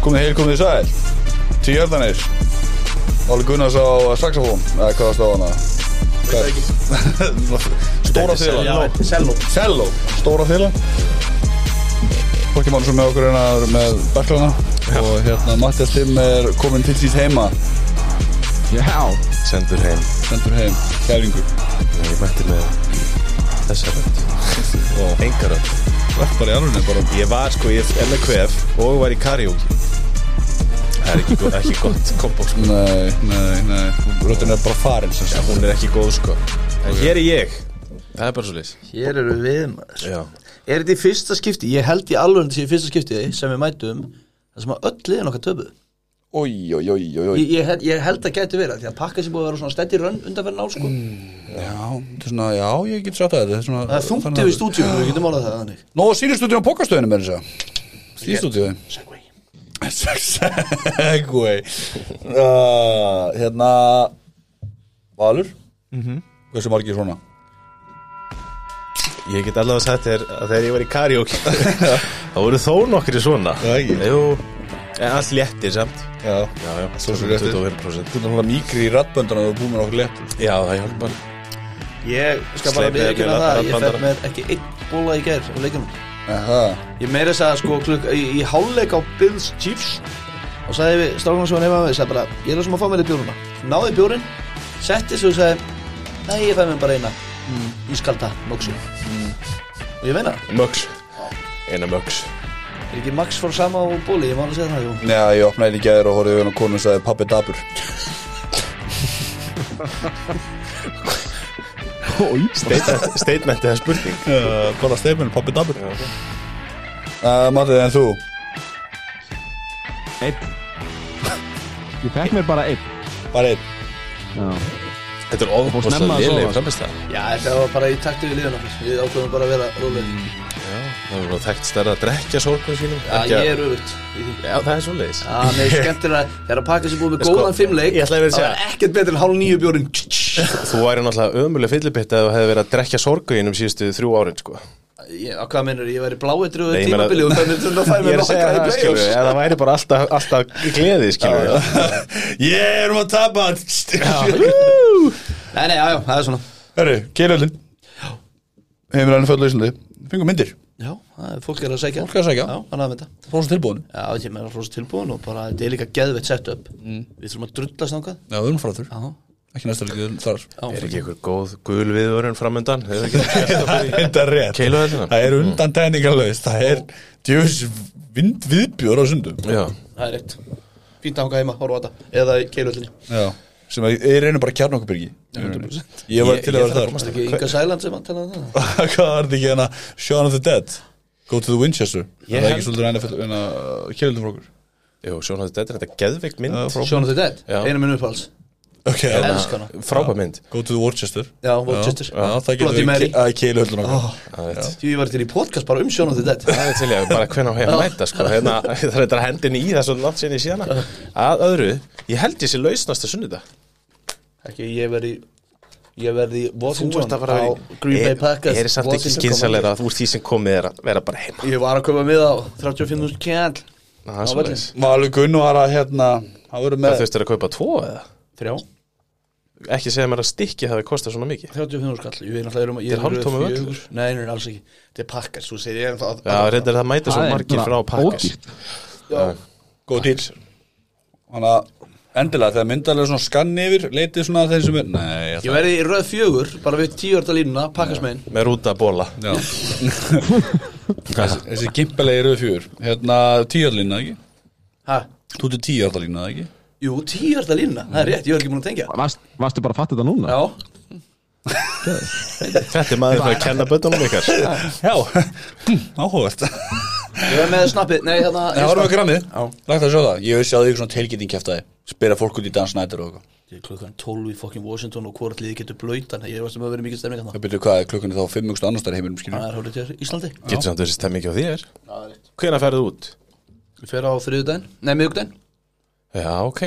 Komið heil, komið þið sæl Til jörðanir Óli Gunnars á eh, saxofón Eða hvað varst á hana? Veit það ekki. Stóra Já, þýla þetta er Selló Selló Stóra þýla Pokémon sem með okkur hérna með berklana Og hérna Mattias Timm er komin til síns heima Já sendur heim Sendur heim Kæringu ég mætti með þessa rönd enga rönd Vart bara í alveg bara ég var sko í LKF og var í karaoke það er ekki, go ekki gott kombo sko. Nei, nei, nei Röttin er bara farin sem sagt hún er ekki góð sko en hér er ég það er bara svo leys Hér eru við maður já Er þetta í fyrsta skipti? Ég held í alveg þetta sé í fyrsta skipti sem við mætum Það sem að öll liðin okkar töpuð Oj, oj, oj, oj, oj ég, ég, held- ég held að gæti verið af Því að pakka sem búið að vera svona stætti rönn undanferðin á sko Já, þetta er svona, já, ég get sagt að þetta þetta er svona, Það er þungt þannig að- yfir stúdíum Við getum álað það þannig Nó, sínustúdíu á pokastöðinu með þess að Sínustúdíu Segway Segway uh, Hérna Valur Hversu margir svona? ég get allavega sagt þér að þegar ég var í karaoke þá voru þó nokkri svona Já, ekki. jú en allt léttir samt Já, já já Svo sem léttir. 25% þú er náttúrulega mýkri í rattböndana og búið með okkur létt já það hjálpar Ég skal bara Sleipið við ekki ekki með að það Ég rafbandara. fætt með ekki einn bóla í gær á leikunum Aha, Ég meira þess að sko klukk í, í hálfleik á Bills Chiefs og sagði við strákunum sem var nefna við, sagði bara ég er sem að fá mér í bjórnuna náði bjórinn, setti sig og sagði nei, ég fæ mér bara eina mm. ískalda moxu og ég meina, mögs eina mögs er ekki Max fór sama á bóli, ég má hann að segja það, jú Nei, ég opnaði í gæður og horfði við hann og konu og sagði pappi dabur statement eða spurning uh, Bara steifinu, pappi dabur uh, Matið, en þú? Einn Ég fekk mér bara einn Bara einn Já þetta er Og snemma ofbúslega að sofa. léleg framist það Já, þetta var bara í takti við liðan okkur við ákveðum bara að vera róleg Það er þekkt stærra að drekja sorgum sínum Já, ekki að- ég er öfugt í því. Já, það er svo leiðis Já, nei, skemmtilega þegar að pakka sér búið með Sko, góðan fimmleik ég ætlaði að vera að það segja- var ekkert betur en hálf nýju bjórinn Þú væri náttúrulega ömuleg fyllibitt að þú hefði verið að drekja sorgu innum síðustu þrjú árin sko. Ég- á Hvað mennur, ég væri bláeitruð Nei, ég meina- tímabili og þannig að það fæði Ég mér er að segja nokkra í það, skilur play-offs En það væri bara alltaf, alltaf gleði, skilur Ég erum að tapa Nei, nei, já, já, það er svona Herru, keilölinn Heimir hann föllu Íslandi Fengum myndir Já, það er fólk er að segja Fólk er að sækja. Já, hann að þetta Fólks tilbúin Já, ég meina rosa tilbúin og bara þetta er líka geðveitt setup Við þurfum að drulla snangað Já, við erum frátur Mm. Já, Ekki næsta líka þar já Er ekki einhver góð gul viðvörun framöndan? Hefur ekki gert það fyrir- Þetta er rétt Keiluhellina. Það er undan tæningarlaust Það er djöfis vind viðbjör á sundum Já, það er rétt Fínt að hanga heima, horfa á þetta Eða í keilöllinni Já Sem að ég reynum bara að kjarna okkur byrgi Ég var Ég- til ég að vera þarf að þar komast Ekki Inga Sæland sem að tala um það Hvað var þetta ekki hérna Shaun of the Dead Go to the Winchester Það Ég er held- ekki svolítið enn að- en að keilölinn frá okkur Jú, sjónu að þetta er þetta geðveikt mynd Já, Sjónu þau dætt, Já. einu minn uppháls Ok, Ég hérna, elska hana. Frábæ mynd Go to the Worcester Já, Worcester. Já, já, það getur Bloody Mary. við að keilölinn okkur Það er- Því ég var til í podcast bara um sjónu þau dætt það er til ég bara hvernig á ég að mæta sko. hérna, það er þetta hendin í það svo langt sinni síðana að öðru, ég held ég sé lausnast að sunnudag Ekki, ég verði Ég verði Þú ert Washington að fara á Green Bay Packers Er samt ekki Washington skynsalega að úr því sem komið er að vera bara heima Commanders. Ég var að koma með á 35.000 kjall Það er Á svo völlinn. leiðis Valur Gunn var að hérna Hann verður Það með þurftir að kaupa tvo eða? Þrjá Ekki segja mér að stykki hafi kostað svona mikið 35 skall, ég veit náttúrulega erum Þetta er hálftómur völlur. Nei, nei, alls ekki Þetta er pakkar, svo segir ég ennþá að- Já, reyndar það mæta svo Það er margir bara frá pakkas ódýrt. Já. Góð dýr Þannig að endilega þegar myndalega svona skanni yfir Leitið svona að þeir sem er Nei, ég Ég verði í röð fjögur, bara við tíuarta línuna, pakkasmein Með rúta bóla Já Þessi- Þessi gimpalegi rauð fjör Hérna tíjarlína ekki Hæ? Þú ert tíjarlína ekki Jú, tíuarta línuna, það er rétt, ég var ekki múin að tengja Varst, Varstu bara að fatta þetta núna? Já, Þetta er maður fyrir að kenna bötunum ykkar Já, Hm, áhugast Það ég var með snappið, nei, hérna, þarna varum við grammið Já. Lagt að sjá það Ég vissi að því svona tilgæting kæftaði Spyrir fólk út í dansnættir og eitthvað Ég er klukkan 12 í fokkin Washington og hvort liði getur blöytan Ég veist um að maður verið mikið stemning þarna Það byrjuðu hvað er klukkunni þá Fimm mjögstu annars þar heiminum skilur Það er hórið til Íslandi Getur samt þessi stemmi ekki á þér Það er rétt Hvenær ferðu út? Við fyrir á þriðudaginn, nei, miðugdaginn Já, ok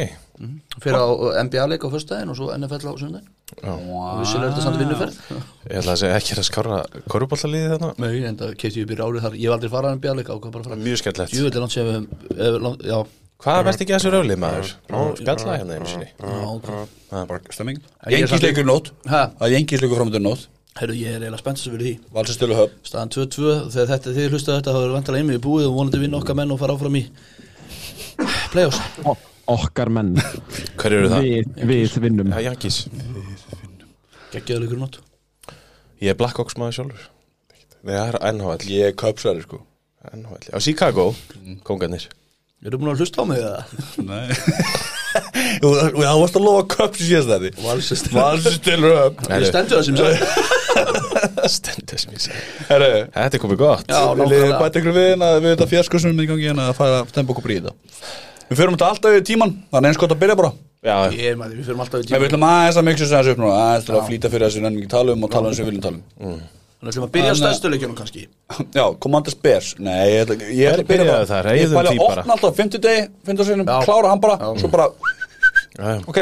Fyrir á uh, NBA-leik á föstudaginn og svo NFL á sunnudaginn Ah. Og vissulega er þetta samt vinnuferð Ég ætla að segja ekki er að skára korfbóltaliði þarna Nei, en það kefti ég byrja árið þar Ég var aldrei farað en bjálík ákvað bara að fara Mjög skemmtlegt Jú, þetta er langt sem við höfum eh, langt- Já, Hvað verðst ekki að þessu röflið maður? Nú skallaði hérna einu sinni bara stemming Ég er samt- Jengisleikur nótt Ha? Það er jengisleikur framöndur nótt Herru, ég er eiginlega spenntast fyrir því Valsastölu höf Staðan 2-2, þegar þetta er þið hlustað þetta þá er vantilega einmið í búið og vonandi vinna okkar menn og fara áfram í Playoffs O- Okkar menn Hver eru það? Við, við vinnum Já, Jankis Gekkjaðleikur nótt Ég er Black Ox maður sjálfur Nei, það er NHL Ég er köpsæri sko NHL Á Chicago, kongarnir Eru búin að hlusta á mig eða? Nei Þú þú- það varst að lofa köps síðast þetta Valsastölu. Valsastölu höf Ég stendur það sem sagði Stendur sem ég segi Herru Þetta er komið gott Já, Viljið þið nákvæmlega. bæta ykkur við hérna við þetta fjaskosunum í gangi hérna að fara að stempa okkur bríða Við förum þetta alltaf yfir tíman Þannig eins gott að byrja bara Já, Ég er maður, við fyrir alltaf í Nei, Við tíma ætlum aðeins að miksa þessu upp núna aðeins til að flýta fyrir þessu nefnum ekki tala um og tala um sem við viljum tala um Þannig ætlum að byrja á Þannig að- stæðstöleikjunum kannski Já, Commanders Bears Nei, ég ætla ég ætla að byrja Byrjaðu bara þar, Ég eyðum ætla að því bara. opna alltaf 50 degi 50 sinum, Já. klára hann bara Svo bara, já, ok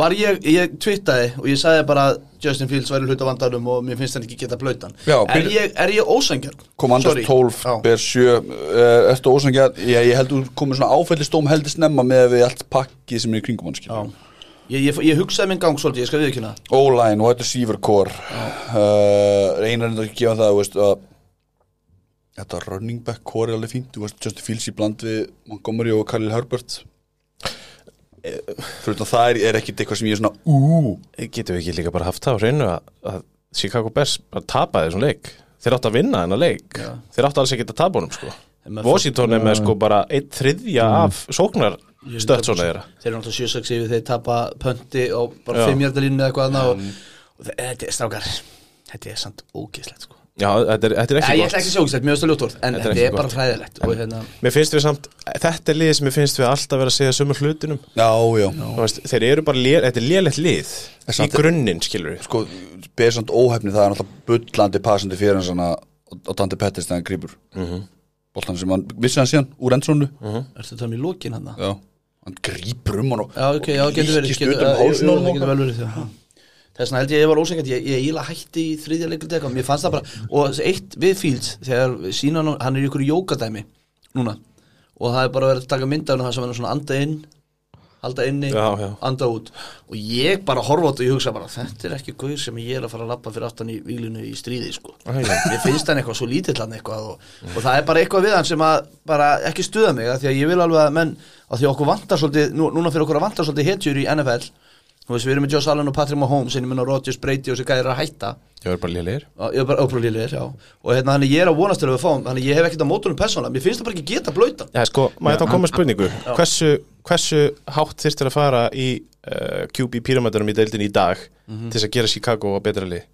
Var ég, ég twittaði og ég sagði bara að Justin Fields væri hluta vandarum og mér finnst hann ekki geta blöytan Já, Er byrja- ég, er ég ósangjarn? Commanders Sorry. 12, Já. Bears 7 eh, Ertu ósangjarn? Ég, ég held þú komið svona áfællistóm heldur snemma með við allt pakkið sem er í kringum hann skilur. Já. Ég, ég, ég hugsaði minn gang svolítið, ég skal við ekki hana O-line og þetta er Sýverkor uh, einar en að gefa það þú veist, að þetta running back core er alveg fínt þú veist Justin Fields í bland við Montgomery og Khalil Herbert Eh, fyrir utan það er, er ekkit eitthvað sem ég er svona ú, Getum við ekki líka bara haft það á hreinu að, að Chicago Bears bara tapaði þessum leik Þeir áttu að vinna þennan leik Þeir áttu alls ekki að tapa honum sko En maður- Washington er með sko bara einn þriðja Mm. af sóknar stött svona þeirra Þeir eru náttúrulega 7-6 yfir þeir tapa pönti og bara Já. 5 hjartalínu eða eitthvað annað og, og þe- þetta er strákar þetta er samt ógeðslegt sko Já, þetta er, þetta er Nei, ekki ég ætla ekki sjókislegt, mér finnst það ljótort en Þetta er þetta ekki er bara gott. hræðilegt og hérna, Mér finnst við samt, þetta er lið sem mér finnst við alltaf vera að segja sömu hlutunum já, já Þú veist, Þeir eru bara, lé, þetta er lélegt lið Í samt- grunninn, skilur við sko, besand óhefni það er náttúrulega bullandi passandi fyrir hans hana og Dante Pettis þegar hann grýpur mm Mhm. boltan sem hann, vissi hann síðan úr endsónu ertu að tala um í lokin hann? já, hann grýpur um hann og Já, ok, já, getur verið líkist getur- utan um já, jú, jú, hálsnum það getur vel verið já. Þess vegna held ég að ég var ósengjant, ég, ég íla hætti í þriðja leikuldi eitthvað, mér fannst það bara og þessi eitt við Fields, þegar sína hann hann er í ykkur jókadæmi núna og það er bara verið að taka mynda hann sem hann er svona anda inn, halda inni Já, já. anda út og ég bara horfa á þetta og ég hugsa bara, þetta er ekki guð sem ég er að fara að lappa fyrir aftan í výlinu í stríði sko. ég finnst hann eitthvað svo lítill hann eitthvað og, og það er bara eitthvað við hann sem að bara ekki stuða mig, af því að ég vil alveg að menn, að því að okkur vantar svolítið nú, núna fyrir okkur að vantar svolítið hetjur í NFL þú veist, við erum með Josh Allen og Patrick Mahomes en ég minna Rodgers, Brady og sér gæðir að hætta Ég verður bara lélegir Já, ég er bara óprúlílir, já og hérna, þannig ég er að vonast til að við fáum, þannig ég hef ekkert á mótunum persónulega, mér finnst það bara ekki geta blöytan Já, sko, maður þá komið spurningu hversu, hversu hátt þyrftir að fara í uh, QB píramætunum í deildin í dag til þess að gera Chicago að betra lið?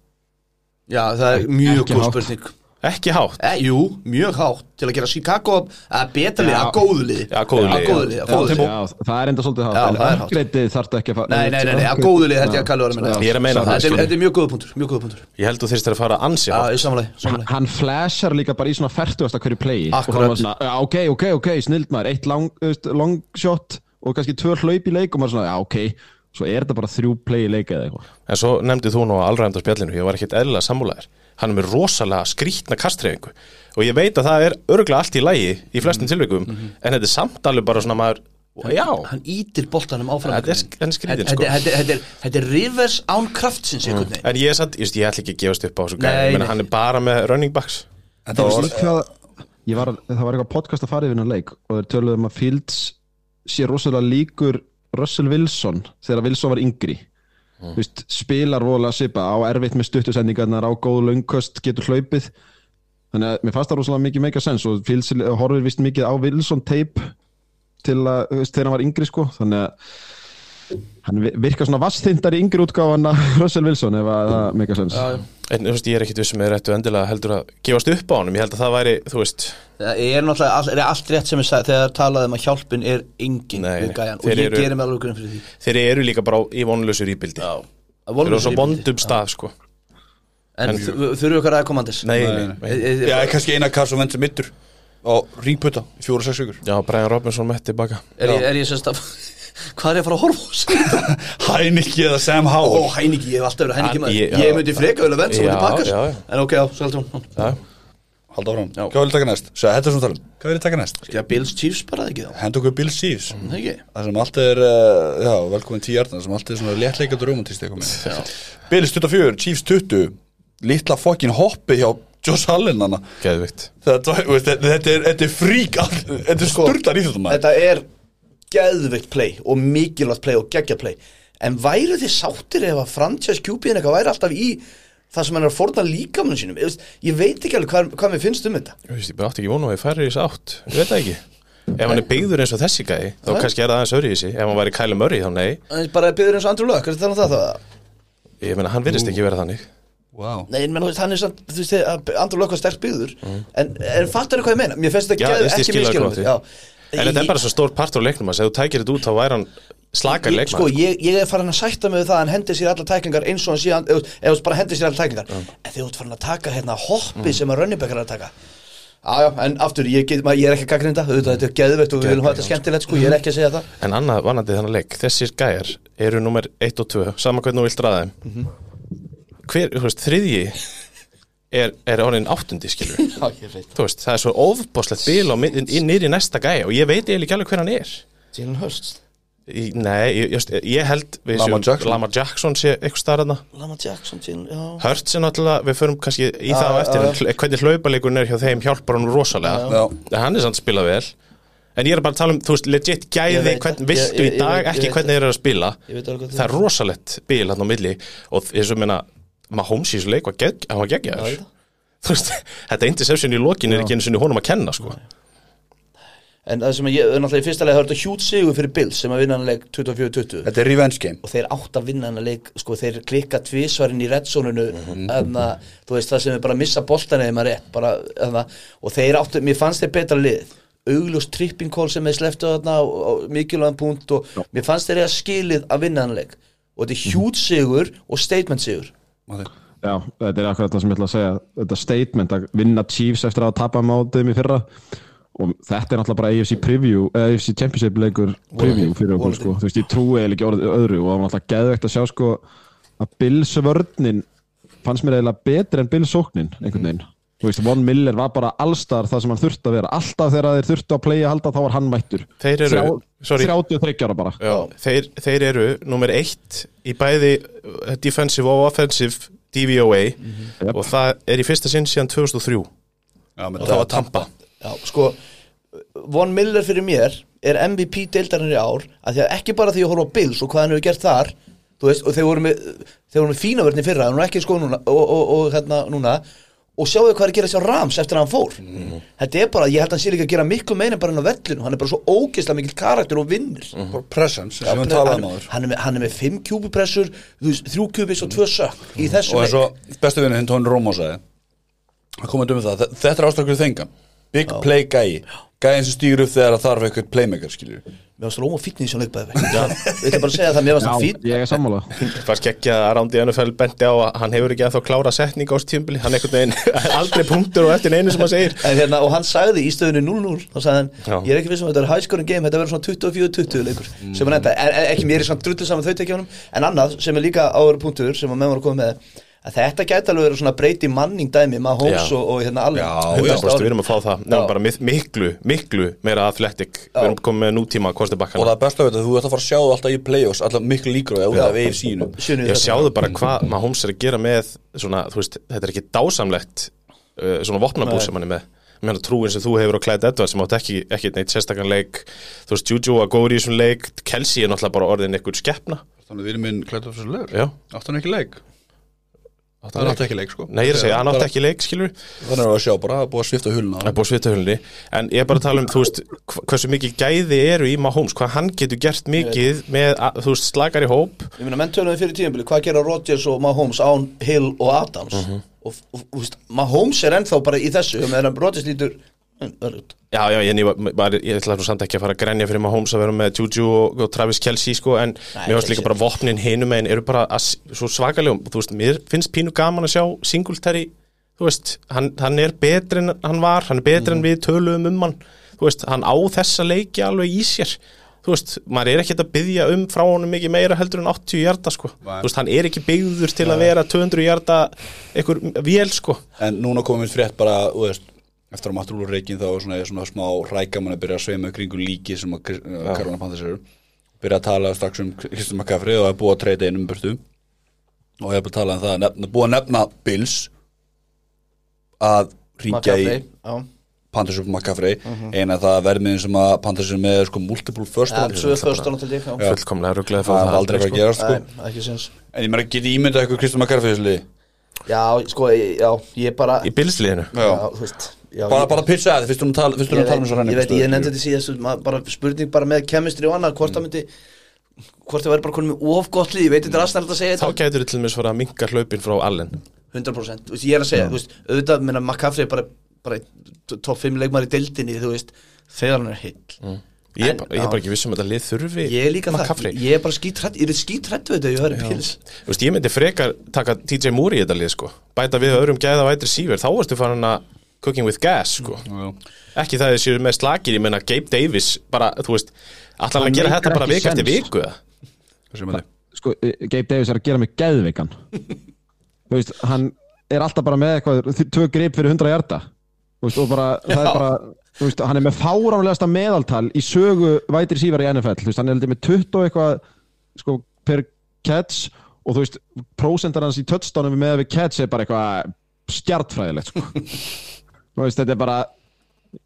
já, það er mjög Ekki góð hátt. spurning Ekki hátt e, jú, mjög hátt, til að gera Chicago að betra lið, Já. að góðu lið Já, góðu lið, að já. góðu lið, að góðu lið Já, það er enda svolítið Já, hátt En það er hátt. upgradeið þarftu ekki að fara Nei, nei, nei, nei, að góðu lið held ég að Kalli var að meina. Ég er að meina það, Þetta er- skilur. þetta er mjög góða punktur, mjög góða punktur Ég held þú þyrftir að fara ansi Já, hátt í samlega, samlega Hann flashar líka bara í svona færtugast að hverju playi Akkurat. Og hann var svona, "Já, ok, ok, ok, snild maður Eitt long, þú veist, long shot og kannski tvö hlaup í leik og maður svona, já, ok Svo er þetta bara þrjú playi leik eða eitthvað En svo nefndi þú nú að allræmda spjallinu ég var ekkit eðlilega samúlæðir Hann er með rosalega skrýtna kastreifingu og ég veit að það er örglega allt í lægi í flestum tilvikum en þetta er samt alveg bara svona maður Já, Hann ítir boltanum áfram Þetta er sk- hann er skrýtinn, Þetta- sko. Mm. þetta- Þetta þetta er- þetta er rivers án kraftsins einhvern veginn en ég er samt, ég, veist, ég ætla ekki að gefast upp á þessu Nei, gæði, ég meina nei. hann er bara með running backs Þetta Það var var- líka ég var, Það var eitthvað podcast að fara yfir hennar leik og þeir töluðum að Fields sé rosalega líkur Russell Wilson þegar Wilson var yngri mm. Vist, spilar vola sipa á erfitt með stuttusendingarnar á góð löngköst getur hlaupið þannig að mér fannst það rosalega mikið meika sens og Fields horfir vist mikið á Wilson tape til að, þú veist, þegar hann var yngri sko þannig að hann vi- virkar svona vastindari yngri útgáfan að Russell Wilson ef að það meika sens Já, já. En þú veist, ég er um ekkit vissum með réttu endilega heldur að gefast upp á honum, ég held að það væri, þú veist Það er náttúrulega all, er allt rétt sem ég sagði þegar talaði um að hjálpin er engin Nei, við gæjan og þeir ég eru- gerir mig alveg grunn fyrir því þeir eru líka bara í vonlösu rýbildi þeir Að eru á vonlausir svo í bindi. bondum stað sko En þ- þurfum okkar aðeins komandis nei, nei, nei. nei. Já, kannski eina kars og vendur mittur á ringputta í fjóra sex vikur já, Brian Robinson mætti baka Er ég, er ég semst að Hvað er ég að fara að horfa á þessu? Hæniki eða Sam Ó, Howell Hæniki, ég hef alltaf verið Hæniki Hann- maður ég- Ég, já. myndi freka vel að venn sem Já, myndi pakkast já, já. En ok, já, svo heldur hún já. halda áfram, Já. hvað vil ég taka næst? Sæ, þetta er svona um. talum, hvað vil ég taka næst? Já, Bills Chiefs bara eða ekki þá Henda okkur Bill Sýfs Það ekki Það sem allt er, uh, já, velkomin tíjarnar sem allt er svona léttleikandi romantist eitthvað Já. með Bills 24, Chiefs 20 litla fokkin hoppi hjá Josh Allen hana Geðvikt þetta, veist, þetta, þetta er, þetta er frík all- þetta er sturdar í þetta maður Þetta er geðveikt play og mikilvægt play og geggja play En væru þið sáttir ef að franchise QB-in eitthvað væri alltaf í það sem hann er að forna líkamunum sínum Ég veist- Ég veit ekki alveg hvað, hvað mér finnst um þetta Ég veist, ég átti ekki vona að ég færi í þessu átt Ég veit það ekki Ef hann er byggður eins og þessi gæði Þá kannski er það aðeins öðru í þessi Ef hann væri Kyle Murray þá nei En Bara byrður eins og Andrew Luck, er þetta þannig að það það? Ég meina, hann virðist ekki vera þannig wow. Nei, menn, hann er samt, þú veist, að Andrew Luck var sterk byggður En, en fattar hvað ég meina? Mér finnst Mm. Já, þetta geð veist, ég skil ekki alveg miskilvægt hvað Já, En þetta er bara svo stór partur á leiknum hans Ef þú tækir þetta út þá væri hann slakar Ég, leikmann sko, ég, ég er farin að sætta mig við það að hann hendir sér allar tæklingar eins og hann síðan eða þú- eða þú bara hendir sér allar tæklingar en þegar þú ert farin að taka hérna hoppi sem að running back er að taka Já, já, en aftur, ég, get, maður, ég er ekki að gaggrinda auðvitað, þetta er geðveikt og við viljum hafa þetta skemmtilegt sko, ég er ekki að segja það En annað vanandi þannig leik, þessir gæjar eru nummer 1 og 2, sama hvernig þú vilt ræða þeim Mhm. Hver, þú veist, þriðji er, er orðin áttundi, skilur við. Já, ég veit Þú veist, það er svo ofbóðslegt bil á nýri næsta gæja og ég veit eiginlega ekki alveg hver hann er Jalen Hurst, Í- Nei, ég, just, ég held við Lamar séum- Jackson. Lamar Jackson sé eitthvað starðna Lama Jackson, Jalen, já Hurts er náttúrulega, við förum kannski í það á já, eftir já. en hl- hvernig hlaupaleikurinn er hjá þeim hjálpar hann rosalega Já. En hann er samt spilað vel En ég er bara að tala um, þú veist, legit Ég gæði veit hvern, það. viltu Ég- í ég- dag, ég veit- ég ekki veit hvernig þeir eru að spila Ég veit alveg hvað það er þú- rosalegt bil hann á milli og þess að meina Mahomes í þessu leik var gegg, hann var Já, ég geggjaður veit það. þú veist, þetta interception í lokin er ekki einu sinni honum að kenna sko En það sem ég, náttúrulega í fyrsta leik, það er þetta hjút sigur fyrir Bills sem að vinna hann leik 24-20 þetta er revenge game og þeir átt að vinna hennar leik sko, þeir klikka tvísvarinn í reddsónunu mm -hmm. þú veist það sem er bara að missa boltan eða maður rétt bara, þarna, og þeir áttu, mér fannst þeir betra lið augljós tripping call sem þeir sleftu þarna á, á mikilvæðan punkt og mér fannst þeir eða skilið að vinna hennar leik og þetta er hjút sigur og statement sigur Maður- Já, þetta er akkurat það sem ég ætla að segja þetta statement að vinna Chiefs eftir að tapa mátum í fyrra og þetta er náttúrulega bara AFC preview eh, AFC Championship leikur preview fyrir okkur vonandi. sko, þú veist, ég trúi eiginlega ekki orðið öðru og það var náttúrulega geðvegt að sjá sko að Bills vörnin fannst mér eiginlega betri en Bills sóknin einhvern veginn, þú veist, Von Miller var bara allstar það sem hann þurfti að vera, alltaf þegar þeir þurftu að playa halda þá var hann mættur Þeir eru- Þrjá- sorry. 33 ára bara Já, þeir, þeir eru nummer eitt í bæði uh, defensive og offensive DVOA Mhm. Jep. og það er í fyrsta sinn síðan 2003 já, menn og það það var Tampa Já, sko, Von Miller fyrir mér er MVP deildarinn í ár að því að ekki bara því að horfa á Bills og hvað hann hefur gert þar þú veist, og þeir voru með, þeir voru með fína vörni fyrra, hann er ekki sko núna og, og, og hérna núna og sjáu hvað er að gera sér Rams eftir að hann fór þetta er bara, ég held að hann sé líka að gera miklu meina bara inn á vellinu, hann er bara svo ógeðslega mikill karakter og vinnur bara presence sem Mm. við um hann, talaðum á þér hann, er með, hann er með fimm kjúbupressur þú veist, þrjú kjúbis og tvö sökk í þessu og leik eins og bestu vinnu hinn Tón Rómó sagði að koma um það, þe- þetta er ástakur þengan big play gæi, gæin sem stýr upp þegar það þarf eitthvað playmaker skilju mér varst Róma fítni í þessu leik bæði við ætlum bara að segja það, mér varst Já, hann fítni ég er sammála Fannst ekki að Rándi NFL benti á að hann hefur ekki að þá klára setning á stjömbili hann einhvern veginn aldrei punktur og eftir einu sem hann segir En hérna, og hann sagði í stöðunni 0-0 þá sagði hann, Já. ég er ekki viss um að þetta er high scoring game þetta verður svona 24-20 leikur sem hann enda, en, en, ekki mér er svona drullið saman þau tekja honum en annað sem er líka áður punktur sem að menn voru að koma með að þetta gæti alveg verið svona breyti manning dæmi Mahomes Já. og, og hérna alveg Já, 100% við erum að fá það Nefnum Já. bara mið- miklu, miklu meira athletic Við erum komið með nútíma og kostibakkana það er besta við þetta, þú ert að fara að sjá það alltaf í playoffs alltaf miklu líkur á það út af eif sínum Ég sjáðu bara hvað Mahomes er að gera með svona, þú veist, þetta er ekki dásamlegt uh, svona vopnabúr Nei. sem hann er með Mér meina trúin sem þú hefur á Clyde Edwards sem átt ekki, ekki neitt sérstakann leik þú veist, Juju að góður í þessum leik Kelsey er náttúrulega bara orðin einhver skeppna þannig að við erum minn klætt af þessu leik Já, átti hann ekki leik, átti hann hann átti leik ekki leik sko Nei, ég er að segja, hann átti ekki leik, skilur þannig að sjá bara, það er búið að svifta hulna Það er búið að svita hulunni En ég er bara að tala um, þú veist, hv- hversu mikið gæði eru í Mahomes Hvað hann getur gert mikið með, að- þú veist, slakari hóp ég meina, menn tölum við fyrir tíðanbili, hvað gera Rodgers og Mahomes án Hill og Adams og, og, og veist, Mahomes er ennþá bara í þessu meðan Rodgers lítur "Mm, öruggt." Já, já, en ég, var- var, ég ætla nú samt ekki að fara að grenja fyrir Mahomes að vera með Juju og, og Travis Kelsey sko, en mér finnst líka Kelsey. bara vopnin hinum en eru bara að, s- svo svakalegum þú veist, mér finnst pínu gaman að sjá Singletary, þú veist, hann, hann er betri en hann var, hann er betri Mhm. en við töluðum um hann, þú veist, hann á þessa leiki alveg í sér þú veist, maður er ekkert að byggja um frá honum mikið meira heldur en 80 hjarta sko Nei. þú veist, hann er ekki byggður til að vera 200 hjarta einhver vél sko En núna komum við frétt bara, þú veist, eftir að Matrúl og Reykjinn þá er svona, er svona smá rækamann að byrja að sveima í kringum líki sem að Karolina Panthers eru byrja að tala strax um Kristján McCaffrey og það er búið að treyta einum burtu og ég er búið að tala um það að nefna, búið að nefna Bills að ríkja í McCaffrey, já. Panthers og McCaffrey en að það verðmiðin sem að Panthers er með er sko multiple first Já, round tvö first round held ég, já. fullkomlega ruglega það er aldrei að fara að gerast sko. Nei, ekki séns. en ég meira geti ímyndað eitthvað Kristján McCaffrey í þessu liði. Já, sko, ég- já, ég bara í bilsliðinu Já. Já, þú veist já, bara, ég- bara pitcha það, fyrst um að tala fyrst um ég að tala um veit, svo hann ég, veit, ég nefndi þetta síðast maður- bara spurning bara með kemistri og annað hvort það myndi hvort það væri bara konum með of gott lið ég veit þetta er aðstæðan að segja þá þetta gætur þið til mér svara að minka hlaupin frá Allen 100% þú veist, ég er að segja, þú veist, auðvitað minna McCaffrey er bara, bara top 5 leikmar í deildinni þú veist, þegar hann er heill ég er En, bara- ég já. er bara ekki viss um að þetta lið þurfi ég er líka McCaffrey. það, ég er bara skítrætt ég er skítrætt við þetta, ég verður pils Þú veist, ég myndi frekar taka TJ Moore í þetta lið sko. bæta við öðrum gæða vætri síver þá ertu farin að cooking with gas sko. ekki það þið séu með slakir ég menna Gabe Davis bara, þú veist, allan Hann að gera meikar þetta bara ekki vik eftir sens. viku eða? sko, Gabe Davis er að gera mig geðveikan þú veist, hann er alltaf bara með eitthvað, þ- tvö grip fyrir 100 hjarta þú veist, og bara, það er Já. bara þú veist, hann er með fáránlegasta meðaltal í sögu vætir sívar í NFL þú veist, hann er heldur með 20 og eitthvað sko, per catch og þú veist, prósentar hans í touchdownum með við catch er bara eitthvað stjartfræðilegt sko. þú veist, þetta er bara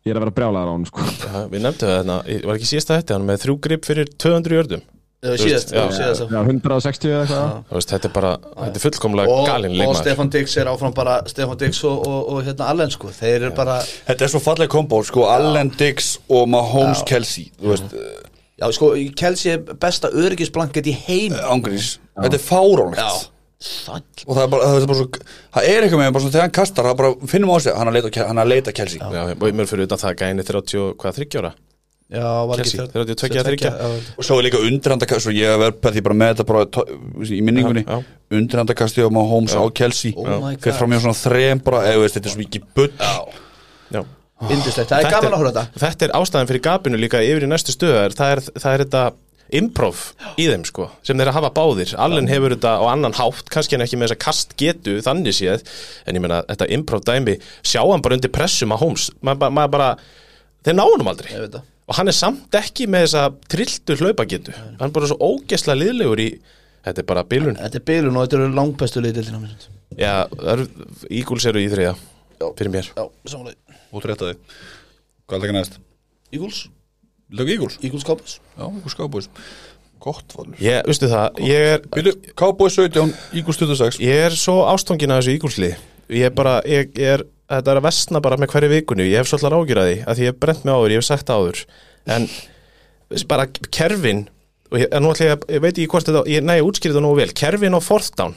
ég er að vera brjálaðar á hann sko. Já, við nefndum það hérna, ég var ekki síðasta þetta hann er með þrjú grip fyrir 200 jörðum síðast, Já. síðast Já, 160 eða eitthvað veist, þetta er bara, þetta er fullkomlega og, galin og leikmaður Stefan Dix er áfram bara Stefan Dix og, og, og hérna Allen sko þeir eru bara, Þetta er svo falleg kombo, sko, Allen Diggs og Mahomes Kelsey, þú veist, já sko Kelsey er besta öryggisblanket í heim ángrís eh, Þetta er fáránlegt já, sæll Og það er bara, það er bara svo, það er eitthvað með bara svona þegar hann kastar, það bara finnum á sig, hann er að leita, Kel- hann er að leita Kelsey Já, og mér fyrir utan það gæni 30, hvað, 30 ára? já, var Kelsey, ekki þrjá- 32 eða 30? já, já. Og svo er líka undirhandakast, og ég verð bara því bara með þetta bara tó- í minningunni, Já, já. undirhandakasti á Mahomes á Kelsey, Oh my fyrir God. fram hjá svona þrem bara, eða veist, þetta er svo mikið bull Já, Já. Indislegt, það er Þetta gaman að horfa á þetta Þetta er ástæðan fyrir gapinu líka yfir í næstu stöðar það er, það er þetta improv í þeim sko, sem þeir hafa báðir Allen hefur þetta á annan hátt, kannski en ekki með þess að kast getu þannig séð en ég meina þetta improv dæmi, sjá hann bara undir pressum að Holmes, maður bara, maður bara þeir ná honum aldrei Ég veit það. og hann er samt ekki með þessa trilltu hlaupagetu, hann er bara svo ógesla liðlegur í, þetta er bara bilun Þetta er bylun og þetta eru langbestu liðdildina mér Já, það eru, Eagles eru í þriða fyrir mér, Já, samanlega út réttaði Hvað er það ekki næst? Eagles, Lök Eagles? Eagles Cowboys Já, Eagles Cowboys Gott valur ég, veistu það ég er, Býtu, Cowboys 17, Eagles 26 Ég er svo ástungin að þessu ígúlsli Ég er bara, ég, ég er, þetta er að vestna bara með hverju vikunni Ég hef svolítið ágjur að því að því ég hef brent mig áður, ég hef sagt það áður En þessi bara kerfin og ég, en nú ætla ég, að- ég veit ekki hvort þetta ég, Nei, ég útskýrði það nógu vel, kerfin á fourth down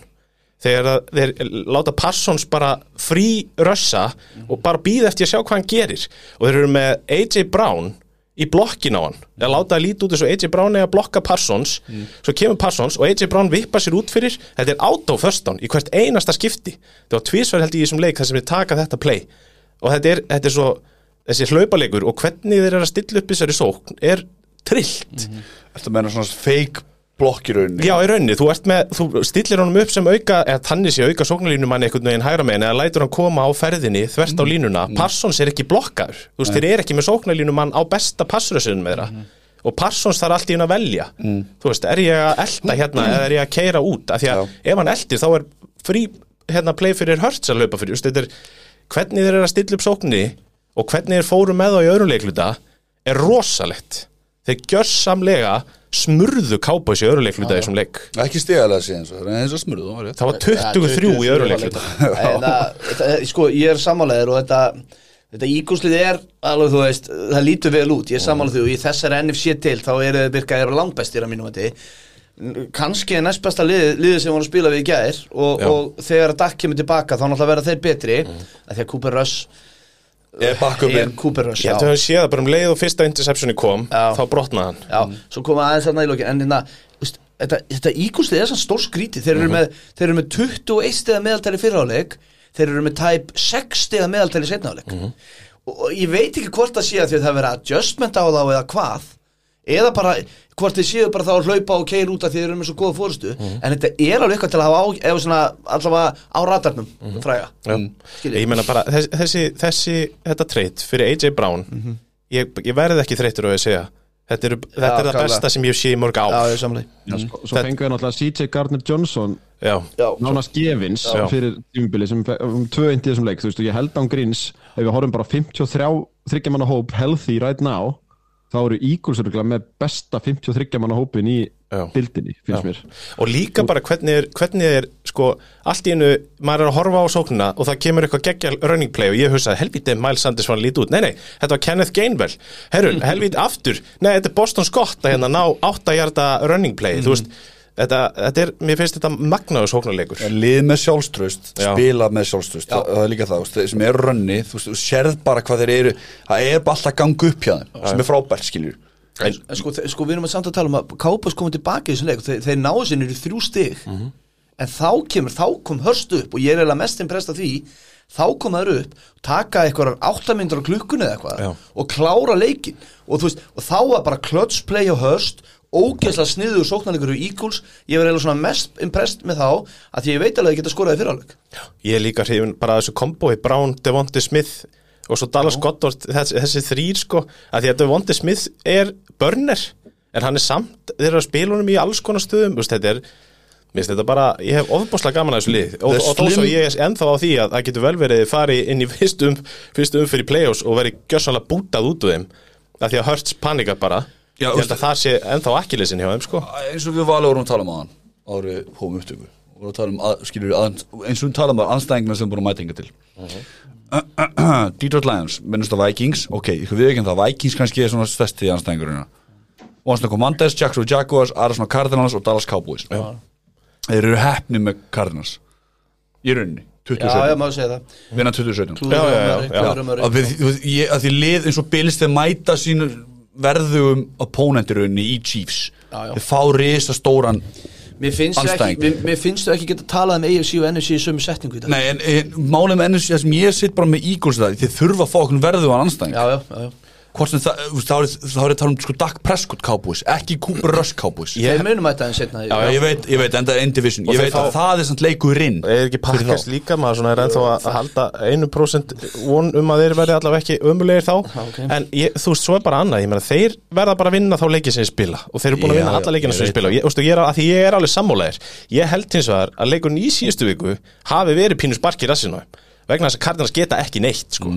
Þegar að þeir láta Parsons bara frí rössa og bara býða eftir að sjá hvað hann gerir og þeir eru með AJ Brown í blokkin á hann, eða láta að líti út eins og AJ Brown eða blokka Parsons svo kemur Parsons og AJ Brown vippar sér út fyrir þetta er out of first down í hvert einasta skipti þetta var tvísverð held ég í þessum leik þar sem við taka þetta play og þetta er, þetta er svo þessi hlaupalegur og hvernig þeir eru að stilla upp í þessari sókn er trillt Þetta meina svona fake blokk í rauninni Mhm. Já, í rauninni, þú, ert með, þú stillir honum upp sem auka, eða tannir sé auka sóknarlínu manni einhvern veginn hægra meginn, eða lætur hann koma á ferðinni þvert á línuna, Parsons er ekki blokkaður þú veist, þeir eru ekki með sóknarlínu mann á besta passrössunum með þeirra og Parsons þarf allt í hún að velja þú veist, er ég að elta hérna eða er ég að keira út, af því að ef hann eldir þá er frí, hérna, play fyrir hörts að laupa fyrir, þú veist, þetta er hvernig þeir eru að stilla upp sóknni og hvernig þeir fóru með þá í öðrum leikluta er rosalegt þeir gjörsamlega smurðu kápa í öðrum leikluta í þessum leik Ekki stigalega síðan, það er eins og smurðu, það var rétt það var 23 í öðrum leikluta En það, það- sko, ég er samanlegaður og þetta Þetta ígúslið er, alveg þú veist, það lítur vel út, ég samanlega þú, í þessari NFC til, þá eru þau byrkaðir langbæstir að mínum að kannski er næst besta liðið liði sem voru að spila við í gær og, Já. Mm. og þegar að Dak kemur tilbaka þá náttúrulega verða þeir betri, af því að Cooper Rush Ég bakku er minn Cooper Rush, Ah, ég held að hann séð það bara um leið og fyrsta interceptioni kom Já. þá brotnaði hann Já, svo koma aðeins þarna í lokin En hérna, þú veist, þetta, þetta ígúslið er sann stór skríti Þeir eru með, þeir eru með 21 stiða meðaltæli fyrráleik Þeir eru með tæp 6 stiða meðaltæli setnáleik mm -hmm. og, og ég veit ekki hvort það sé að því að það vera adjustment á þá eða hvað eða bara hvort þið séu bara þá að hlaupa og keir út af því þið eru með svo góða fórustu en þetta er alveg eitthvað til að hafa á, eða svona allavega á ratarnum fræga Skilji. Ég meina bara, þessi, þessi, þessi þetta treyt fyrir AJ Brown Mhm. ég, ég verði ekki þreyttur á að segja Þetta, eru, þetta er það klálega. besta sem ég hef séð í mörg á Já, ég samlega Sko, svo fengu við náttúrulega CJ Gardner Johnson Já, Já, nánast gefins Já. fyrir tímubili sem fe- um tvö eintið þessum leik þú veist og ég held án gríns ef við horfum bara á 53 þriggja manna hóp healthy right now þá eru Eagles örugglega með besta 53 manna hópin í Já. dildinni finnst mér og líka bara hvernig er, hvernig er sko, allt í einu, maður er að horfa á sóknuna og það kemur eitthvað geggja running play og ég hugsaði, helvítið Miles Sanders var lítið út nei, nei, þetta var Kenneth Gainwell herru, helvítið aftur, nei, þetta er Boston Scott að hérna ná 8 hjarta running play þú veist, þetta, þetta er, mér finnst þetta magnaðu sóknuleikur En Eh, lið með sjálfströst, Já. spila með sjálfströst það, það er líka það, þú veist, þeir sem eru rönni þú, veist, þú sérð bara hvað þeir eru það er bara alltaf gangu upp hjá þeim sem er frábært skiljur en, En sko, þe- sko við erum að samt að tala um að Kápas komið tilbaki í þessum leik og þeir, þeir náðu sinni í þrjú stig Mhm. en þá kemur, þá kom hörst upp og ég er eiginlega mest impressed af því þá kom þær upp, taka eitthvað áttamindar á klukkunni eða eitthvað Já. og klára leikin og, þú veist, og þá var bara clutch play á hörst ógeðslega sniður sóknarleikur í Eagles ég var eiginlega svona mest impressed með þá að því ég veit alveg að ég geta skoraði fyrirháleik ég er líka hrifin bara að þessu komboi Brown, Devonte Smith og svo Dallas Goddard, þessi, þessi þrýr sko, að því að Devonte Smith er börner, en hann er samt þeir eru að spila honum í alls konar stöðum þú veist, þetta er, mér finnst þetta bara ég hef ofbúslega gaman að þessu lið og, The og þó svo slim- ég er ennþá á því að það getur vel verið að fari inn í fyrstu um, fyrstu um fyrir play-offs og verið gjössanlega bútað út úr þeim, að því að Hurts panikar bara, Já, ég held að það sé ennþá akkilisin hjá þeim sko eins og við valið vorum að tala um aðan árið hóum upptöku og að tala um, að, skiljur, að, eins og við tala um að anstæðingna sem búin að mæta hinga til Mhm. Detroit Lions, minnust að Vikings ok, ég við ekki en það, Vikings kannski er svona stærsti anstæðingurina Washington Commanders, Jacksonville Jaguars, Arizona Cardinals og Dallas Cowboys Já. þeir eru heppni með Cardinals í rauninni, Já, 27 já, maður segja það vinna 2017 Klúður Já, já, um já, öðru, já. klúður um öðru. að, við, við, ég, að því lið eins og Bills þeir mæta sínu verðugum opponentirunni í Chiefs Já, já. þeir fá risa stóran Mér finnst þau ekki, Andstæðing. mér, mér finnst þau ekki geta talað um AFC og NFC í sömu setningu í dag Nei, en, en málið með ennum sem ég sitt bara með Eagles það, þeir þurfa að fá okkur verðugan anstæðing Já, já, já, já. hvort sem það, þú veist, þá er þá er það tala um sko Dak Prescott Cowboys, ekki Cooper Rush Cowboys Þeir munum að þetta en setna Já, ég veit, ég veit, enda er Indivision Og Ég þeir veit fá- að það er samt leikurinn Er ekki pakkast líka, maður svona er ennþá að halda 1% von um að þeir verði allavega ekki ömulegir þá ok. En ég, þú veist, svo er bara annað, ég meina þeir verða bara að vinna þá leikið sem þeir spila Og þeir eru búin að Já, vinna já, alla leikina ég sem þeir veit spila Og ég, veistu, ég er, að Því ég er alveg sammálaðir Ég held hins vegar að leikurinn í síðustu viku hafi verið pínu spark í rassinu á þeim. Vegna þess að Cardinals geta ekki neitt, sko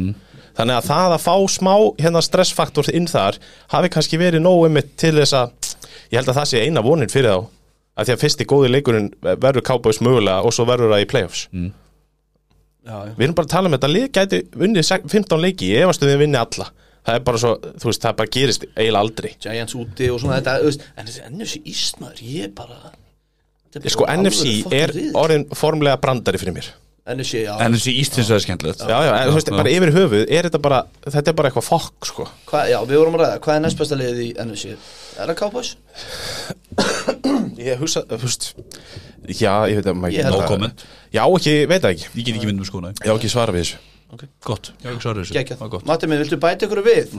Mm. Þannig að það að fá smá hérna, stressfaktor inn þar hafi kannski verið nógu einmitt til þess að ég held að það sé eina vonin fyrir þá að því að fyrsti góði leikurinn verður Cowboys mögulega og svo verður það í playoffs já, já. Við erum bara að tala um þetta lið gæti unnið se- 15 leiki, ég efastu þeim vinni alla Það er bara svo, þú veist, það bara gerist eiginlega aldrei Giants úti og svona þetta þú veist, En þessi NFC Ísmaður, ég bara Þetta er bara Sko, alvöru NFC fucking er riðill. orðin formlega brandari fyrir mér NFC, já En þessi Ístins er skemmtilegt Já, já, en, þú veist, já. bara yfir höfuð, er þetta bara, þetta er bara eitthvað fokk, sko Hva, Já, við vorum að ræða, hvað er næst besta liðið í NFC? Er það Cowboys? Ég hugsa, þú veist, já, ég veit að maður Ég held No að- comment. Já, ekki, ég veit það ekki, Ég get ekki um myndum skona ég á ekki svara við þessu Gott, ég ekki svarið þessu Gekjað Það var gott. Matti minn, viltu bæta ykkur við?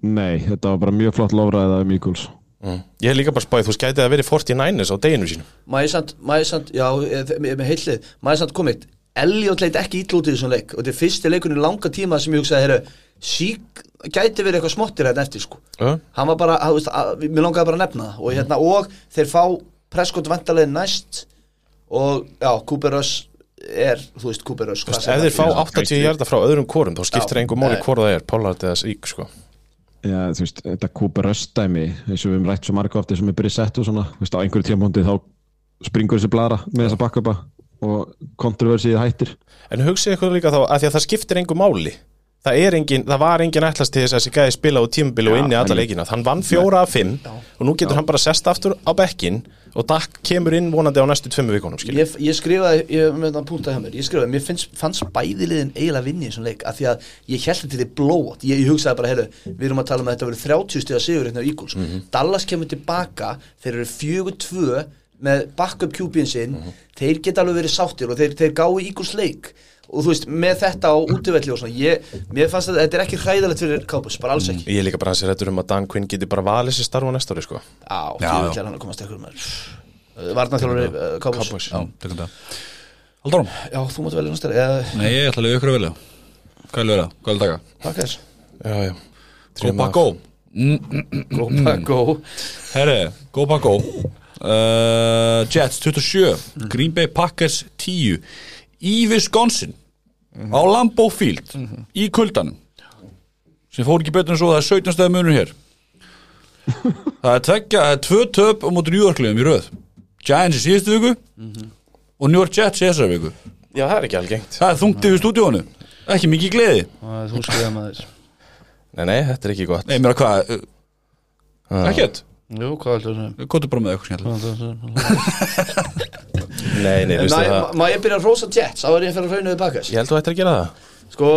nei þetta var bara mjög flott lofræða um Eagles mm. Ég er líka bara spáðið, þú veist, gætið að verið 49ers á deginu sínum Mæsand, Mæsand, já, ég ég- með heitlið Mæsand komið, Elliot leit ekki ítl út í þessum leik Og þetta er fyrsti leikunni langa tíma sem ég hugsaði Herru, sík, gæti verið eitthvað smottir hérna eftir sko uh. hann var bara, að, veist, að, mér langaði bara að nefna það og, hérna, og þeir fá Prescott vantarlegin næst og já, Cooper Rush er, þú veist, Cooper Rush hvað Ef sem þeir fá það er. 80 hjarta frá öðrum kórum þá skiptir Já. engu máli Nei. hvora það er Pollard eða Ík sko. Já, þú veist, þetta Cooper Röstdæmi eins og við höfum rætt svo marga oft eins og með Brissett og svona, þú veist, á einhverju tímpóndi þá springur þessi blara með þessa bakkapa og kontroversið hættir En hugsið ykkur líka þá að því að það skiptir engu máli Það, er engin, það var engin ætlast til þess að þessi gæði spila á tímabili og inn í alla en- leikina Hann vann fjóra af fimm og nú getur hann bara sest aftur á bekkin og Dak kemur inn vonandi á næstu tveimu vikunum skilur. ég, ég skrifaði, ég með það púntaði hjá mér ég skrifaði, mér finnst, fannst bæðiliðin eiginlega vinni í þessum leik, af því að ég held þetta er blóat, ég, ég hugsaði bara, heyrðu við erum að tala um að þetta verið 30 stiga sigur hérna á Eagles, Mhm. Dallas kemur tilbaka þeir eru Mhm. 4-2 með backup QB-in sinn, þeir geta alveg verið sáttir og þeir, þeir gáu Eagles leik og þú veist, með þetta á útivelli og svona ég, mér fannst að þetta er ekki hræðilegt fyrir Cowboys, bara alls ekki Ég er líka bara hans er hættur um að Dan Quinn geti bara valið sér starfa næsta ári sko á, þú Já, já. veist, hann að komast ekkur með varnarþjólari Cowboys Cowboys Já, tökum það Haldur hún? já, þú mátt velja Eh, næstari, eða Nei, ég ætla að leiða ykkur að velja Hvað er leiða? Hvað er taka? Packers Já, já Go Þrjum back af- go go, Mm. pack, go Herre, go back go uh, Jets 27 Green Bay Packers 10 Í Wisconsin Á Lambeau Field Í kuldanum sem fór ekki betur en svo það er 17 stæða munur hér það er tveggja, það er tvö töp á móti New Yorkliðum í röð Giants í síðustu viku og New York Jets í þessari viku Já, það er ekki algengt það er þungt yfir stúdíónu ekki mikið gleði Að þú skrifa maður Nei, nei, þetta er ekki gott nei, mér að hvað, uh, ekkert jú, hvað ætlum við að segja? Kóttu bara með eitthvað skemmtilegt Nei, nei, veistu Nei, það ma- Má ég byrja að rosa Jets á að ég fyrir að hrauna við Packers Ég held þú ættir að gera það Sko,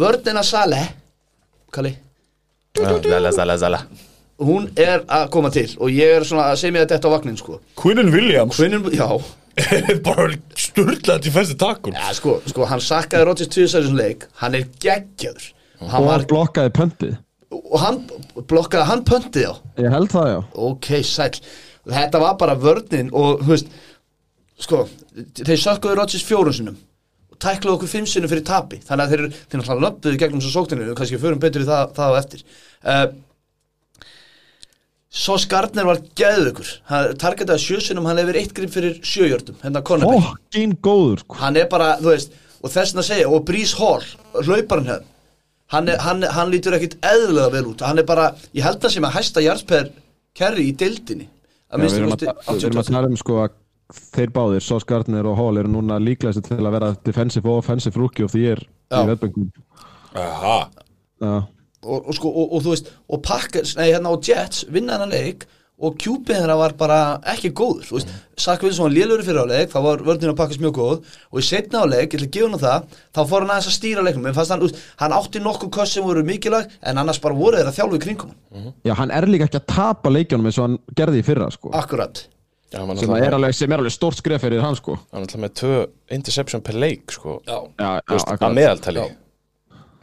vörnina Sale Kalli Já, Zala, zala, zala Hún er að koma til og ég er svona að segja mér að þetta á vagnin sko Quinnen Williams Hvinnum, já bara sturlaði til fæstu takkun ja, sko, sko, hann sakkaði Rodgers tvísæðisum leik Hann er geggjöður og hann, og var, hann blokkaði pöntið og hann blokkaði, hann pöntið á ég held það já Ok, sæll Þetta var bara vörnin og, þú veist Sko, þeir sökkuðu Rodgers fjórun sinnum og tæklaðu okkur fimm sinnum fyrir tapi þannig að þeir, þeir náttúrulega löppuðu gegnum svo sókninu og kannski förum betur í það, það á eftir uh, Svo Skartner var geðugur hann targetaði sjö sinnum, hann hefur eitt grip fyrir sjöjördum, hérna Connerbell fokkin góður sko. hann er bara, þú veist og þess að segja, og Brís Hall hlauparinn hann, hann, er- hann, hann lítur ekkit eðlega vel út, hann er bara ég held það sem að hæsta jarðsper kerri í deildinni Já, að við minnstu erum kosti að, við erum að 80%. tala um sko að þeir báðir, Sos Gardner og Hall eru núna líklegast til að vera defensive og offensive rookie og því er Já. í veðböngum Aha Já. og, og, sko, og, og þú veist, og Packers nei, hérna og Jets vinna hennar leik og kjúpið hennar var bara ekki góður þú veist, Sack Wilson var lélögur fyrir á leik þá var vörðin á Packers mjög góð og í setna á leik, ég ætla að gefa hann það þá fór hann aðeins að stýra leiknum, en fannst hann, þú veist, hann átti nokkuð köst sem voru mikilvæg, en annars bara voru þeirra þjálfu í kringum hann, Já, hann er líka ekki að tapa leikjónum eins og hann gerði í fyrra sko. akkurat Já, hann var sem, er náttúrulega- alveg, sem er alveg stórt skref fyrir hann sko. hann var náttúrulega með tvö interception per leik sko Já. Já, Þú veist, akkurat. að meðaltali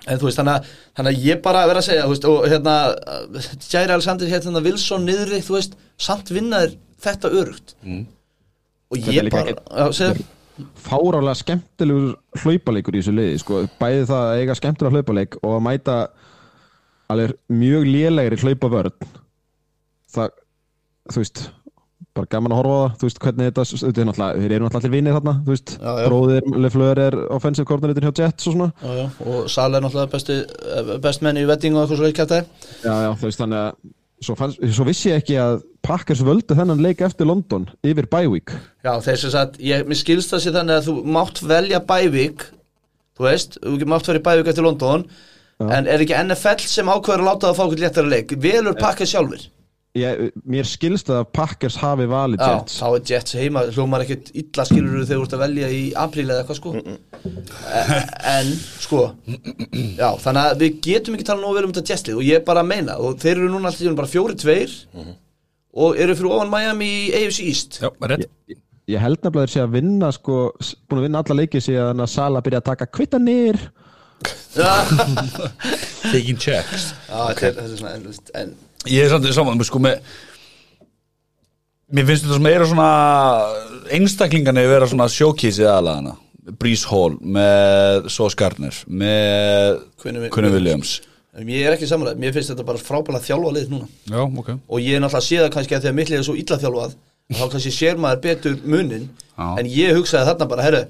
En þú veist, þannig að, þannig að ég bara að vera að segja, þú veist, og hérna, uh, Jair Alexander, hérna, Wilson niðri, þú veist, samt vinnaðir þetta örugt. Mm. Og Þetta er ég líka bara, já, segja, fárálega skemmtilegur hlaupaleikur í þessu liði sko. bæði það að eiga skemmtilega hlaupaleik og að mæta alveg mjög lélegri hlaupavörn það þú veist, bara gaman að horfa á það þú veist, hvernig þetta, þetta er náttúrulega þeir eru náttúrulega allir vinir þarna, þú veist Já, já. bróðir, Lefleur er offensive coordinator hjá Jets og svona, já, já, og Sala er náttúrulega bestu, eh, best menn í vetting og eitthvað svo ekki að það. já, já, þú veist, þannig að svo, fanns, svo vissi ég ekki að Packers völdu þennan leik eftir London yfir bye week Já, þess að, sagt, ég, mér skilst það sér þannig að þú mátt velja bævík, þú veist, þú mátt verið bævík eftir London, en er ekki NFL sem ákveður að láta það að fá okkur léttara leik? Velur pakka sjálfur? ég, mér skilst að Packers hafi valið Já, Jets þá er Jets heima, hljómar ekkert illa skilur þegar þú ert að velja í apríl eða eitthvað Mm, sko En, sko, já, þannig að við getum ekki talað nógu vel um þetta Jetslið og ég bara meina og þeir eru núna alltaf bara fjóri tveir og eru fyrir ofan Miami í AFC East Mhm. Já, rétt ég held nefnilega þeir sé að vinna sko, s- búin að vinna alla leiki síðan að Sala byrja að taka kvittanir Já, Taking checks þetta er, þetta er svona, en, þú veist, en Ég er samt saman, sko, með Mér finnst þetta sem eru svona einstaklingarnir vera svona sjókísið aðlaðana Breeze Hall með Sos Gardner með Quinnen Wi- Quinnen Williams en ég er ekki samanlega, mér finnst þetta bara frábæla þjálfa lið núna Já, ok og ég er náttúrulega að sé það kannski að þegar mitt lið er svo illa þjálfað þá kannski sér maður betur munin Já. en ég hugsaði þarna bara, herru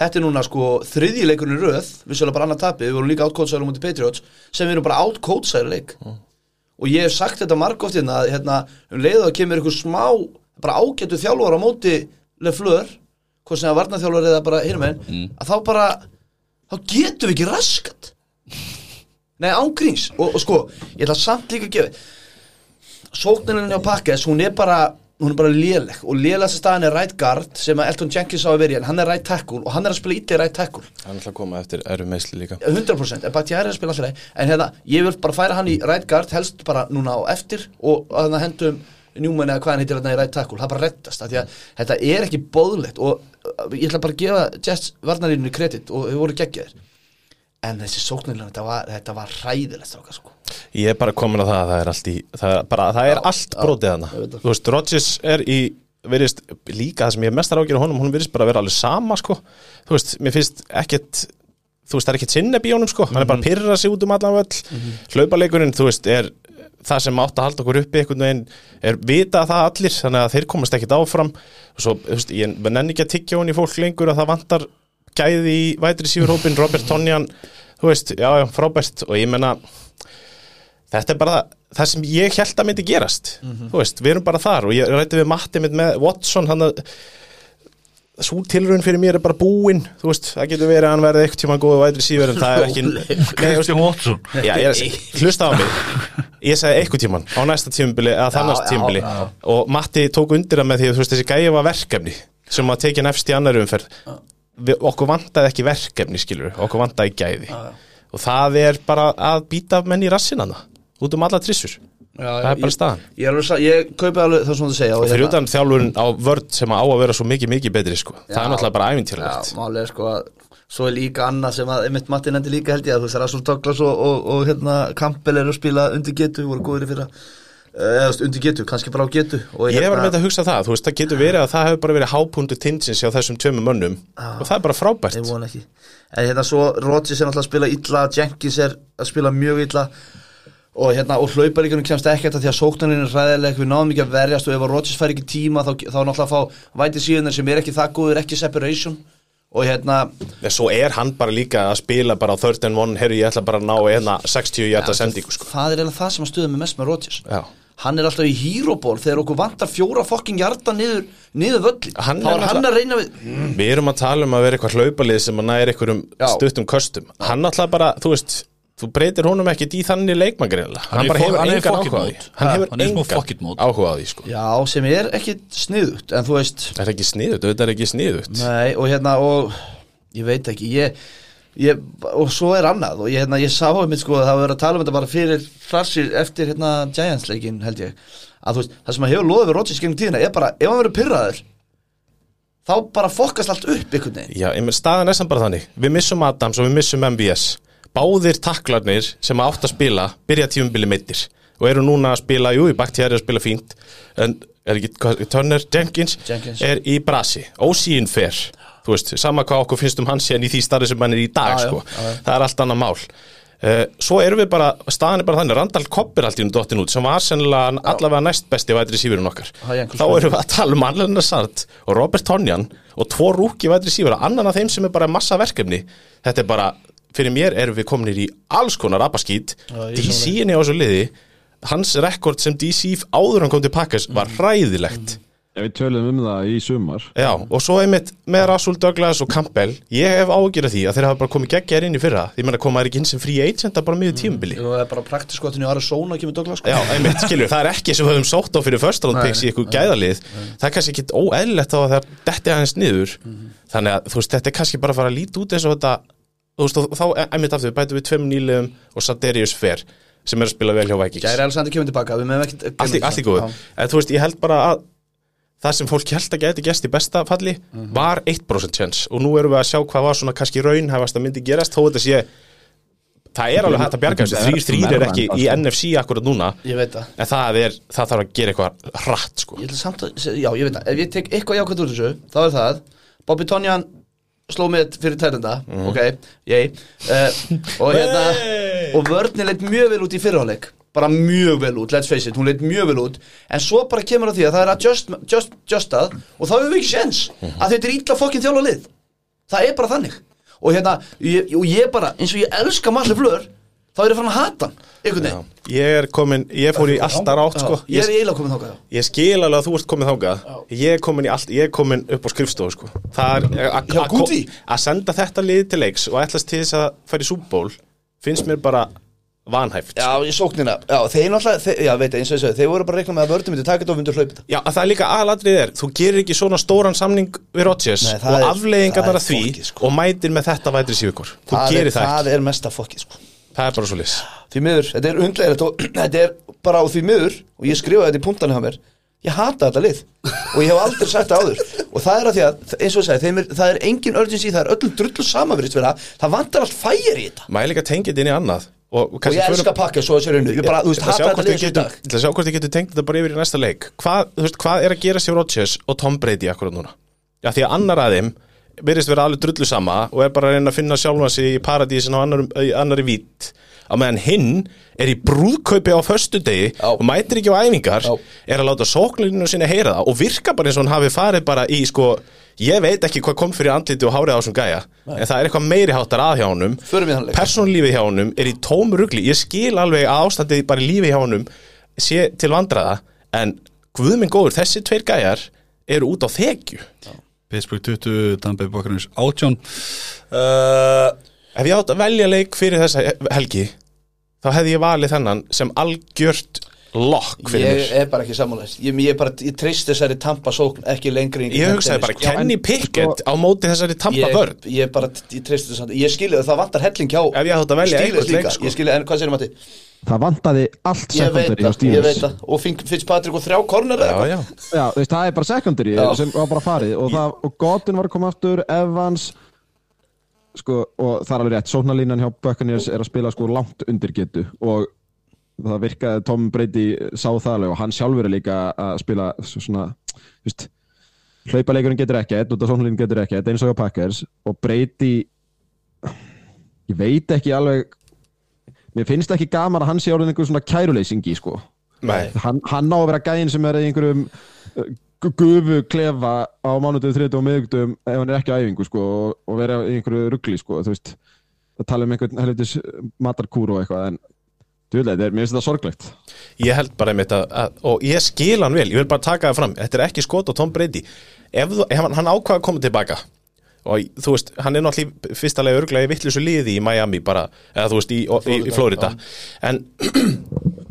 þetta er núna sko þriðjileikunni röð vissulega bara annað tapið, við vorum líka átkótsaður mútið Patriots sem við erum bara átkótsaður leik og ég hef sagt þetta margótt hérna að hérna, um leiðu að kemur ykkur smá bara ágætu þjálfar á móti leflör, hvort sem það varna þjálfar eða bara hinum einn, að þá bara þá getum við ekki raskat nei ángríns og, og sko, ég ætla samt líka að gefa sóknirinn hjá Pakkes, hún er bara hún er bara léleg og lélegasta staðan er right guard sem að Elton Jenkins á að vera í en hann er right tackle og hann er að spila ítli right tackle hann ætla að koma eftir erfum meðsli líka 100% en Batjær er að spila alltaf en hérna, ég vil bara færa hann í right guard helst bara núna á eftir og að hann hendum Newman eða hvað hann heitir hérna í rætt takkul það bara reddast, af því að þetta er ekki bóðlegt og uh, ég ætla bara að gefa Jets varnarínunni kredit og þau voru geggjaðir en þessi sóknirlega þetta var, þetta var hræðilegt stráka sko Ég er bara komin að það að það er allt í það er, bara, það er allt brotið hana ég veit það. Þú veist, Rodgers er í verist, líka það sem ég er mestar ágjur á honum hún verist bara að vera alveg sama sko þú veist, mér finnst ekkert þú veist, það er ekkert sinneb í honum sko hann er Mhm. bara að pyrra sig út um allan völl mm hlaupaleikurinn, þú veist, er það sem átt að halda okkur uppi einhvern veginn er vita það allir, þannig að þeir komast ekkert áfram og svo, þú veist, ég nenni ekki að tyggja hún í fólk lengur að það vantar gæði í vætri sífurhópin, Robert Tonjan þú veist, já, já, frábært og ég menna þetta er bara það sem ég held að myndi gerast þú veist, við erum bara þar og ég rætti við Matti mitt með Watson hann að svo tilraun fyrir mér er bara búinn þú veist, það getur verið að hann verði eitthvað tíma góðu vætri síver en það er ekki Nei, þú veist, Christian Watson já, ég er að segja, hlusta á mig ég sagði eitthvað tíman, á næsta tímabili eða þann Já, næsta já, tímabili já. og Matti tók undir það með því að þú veist, þessi gæja var verkefni sem að tekið nefst í annar umferð Við, okkur vantaði ekki verkefni skilur okkur vantaði gæði og það er bara að býta menn í rassinana út um alla trissur það er bara staðan ég, ég, er alveg sa- ég kaupi alveg það sem þú segja hérna- og fyrir utan þjálfurinn á vörd sem á að vera svo mikið mikið betri sko. það er náttúrulega bara ævintýrlegt Já, málið er sko að svo er líka annað sem að, einmitt Matti nefndi líka held ég að þú veist, Russell Douglas og, og, og hérna Campbell eru að spila undir getu, voru góður í fyrra Eh, eða þú veist, undir getu, kannski bara á getu og hérna, Ég var með þetta að hugsa það, þú veist, það getur verið að það hefur bara verið hápundu tindsins hjá þessum tveimur mönnum og það er bara frábært ég vona ekki en hérna svo Rodgers er náttúrulega að spila illa Jenkins er að spila mjög illa og hérna og hlauparíkunum kemst ekkert að því að sóknarinn er ræðileg við náðum ekki að verjast og ef að Rodgers fær ekki tíma þá, þá er náttúrulega að fá væti síðunar sem er ekki það góður ekki separation og hérna En svo er hann bara líka að spila bara á third and one, herru ég ætla bara að ná hérna eina 60 hjarta sendingu sko það er eiginlega það sem að stuða mig mest með Rodgers Já. hann er alltaf í hýróból þegar okkur vantar fjóra fokking hjarta niður, niður völlin Hann þá er er hann náttúrulega- að reyna við Við erum að tala um að vera eitthvað hlaupalið sem að næri einhverjum Já. stuttum köstum Hann alltaf bara, þú veist, þú breytir honum ekkit í þannig leikmann greinlega Hann, er bara fo- hefur hann er engan fuck áhuga it á því mode. Hann Ha, hefur hann er smá fuck it engan mode. áhuga á því sko já, sem er ekki sniðut en þú veist, Það er ekki sniðut, auðvitað er ekki sniðut Nei, og hérna, og ég veit ekki, ég, ég og svo er annað, og ég, hérna, ég sá um mitt sko að það var verið að tala um þetta bara fyrir frassir eftir, hérna, Giants-leikin, held ég að þú veist, það sem að hefur loðið við Rodgers gengum tíðina er bara, ef hann verður pyrraður þá bara fokkast allt upp ykkur neginn Já, ég menn, staðan er samt bara þannig Við missum Adams og við missum MBS Báðir taklarnir sem átt að spila byrja tífumbili meittir og eru núna að spila, jú, í baktjæri að spila fínt en er ekki, hvað- Turner Jenkins, Jenkins. er í brasi ósíinn fer, þú veist, sama hvað okkur finnst um hans en í því starri sem hann er í dag Já, já, sko. það er allt annað mál uh, svo erum við bara, staðan er bara þannig Randall Kopp er allt í um dottin út sem var sennilega allavega næst besti vætri sífurinn okkar Það er einhvers þá erum við að tala um Allen Sart og Robert Tonjan og tvo rúki vætri sífur annan af þeim sem er bara massa verkefni þetta er bara, fyrir mér erum við kominir í alls konar abaskít ég DC-inni á þessu liði hans rekord sem DC áður hann kom til pakkas var hræðilegt Ef við töluðum um það í sumar Já, og svo einmitt með Russell Douglas og Campbell ég hef ágjörð því að þeir hafa bara komið geggjar inn í fyrra því menna koma þær ekki inn sem free agent að bara miður tímabili og það er bara praktiskotin í Arizona kemur Douglas sko Já, einmitt, skilju, það er ekki sem við höfum sótt á fyrir first round picks í eitthvað gæðalið það er kannski ekki óeðlilegt þá að það detti aðeins niður þannig að þú veist, þetta er kannski bara að fara að líti út eins og þetta þú veist, og þá, e, einmitt aftur, bætum við tveim nýlegum og Saderius Fer sem er að spila vel hjá Vikings Gæri Alexander kemur tilbaka, við meðum ekkert allt í, allt í góðu en þú veist, ég held bara að það sem fólk held að gæti gæst í besta falli var 1% chance og nú erum við að sjá hvað var svona kannski raunhæfast að myndi gerast þó þetta sé það er alveg hægt að bjarga þessu, þrýr þrýr er ekki í NFC akkurat núna Ég veit það en það, er, það þarf að gera eitthvað hratt sko. Ég ætla samt að, já ég veit það, ef ég tek eitthvað jákvæmt úr þessu, þá er það Bobby Tonjan sló með fyrir tærenda, ok, ég uh, og hérna og vörðni leitt mjög vel út í fyrirháleik bara mjög vel út, let's face it, hún leitt mjög vel út en svo bara kemur að því að það er að just, just, justað og þá hefur við ekki séns að þetta er ítla fokkin þjálfa lið það er bara þannig og hérna, ég, og ég bara, eins og ég elska Marley Fleur, þá er ég farin að hata hann einhvern veginn, ég er komin, ég fór í alltaf rátt sko. ég er ég, eiginlega komin þákað ég skil alveg að þú ert komin þángað ég er komin, í allt, ég er komin upp á skrifstofu sko. það er að- Já, að- Guti. að senda þetta lið til leiks og ætlast til þess að fara í súból finnst mér bara vanhæft Já, í sóknina, já, þeir náttúrulega, þeir, já, veit, eins og ég segi, þeir voru bara að reikna með að vörðum myndi taka þetta og myndu hlaupa þetta. Já, að það er líka aðalatrið er, þú gerir ekki svona stóran samning við Rodgers Nei, og það er- það afleiðingarnar er af því fólkið, sko. og mætir með þetta vætri síðugur þú er, gerir það, það það, er mesta fokkið, sko. það er bara svo lis Því miður, þetta er undlegilegt og þetta er bara á því miður, og ég skrifaði þetta í punktana hjá mér, ég hata þetta lið og ég hef aldrei sagt það áður og það er að því að, eins og ég segi, þeim er, það er engin urgency, það er öllum drullu samanverist vera það vantar allt fægir í þetta Mæli ekki að tengja þetta inn í annað Og, og ég elska pakka svo að sér unnu, ég bara, þú veist, hata þetta lið svo í dag Til að sjá hvort þið getur tengt þetta bara yfir í næsta leik Hvað, þú veist, hvað er að gera sér Rodgers og Tom Brady akkurat núna? Já, því að annar að þeim virðist vera alveg drullu sama og er bara að reyna að finna sjálfan sig í paradísin á annar, annari vít á meðan hinn er í brúðkaupi á föstudegi Já. og mætir ekki á æfingar Já. er að láta sóknlinu sinni heyra það og virka bara eins og hann hafi farið bara í sko, ég veit ekki hvað kom fyrir andliti og hárið á þessum gæja en það er eitthvað meiri háttar að hjá honum Förum í hann leik. persónulífi hjá honum er í tómu rugli ég skil alveg að ástandið bara í lífi hjá honum sé til vandraða en guðminn góður, þessi tveir gæjar eru út á þekju Pittsburgh 20, Tampa Bay Buccaneers 18 uh, Ef ég átt að velja leik fyrir þessa helgi þá hefði ég valið þennan sem algjört lokk fyrir ég mér er bara ekki sammálaðis ég, ég, bara- ég treyst þessari tampa sókn ekki lengri en- Ég hugsaði bara Já, en- sko- Kenny Pickett á móti þessari tampa vörn ég, ég bara, ég treysti þess að ég skilja það, það vantar helling hjá Ef ég átti að velja Steelers einhvern leik, líka, sko. ég skilja, en hvað sér Matti? það vantaði allt ég veit secondary á það, ég veit Steelers það og Fink- Fitzpatrick og þrjá kornar Já, já, Já, þú veist, það er bara secondary Já. sem var bara farið og, það, og Godin var að koma aftur, Evans sko, og það er alveg rétt sóknarlínan hjá Buccaneers er að spila sko langt undir getu og það virkaði að Tom Brady sá það alveg og hann sjálfur er líka að spila s- svona, þú veist hlaupaleikurinn getur ekkert, út af sóknarlínan getur ekkert eins og hjá Packers og Brady ég veit ekki alveg mér finnst ekki gaman að hann sé orðin einhver svona kæruleysingi sko nei, hann, hann á að vera gæðin sem er í einhverjum uh, gu- gufu klefa á mánudum, þriðdum og miðugdum ef hann er ekki á æfingu sko, og, og vera í einhverju ruggli sko, þú veist að tala um einhvern helvitis matarkúru og eitthvað en djúlega, mér finnst þetta sorglegt ég held bara einmitt að, að og ég skil hann vel, ég vil bara taka það fram þetta er ekki skot á Tom Brady ef, þú- ef hann, hann ákvað að koma tilbaka og þú veist, hann er náttúrulega í fyrsta leið örglega í vittlusu liði í Miami bara, eða þú veist, í, í, í Florida en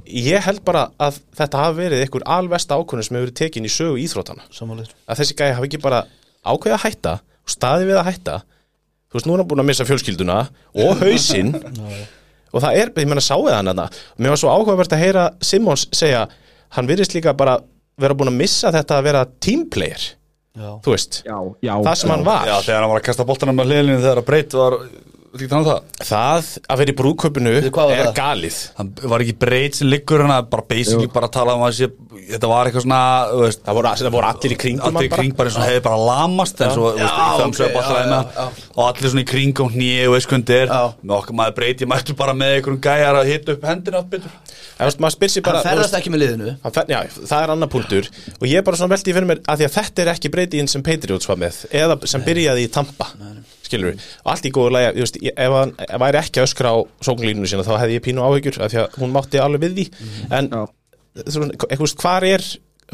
ég held bara að þetta hafi verið einhver alvesta ákvörðun sem hefur verið tekin í sögu íþrótana sammálaður að þessi gæði hafi ekki bara ákveðið að hætta og staðið við að hætta þú veist, nú er hann búin að missa fjölskylduna og hausinn og það er, ég menna sáið hann hann mér var svo áhugavert að heyra Simons segja hann virðist líka bara vera búin að missa þetta að vera teamplayer þú veist, já, já, það sem hann var Já, þegar hann var að kasta boltanum með liðinu þegar að breyt var Líkt hann á það? það að vera í brúðkaupinu Við, hvað var er það? galið Hann var ekki breyt sem liggur hann að bara basically bara að tala um að sé, þetta var eitthvað svona, þú veist það voru, það voru allir í kringum hann allir í bara. kring bara eins og hefði bara lamast en svo, þú veist, Já, í thumbs ok, up alltaf já, hérna já, og allir svona í kring og hnýi og veist hvernig þetta Já. er með okkur maður breyti, maður ertu bara með einhverjum gæjar að hita upp hendina allt betur En þú veist, maður spyr sér bara hann þú veist, ferðast ekki með liðinu Hann fer, já, það er annar punktur og ég er bara svona veldið fyrir mér að því að þetta er ekki breytiðin sem Patriots var með eða sem byrjaði í Tampa skilur við, allt í góðu lægja veist, ég, ef hann ef væri ekki að öskra á sóknlínunu sína þá hefði ég pínu áhyggjur af því að hún mátti alveg við því Mhm. en Já. þú veist, hvar er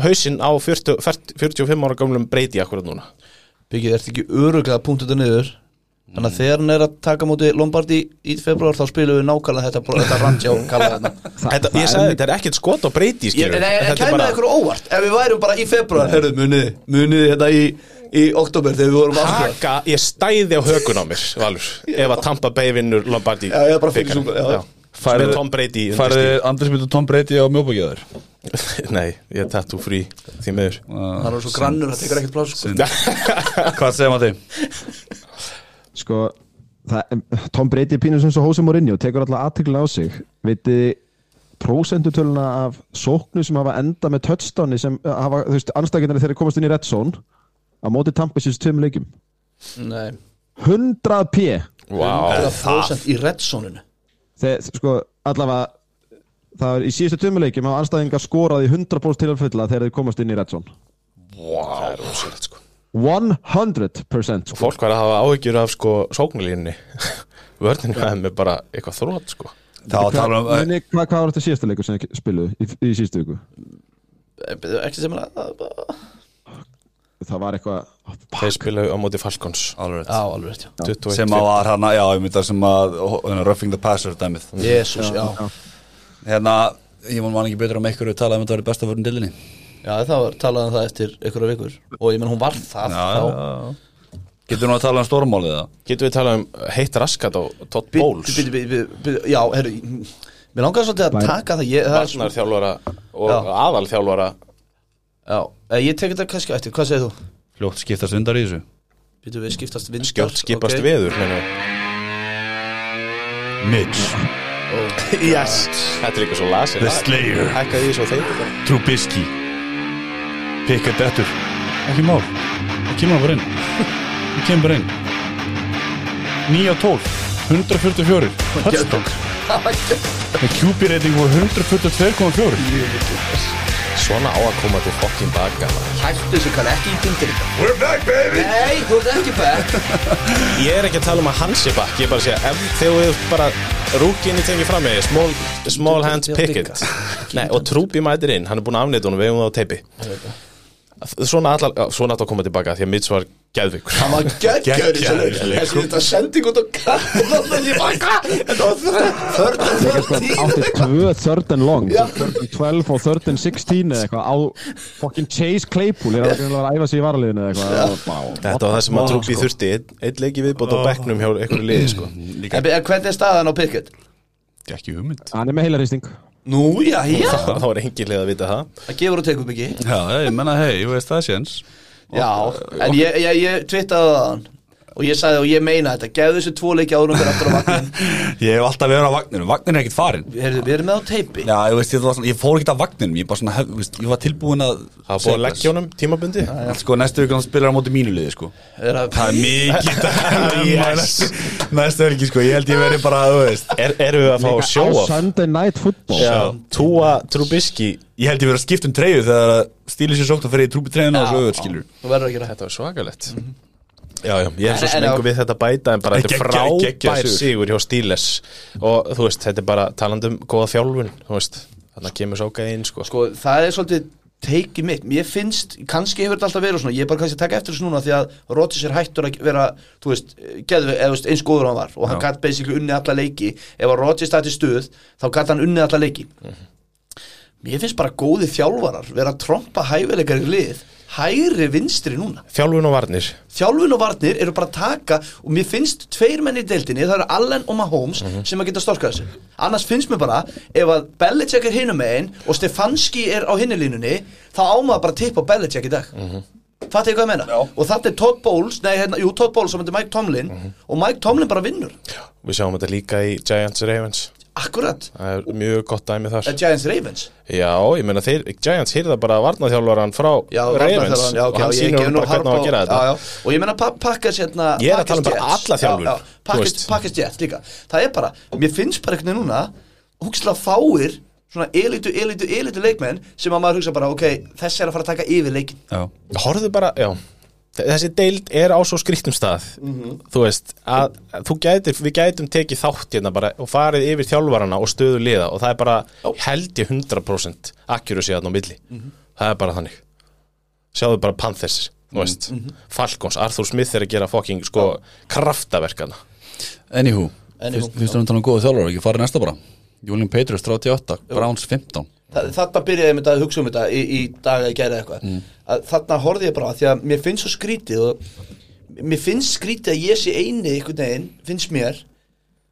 hausinn á 40, 45 ára gamlum breyti akkurat núna byggið ert ekki öruglega punkt þetta niður þannig að þegar hann er að taka móti Lombardi í februar þá spilum við nákvæmlega þetta, þetta randjá kalla þetta þetta, ég sagði þetta er ekkert skot á breyti Ég, skilur en við, en þetta kæmur er bara- ykkur á óvart ef við værum bara í februar Hörðu, munið, munið hérna í, í oktober þegar við vorum aftur Taka, ég stæði á hökun á mér Valur, ef að Tampa Bay vinnur Lombardi Já, ég er bara fyrir bikarinn. svo- já. Já. Með Tom Brady undir Færði stíg. Andri Smith og Tom Brady á mjóbókjaður Nei, ég er tattoo free því miður Það er svo grannur, það tekur ekkert pláss sko. Uh, Hvað segir maður þeim? sko, það, Tom Brady er pínur sem svo Hosey Mourinho, tekur alltaf aðteklina á sig vitið þið prósendutöluna af sóknu sem hafa enda með touchdowni sem uh, hafa, þú veist, anstækjandari þegar þeir komast inn í red zone á móti Tampa síðust tveim leikum Nei, 100 p Vá, 100% í reddsoninu þegar sko allavega það er í síðustu tömuleikjum hafa anstæðingar skorað í 100% tilfella þegar þeir komast inn í Redson það er ósýrlegt sko 100% sko. Fólk var að hafa áhyggjur af sko sóknulínni Vörninu að með bara eitthvað þrótt sko Það var að tala um Muni, hvað, hvað var þetta síðasta leikur sem þeir spiluðu í, í síðustu viku? Ekki sem að Já, Það var eitthvað Þeir spilaðu á móti Falcons Alright. alveg rétt, já 21. uh, sem að var hana, já, ég mynda sem að hana, roughing the passer dæmið Jésús, já hérna, ég man man ekki betur um einhverju tala um að þetta var besta vörn dillinni Já, það var talað um það eftir einhverja vikur og ég menn hún var það þá getur nú að tala um stórmálið það Getum við talað um heitt raskat á Todd Bowles Bíddu, bíddu, bíddu, bíddu, Já, herru, mér langar svolítið að Bæ- taka það ég, það er svo- Varnarþjálfara og Já. aðalþjálfara Já, eh, ég tek þetta kannski eftir, hvað segir þú? Fljótt skiptast undar í þessu Býtum við skiptast vindar skjótt skipast ok. veður meina. Mitch, yes. þetta er líka svo lasið Slayer, hækkaði því svo þeir Trubisky Pikka dettur Ekki mál, það kemur bara inn Það kemur bara inn 9 og 12 144 Touchdown Það QB reyting var 142,4 svona á að koma til fokkin baka Hættu þessu kann ekki í tindir We're back baby Nei, þú ert ekki back ég er ekki að tala um að hans er bakk ég er bara að segja, ef þegar við bara rúkinni tekið fram með small, small hands picket Nei, og trúpi mætir inn, hann er búin að afnýta honum við hefum það á teipi svona alltaf svona átti að koma tilbaka því að Mitch var geðvikur Hann var geggjöður í Geggjaður í þessu þessu leik. leik Þetta sendi út á katt og það er ég baka Þetta var þörd og þörd Sko, átti tvö third and long third and 12 og third and 16 eða eitthvað á fucking Chase Claypool er að vera að æfa sig í varaliðinu eða eitthvað Vá. þetta var það sem að trúpi þurfti einn einn leiki viðbót á bekknum hjá einhverju liði sko. En byrja, hvernig er staðan á Pickett? Ekki hugmynd hann er með heilarýsting Nú, já, já það var engin leið að vita það Það gefur og tekur mikið Já, ég menna hei, ég veist það séns Já, en ég, ég, ég twittaði það hann Og ég sagði og ég meina þetta Gefðu þessu tvo leiki árum fyrir aftur á vagnin Ég hef alltaf verið á vagninu, vagnin er ekkert farin Heyrðu, Við erum með á teipi Já, ég veist, ég, var svona, ég fór ekkert af vagninum Ég, bara svona, hef, veist, ég var tilbúin að það var búin að leggja honum tímabundi Sko, næstu vikur hann spilar á móti mínu liði, sko Er að- Það er mikið dæmi yes. Næstu helgi sko, ég held ég verið bara þú veist, er, erum við að fá á að sjóa Sunday Night Football Túa Trubisky Ég held ég verið að skipta um treyju þegar stílið sér sótt að fyrir í trúpi treyjuna og svo öður skilur Þú verður að gera þetta Þetta var svakalett Mhm. Já, já, ég er svo En- sem en- engu við þetta bæta en bara þetta er Geggja- geggja frábær sigur sigur. hjá Stíles og þú veist, þetta er bara talandi um góða þjálfun, þú veist þannig að kemur sákaði inn, sko, Sko, það er svolítið teikið mitt Mér finnst, kannski hefur þetta alltaf verið svona Ég er bara kannski að taka eftir þessu núna Því að Rodgers er hættur að vera, þú veist, geðu, eða, þú veist eins góður og hann var Og hann Já. gatt basically unnið alla leiki Ef að Rodgers stætti stuð, þá gatt hann unnið alla leiki Mér finnst bara góði þjálfarar Vera að trompa hæfileikar í lið Hægri vinstri núna þjálfun og varnir Þjálfun og varnir eru bara að taka og mér finnst tveir menn í deildinni það eru Allen og Mahomes sem að geta storkað þessu annars finnst mér bara ef að Belichick er hinum megin og Stefanski er á hinnilínunni þá ámaða bara að tippa á Belichick í dag mm -hmm. Fattu ég hvað ég menna? Og þetta er Todd Bowles, nei hérna, jú Todd Bowles og þetta er Mike Tomlin og Mike Tomlin bara vinnur við sjáum þetta líka í Giants Ravens Akkurat, það er mjög gott dæmi þar Eh, Giants Ravens Já, ég meina þeir, Giants hýrða bara varnaþjálfaran frá Já, Ravens varnarþjálfarann, já, ok, og hann já, ég sýnur gef nú bara hvernig á Harbaugh- að gera þetta já, já. Og ég meina pakkast hérna Ég er að tala um bara alla þjálfun, þú veist. Pakkast jett líka Það er bara, mér finnst bara einhvern veginn núna Húkslega fáir svona elitu, elitu, elitu leikmenn Sem að maður hugsa bara, ok, þessi er að fara að taka yfir leikin Já, Horðu bara, já Þessi deild er á svo skrýttum stað Mhm. Þú veist, að, að þú gætir Við gætum tekið þátt hérna bara Og farið yfir þjálfarana og stöðu liða Og það er bara held ég 100% Accuracy þarna á milli Mhm. Það er bara þannig Sjáðu bara Panthers, þú Mhm, veist Falcons, Arthur Smith er að gera fucking sko, Kraftaverkana anywho Anywho, Þú veist að hann góðu þjálfur, ekki farið næsta bara Julian Petrus 38, Browns 15 Þa- Þarna byrjaði ég með þetta að hugsa um þetta í, í dag að gera eitthvað Mm. að Þarna horfði ég bara á, því að mér finnst svo skrítið og mér finnst skrítið að ég sé eini einhvern veginn, finnst mér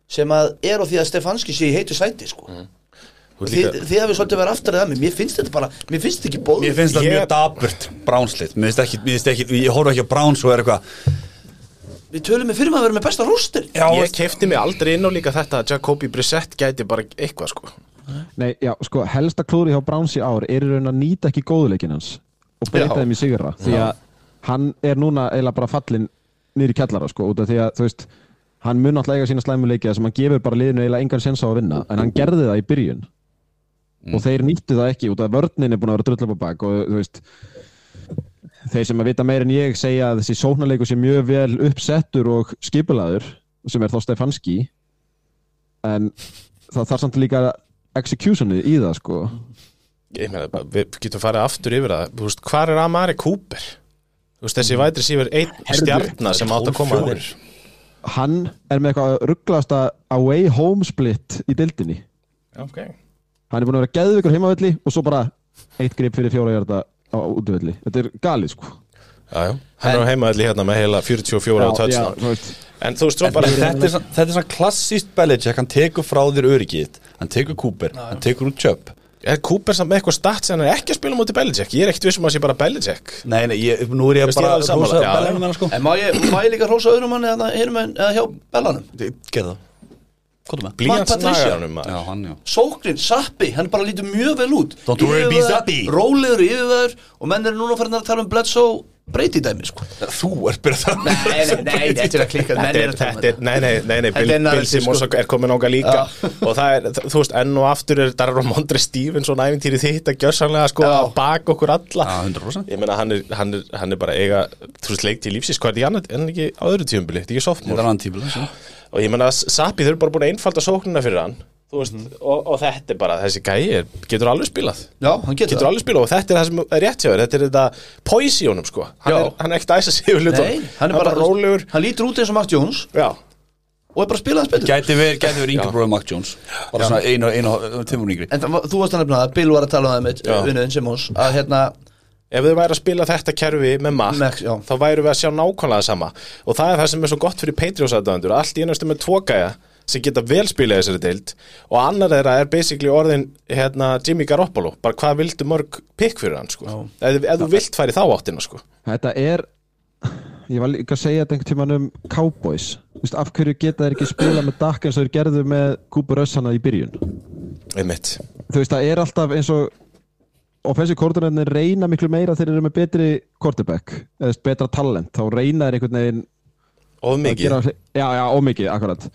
sem að er á því að Stefanski sé í heitu sæti sko. Mm. Þú ert Þið, líka- þið hafið svolítið verið aftar að mig Mér finnst þetta bara, mér finnst þetta ekki bóð Ég finnst það Ég- mjög daburt, Brownslið Mér finnst ekki, mér finnst ekki, ég horf ekki á Browns og er eitthvað Við tölum með fyrir maður að vera með besta rústur Já, Ég veist, kefti mig aldrei inn á líka þetta að Jacobi Brissett gæti bara eitthvað sko Nei, já, sko, helsta klúri hjá Browns í ár er í raun að nýta ekki góðuleikin hans og breyta Já. þeim í sigra því að hann er núna eiginlega bara fallin niður í kjallara, sko, út af því að þú veist, hann mun alltaf eiga sína slæmu leiki þar sem hann gefur bara liðinu eiginlega engan sens á að vinna en hann gerði það í byrjun Mm. og þeir nýttu það ekki út af að vörnin er búin að vera drullab á bak og þú veist þeir sem að vita meir en ég segja að þessi sóknarleiku sé mjög vel uppsettur og skipulaður sem er þá Stefanski en það þarf samt líka executionið í það sko ég meina, bara, við getum farið aftur yfir það Þú veist, hvar er Amari Cooper Þú veist, þessi vætri sífur einn stjarnar sem átt að koma að þér hann er með eitthvað rugglasta away home split í dildinni okay. hann er búin að vera geðvikur heimavelli og svo bara eitt grip fyrir fjóra hjarta á útvelli þetta er galið sko já, já. hann er heimaðli hérna með heila 44 á þú touchdown veist, en þú veist, þú bara, bara þetta er svona- þetta er svona klassíst Belichick, hann tekur frá þér öryggið Hann tekur Cooper, hann tekur út Chubb Er Cooper samt með eitthvað stats en hann er ekki að spila mútið Belichick? Ég er ekkert vissum að sé bara Belichick Nei, nei, ég, nú er ég Veist, ég er bara alveg sammála, já. Bellinum hennar sko En má ég, má ég líka hrósa öðrum manni eða, hinum, en- eða hjá bellanum Gerða það Kóta með Blíjans Patricia. nagarunum um maður. Já, hann já Sóknin, Sappi, hann bara lítur mjög vel út Don't worry, be Yfirvegaður, Zappi. Rólegur yfirveður og menn eru núna farin að tala um Bledsoe breyti dæmi sko Þú er byrjað það Nei, nei, nei, þetta er að klikka menn Þetta er, eru að tala um þetta er, nei, nei, nei, nei Þetta Bill, er narratív, Bill Simmons sko. er komin ánga líka og það er, þ- þú veist, enn og aftur er Darra Mondre Stevenson æfintýri þitt að gjörsanlega sko að baka okkur alla Já, 100%. Ég meina, hann er, hann er, hann er bara eiga, þú veist, leik til lífsins, hvað er því annað en ekki á öðru tíumbili, þetta er ekki Þetta er softmór annan tíma og ég meina, Sapi þau eru bara búin að einfalda sóknina fyrir hann, þú veist, Mhm. og, og þetta er bara, þessi gæi er, getur alveg spilað Já, hann getur, getur alveg spila og þetta er það sem er rétt hjá þér þetta er þetta poise í honum sko hann Já. er, hann er ekkert að æsa sig yfir hlutum Nei, hann er bara, rólegur Hann lítur út eins og Mark Jones já og er bara að spila hans betur Gæti verið, gæti verið yngri bróðið Mark Jones Bara svona einu, einu, tíma yngri En það, var- þú varst að nefna það, Bill var að tala um það mitt Já. vinnuðin Simmons að hérna, ef þau væri að spila þetta kerfi með Max, Mac já. þá væru við að sjá nákvæmlega sama og það er það sem er svo gott fyrir Patriots aðdöðandur allt í einastu með tvo gæja sem geta vel spilað í þessari deild og annar þeirra er basically orðin hérna, Jimmy Garoppolo, bara hvað vildu mörg pikk fyrir hann sko, ef, ef þú vilt færi þá áttina sko Þetta er Ég var líka að segja þetta einhvern tímann um Cowboys Vist, Af hverju geta þeir ekki spila með Dak eins og þeir gerðu með Cooper Össana í byrjun einmitt, Þú veist, það er alltaf eins og Offensive koordinarnir reyna miklu meira þegar þeir eru með betri quarterback eða þú veist, betra talent, þá reyna þeir einhvern veginn of að mikið gera, Já, já, ómikið, akkurat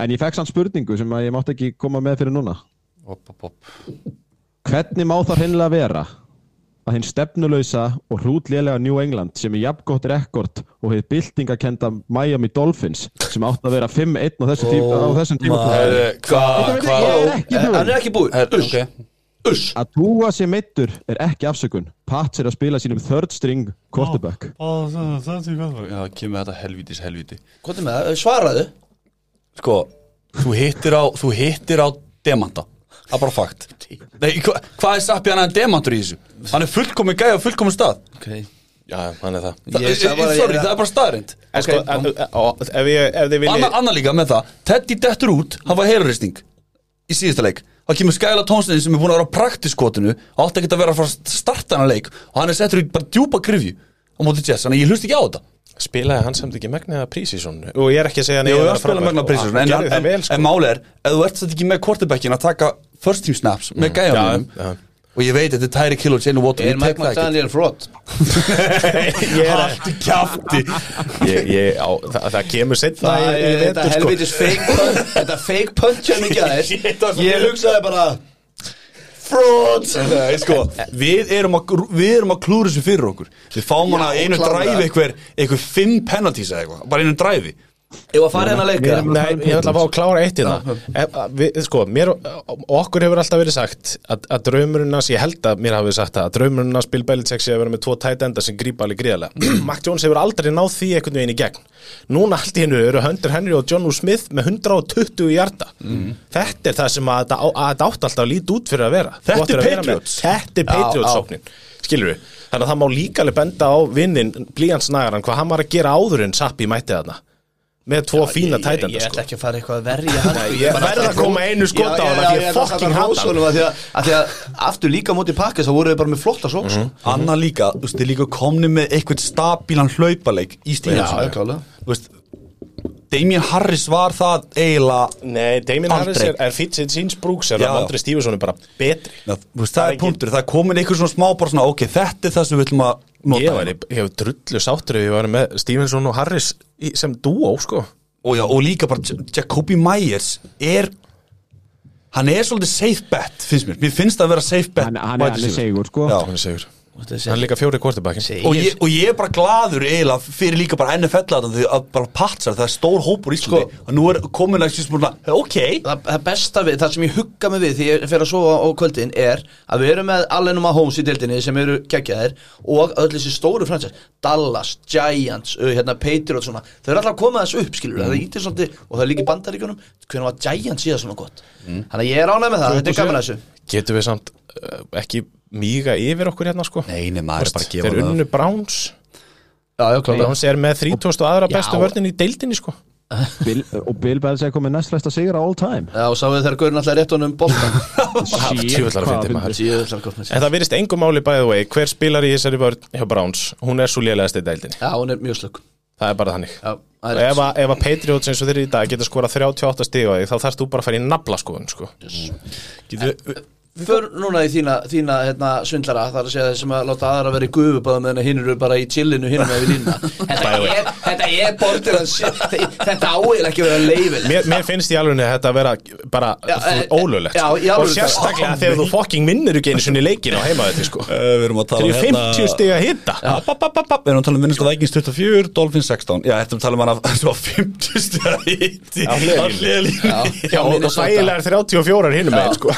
En ég fekk sann spurningu sem að ég mátti ekki koma með fyrir núna Hopp, hopp, hopp Hvernig má það hreinlega vera að hinn stefnulausa og hrútlélega New England sem er jafngott rekord og hefur byltingakenda Miami Dolphins sem átt að vera 5-1 á þessum tíma, á þessum tíma Herðu, Þetta Hvað, veit Oh hvað ég er ekki eh, hann búinn er ekki búinn Herðu, Uss, ok uss Að túa sér meittur er ekki afsökun Pats er að spila sínum third string quarterback Ó, það, það, það, já, kemur þetta helvítis helvíti Hvað er með það, svaraðu Sko, þú hittir á, þú hittir á demanta Það er bara fakt Nei, hva, Hvað er sappi hann að demantur í þessu? Hann er fullkomin gæja á fullkomin stað Ok, já, hann er það Þa, Ég ég, sagði bara að ég Sorry, er að- það er bara staðrind En sko, en, og, ef, ég, ef þið viljið Anna, Anna líka með það, Teddy dettur út Hann var heiluristning í síðasta leik Það kemur skæla tónstinni sem er búin að vera á praktiskotinu og átti ekki að vera að fara að starta hann að leik og hann er settur í bara djúpa grifju á móti Jets, þannig að ég hlust ekki á þetta spilaði hann samt ekki megnaða prísísón og ég er ekki að segja hann Jú, eigi að við vera að spila frábær, Magna sko. Prinsson Hann en, gerði en, það vel, en, sko. máli er, ef þú ert þetta ekki með quarterbackin að taka first team snaps með gæjanum Mm. já, já. og ég veit þetta er Tyreek Hill og Jalen Watt er ég Mike tek það ekki McDaniel fraud Ég er- Haltu kjafti ég, ég, á, það, það kemur setna Það er þetta sko. helvitis fake punch Þetta fake punch er mikið aðeins Ég hugsaði bara Fraud Nei, sko, við, erum að, grú- við erum að klúra þessu fyrir okkur Við fáum hana Já, einu klárlega. dræfi einhver, einhver fimm penalties eða eitthvað Bara einu dræfi Ef að fara hérna að leika erum- um Nei, ég ætla að fá að klára eitt hérna. í það Sko, mér og og okkur hefur alltaf verið sagt að, að draumurinn hans, ég held að mér hafi verið sagt það að draumurinn hans Bill Belichick sé að vera með tvo tæt enda sem grípa alveg gríðarlega Mac Jones hefur aldrei náð því einhvern veginn í gegn Núna allt í hennu eru Hunter Henry og John U. Smith með 120 hjarta Mhm. Þetta er það sem að, þetta á- að þetta átt alltaf að líti út fyrir að vera Þetta Þú áttir er að vera með- Patriots. Þetta er Já, Patriots já. sóknin Skilur við Þannig að það má líka alveg benda á vinnin blíjansnagaran hvað hann var að gera áður en Sappi mætti þarna með tvo fína tætenda Ég sko. ætla ekki að fara eitthvað að verja hann sko. ég bara verð ætla að koma einu skot á Já, já, hann, af já, því ég ég ætla að fucking taka hata Rose hann. honum, af því að- af því að Aftur líka móti pakkis þá voru þau bara með flotta sóks Anna líka, þú veist, þið líka komni með eitthvað stabílan hlaupaleik í Já, stíðan já, klálega. Þú veist, Damien Harris var það eiginlega Nei, Damien Aldrei. Harris er, er fittsinn síns brúks er Já. að Andri Stífusson er bara betri Já, þú veist, það er engin- punktur, það er komin einhver svona smá bara svona, ok, þetta er það sem við ætlum að nota Ég var, ég, ég hef drullu sáttur ef ég var með Stífusson og Harris í, sem dúó sko og, já, og líka bara J- Jacobi Myers er hann er svolítið safe bet finnst mér, mér finnst það að vera safe bet Hann, hann, er- hann er segur sko Já. Hann er segur Þetta er Hann er líka fjóri kvortabækin og, ég, og ég er bara gladur eiginlega fyrir líka bara NFL að því að bara patsar, það er stór hópur í Íslandi og nú er komin að svona, ok það, það besta við, það sem ég hugga mig við því ég fer að sofa á kvöldin er að við erum með Allen og Mahomes í deildinni sem eru geggjaðir og öll þessi stóru fransins Dallas, Giants, uh, hérna Patriots svona, þau eru alltaf að koma þessu upp skilur það ítir svolítið og það er líka í bandaríkjunum hvernig var Giants síðan svona gott þannig að ég er ánægð með það, þetta er gaman að þessu Getum við samt uh, ekki míga yfir okkur hérna sko Nei, nei, maður er bara að gefa Þeir það. unnu Browns Já, já, Browns er með 32 aðra bestu Já. vörnin í deildinni sko Bill, og Bill Bells er komið næstlæsta sigur á all time Já, og sáu þið þegar Gaurin alltaf rétt honum bolta Tjúvillar að fyndi maður Sjöðlar gott með sér En það virðist engum máli bæðu vei Hver spilar í þessari vörn hjá Browns Hún er svo lélegast í deildinni Já, hún er mjög slökk Það er bara þannig Já, það Og er ef, rétt að- ef að Patriots eins og þeir í dag geta skorað 38 stig á því þá þarfst þú bara að fara í nafla skoðun sko. Getur, För núna í þína, þína hérna, svindlara Það er að segja þeir sem að láta aðra vera í gufu Báðum meðan hinn eru bara í chillinu hinn með við línna Þetta Bæði. er, þetta er bortir Þetta áil ekki að vera leifil mér, mér finnst í alvegni þetta að vera bara Já, eh, ólulegt já, í og alvörunni. sérstaklega þegar þú fucking minnir ekki einu sinni leikin á heima þetta sko. Eh, Við erum að tala Þegar ég 50 stig að hitta App, app, app, app, app. Við erum að tala um vinnust að Vikings 24, Dolphins 16 Já, þetta er að tala um hann að svo 50 stiga hitti Á hliðarlínunni. hliðalínu Já, og Minnesota. þægilegar 34 hinum Já. með sko.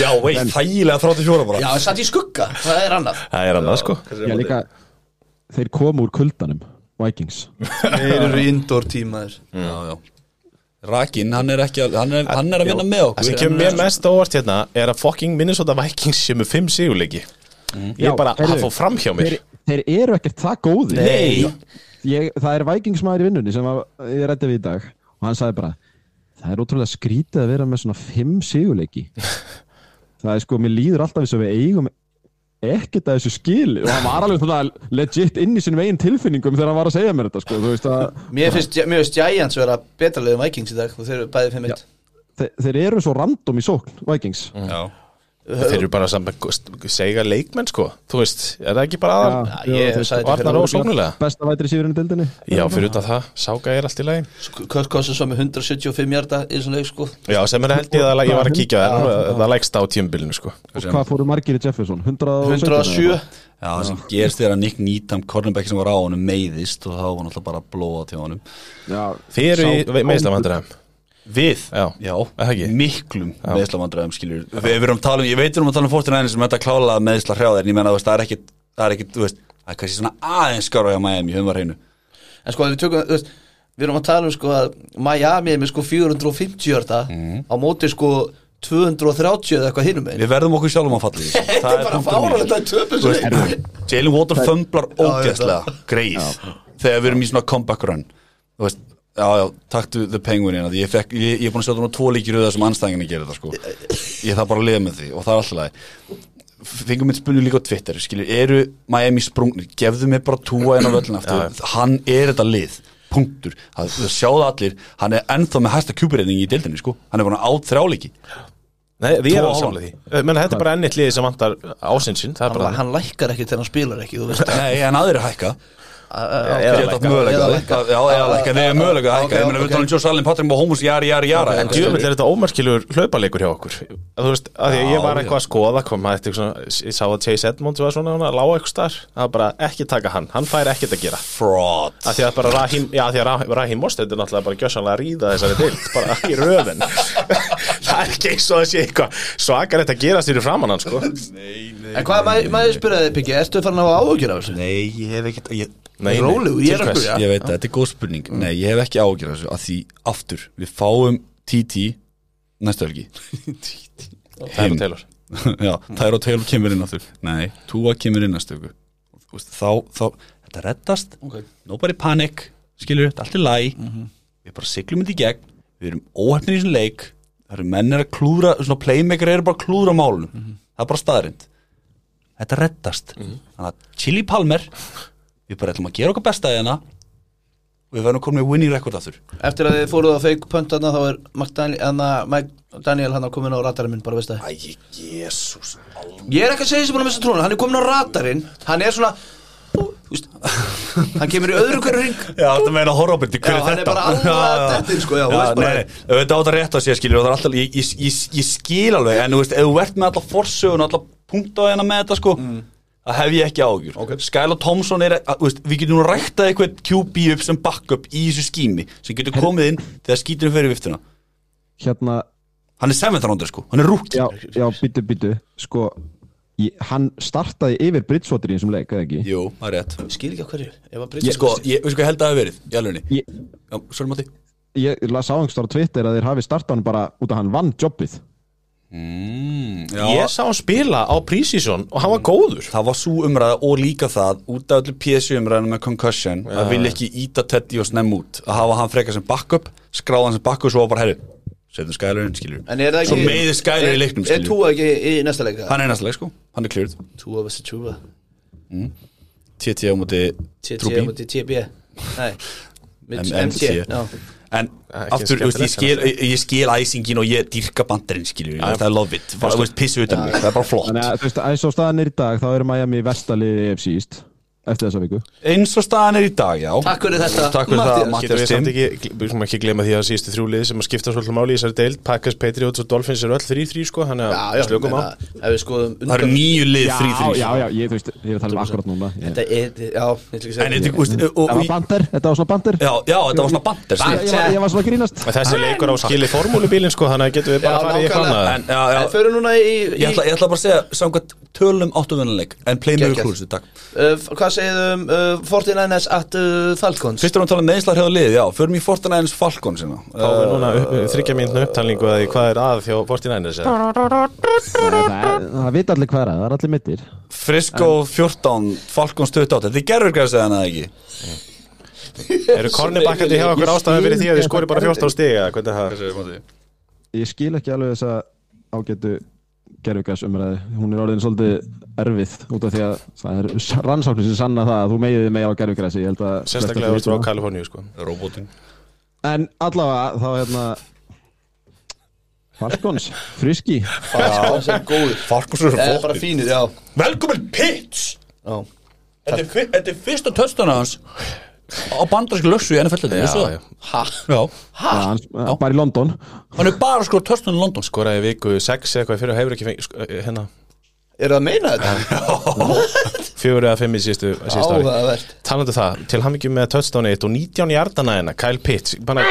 Já, vei, þægilega 34 Já, bara það satt í skugga, það er annað Það er annað sko Já, líka, þeir komu úr kuldanum Vikings Þeir eru indoor tímaður já, já. Rakin, hann er, ekki, að- hann er, hann er að vinna með Það okkur sem kemur mér mest á óvart hérna er að fucking Minnesota Vikings sem er 5 sigurleiki Mm. Ég er Já, bara heyrðu, að fá fram hjá mér þeir, þeir eru ekkert það góði Nei. ég, Það er vikingsmaður í vinnunni sem var, ég rætti við í dag og hann sagði bara það er ótrúlega skrítið að vera með svona fimm sigurleiki það er sko, mér líður alltaf eins og við eigum ekkert að þessu skil og hann var alveg svona legit inn í sinum eigin tilfinningum þegar hann var að segja mér þetta sko, þú veist að Mér finnst, mér finnst Giants vera betra leiðum Vikings í dag og þeir eru bæði 5-1 þeir, þeir eru svo random í sókn Vikings Mm. Já, Þeir eru bara saman segja leikmenn sko Þú veist, er það ekki bara aðan Já, ég þeir- sagði þetta Varnar fyrir- ósóknulega besta vætri síðurinn í deildinni Já, fyrir utan það, Sáka er allt í lagi Kirk Cousins var með 175 hjarta í þessum leik sko Já, sem er held ég að ég var að kíkja það Það lækst á tímbilinu sko og hvað fóru margir í Jefferson? 117 eða 107 já það sem gerst þegar að Nick Needham, cornerback sem var á honum meiðist og þá var hann alltaf bara að blóða til honum Já, Þið eru Sá- í meðslamandræðum Við? Já. Já, Er það ekki? miklum meðslamandræðum skilur við, við erum talum, ég veit um að tala um fórtina einu sem þetta klála meðsla hrjáðir en ég menna, þú veist, það er ekkit það er ekkit, þú veist, það er kannski svona aðeins skára hjá Miami, höfum var hreinu En sko, ef við tökum, þú veist, við erum að tala um sko að Miami er með sko 450 hjarta Mhm. á móti sko 230 eða eitthvað hinum með Við verðum okkur sjálfum að falla í þessu Þetta er bara fáralegt að töpa svo leik Jalen Water fömblar ég veit ógeðslega greið þegar við erum í svona comeback run Þú veist, já, já, taktu The Penguin hérna, ég, fekk, ég, ég er búin að sjá það nú tvo líkir auðvitað sem anstæðinginni gerir það sko ég þarf bara að liða með því og það er alltaf lagi fengum mitt spurning líka á Twitter skilur, eru Miami sprungnir, gefðu mér bara túa inn á völlin aftur, hann er þetta lið punktur, það, það sjáðu allir hann er ennþá með hæsta kjúpirreiningi í deildinni sko, hann er búin að át þrjáleiki Nei, því Tvo er og alveg hálfan. samlega því Menn, þetta er bara ennitt liði sem vantar ásinsinn Það er bara Bara, hann lækkar ekki þegar hann spilar ekki, þú veist nei, en aðrir hækka Á- á- Eða Geta átt lækka. möguleika Eða að lækka. lækka Já, eða lækka, þeir eru möguleika að Ok, hækka Ég meina ok. við tala um Joe Salin, Patrick Mahomes, jari, jari, jara En djöfull er þetta ómerkilegur hlauparleikur hjá okkur Þú veist, að því að ég var Já, eitthvað að skoða kom maður eitthvað svona, ég sá að Chase Edmonds var svona, hann lág eitthvað starf, það var bara ekki taka hann, hann fær ekkert að gera Fraud að því að bara Rahim, já að því að Rahim, Rahim Mostert er náttúrulega bara gjössanlega að ríða þessari dild bara í röðin það er ekki eins og það sé eitthvað svakar þetta gerast fyrir framann hann sko En hvað maður maður spyrjaði, Piggi, ertu farin að hafa áhugjur af þessu? Nei, ég hef ekkert ég, Nei, nei, Rólegur, ég til er að hvers? spyrja. ég veit það, þetta er góð spurning Nei, ég hef ekki ágjör þessu að því aftur Við fáum TT næstu helgi Tyler Taylor. Já, Tyro Taylor kemur inn aftur Nei, Tua kemur inn næstu helgi Þú veist, Þá, þá, þetta reddast Ok. Nobody panic, skilur þetta, allt er læg Við bara siglum þetta í gegn Við erum óhefnir í þessum leik Það eru menn er að klúðra, svona playmaker eru bara að klúðra málunum Það er bara staðrind Þetta reddast Þannig að Chili Palmer Við bara ætlum að gera okkar besta í hana og við verðum komin með winning record aftur Eftir að þið fóruð á fake punt þarna þá er Mike Daniel, hana, Mike Daniel hann komin á radarinn minn, bara veist það Æ, jésús Ég er ekki að segja þessi búin að missa trúna, hann er komin á radarinn Hann er svona Þú veist, hann kemur í öðru hverju ring Já, þetta meina horrorbyndi, hver Já, er hann er þetta? bara alveg að dettin, sko, já, þú veist bara- nei, nei, auðvitað á þetta rétt á sér skilur og það er alltaf, ég, ég, ég, ég skil alveg en þú veist, ef þú ert með alla forsögun alla punkta á hérna með þetta sko Mm. það hef ég ekki ágjur okay. Skylar Thompson er, að, þú veist, við getum nú ræktað eitthvað QB upp sem backup í þessu skími sem getur komið inn þegar skítunum fyrir viftuna hérna, hann er 7th rounder sko, hann er rúkt já, já, byttu, byttu sko, ég, hann startaði yfir Bridgewater í þessum leik, eða ekki Jú, það er rétt Skil ekki á hverju, ef að Bridges Sko, ég, veistu hvað ég held að það hafi verið, í alvegni ég, Já, Sörmati ég las áhengstar á Twitter að þeir hafi startað hann bara út að hann vann jobbið mm, já, Ég sá hann spila á prísísson og hann var góður Það var svo umræða og líka það út af öllu PSU umræðinu með concussion að vilja ekki íta Teddy og snemm út að hafa hann frekar sem backup, skráða hann sem backup svo var bara herri, setjum skælurinn skilur En er það ekki Svo meiðir Skyler í leiknum, Er skilur. Túa ekki í næsta leik? Hann er næsta leik sko, hann er cleared Túa vs. Túa TT á móti TT Trúbi múti TB Nei M- MT MT. já. En ekki aftur, þú veist, ég skil, skemmtilegt, ég, ég skil æsingin og ég dýrka bandarinn skilur ég, það er love it, bara, þú veist, pissu utan mig, það er bara flott Þannig að þú veist, eins og staðan er í dag þá eru Miami vestaliði EFC East eftir þessa viku eins og staðan er í dag, já Takk fyrir þetta, Takk fyrir það, Matthías. Mattias Getur við samt Tim ekki, gl- við skulum ekki glema því að síðustu þrjú liði sem að skipta svolítið máli í þessari deild Packers, Patriots og Dolphins eru öll þrý þrý sko, þannig Já, að já, slökum á meina, Ef við skoðum Það eru nýju lið Já, þrý þrý já, já, ég, þú veist, ég er að tala um akkurat núna ég. Þetta er, já, ég ætla ekki að segja En þetta, þú veist, og- Það var og- bandir, þetta var svona bandir já, já, þetta var svona bandar skilur. Ég var, ég var svona að grínast En Þessi leikur á skili formúlubílinn sko, þannig að getum við bara Já, farið í eitthvað annað nákvæmlega. En, já, já, En förum núna í, í Ég ætla, ég ætla bara að segja, samkvæmt tölum áttu vinnuleik En play mjög Geggjað. klúrstu, takk uh, f- Hvað segðu um uh, 49ers at uh, Falcons? Fyrst erum við að tala um meðislar hefur lið, já Förum í Fortnæðins Falcon sinna Þá er núna upp, þryggja mínu upptalningu að því hvað er að þjó 49ers eða? Það, það, það vita allir hvað er að, það er allir mittir Frisco 14, Falcons 28 Þið gerður gæðs eða það ekki Eru kornibakkandi hjá okkur ástæðan fyrir því að þið skori bara 14 stig eða hvernig er það? Ég skil ekki alveg þessa ágætu gerfugas umræði Hún er orðin svolítið erfið út af því að það er rannsóknir sem sanna það að þú megiði meira á gerfugrasi Sérstaklega þú ert frá Kaliforníu sko Robotin En allavega, þá hérna Falkons, friski Falcons er góður Falcons eru Eða Eh, bara flottir fínir, já Velkomin Pitts Já, Þetta er fi- þetta er fyrsta töstana hans Á bandarísk lössu í NFL þetta, ég vissi það. ha Já, Já, hann- bara í London hann er bara sko töstun í London sko. Skoraði í viku 6 eða eitthvað fyrir og hefur ekki fengið sko, hérna Er það að meina þetta? fjögur eða fimm í síðustu, síðustu eh, ári Áhugavert Talandu um það, til hamingjum með touchdown 1 og 19 jardana hennar, Kyle Pitts Banna,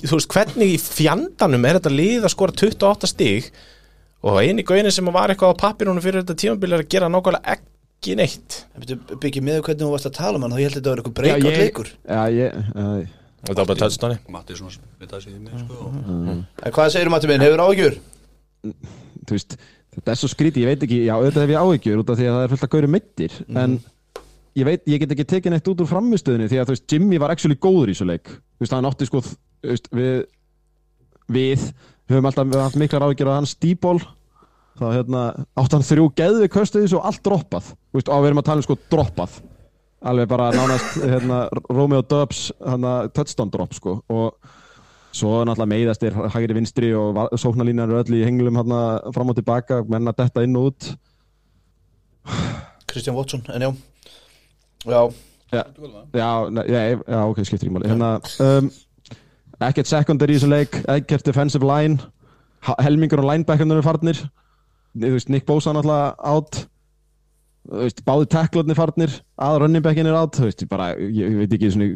Þú veist, hvernig í fjandanum er þetta lið að skora 28 stig og eini gauðin sem var eitthvað á pappirunum fyrir þetta tímabil er að gera nákvæmlega ekki neitt En byrju, Byggja með hvernig þú varst að tala um hann Þá ég held að þetta var eitthvað Já, breakout ég- leikur Já, ég já, Þetta var bara touchdowni Matti svona við það séð mig sko En Eh, hvað segir Matti minn? Hefur áhugjur? Þú veist, þetta er svo skrítið, ég veit ekki Já, auðvitað hef ég áhyggjur út af því að það er fullt að gauri mittir En ég veit, ég get ekki tekið neitt út úr framistöðinni Því að þú veist, Jimmy var actually góður í þessu leik Þú veist, hann átti sko þú veist, Við Við höfum alltaf við höfum haft miklar áhyggjur af hans stíból Þá hérna, átti hann þrjú geðvi köstuðis og allt droppað Þú veist, og við erum að tala um sko droppað Alveg bara nánast, hérna, Romeo Dubs, hérna, touchdown drop sko Og svo náttúrulega meiðast er hægri vinstri og sóknalínan eru öll í henglum hérna fram og tilbaka, menna detta inn og út Kristján Watson, en já Já, Já, já, ne- já, já ok, skiptir í máli hérna, um, ekkert secondary í þessum leik, ekkert defensive line ha- helmingur og linebackarnir eru farnir Ni- þú veist, Nick Bosa náttúrulega átt veist, báði tacklarnir farnir að running backin er átt þú veist, bara, ég, ég veit ekki svona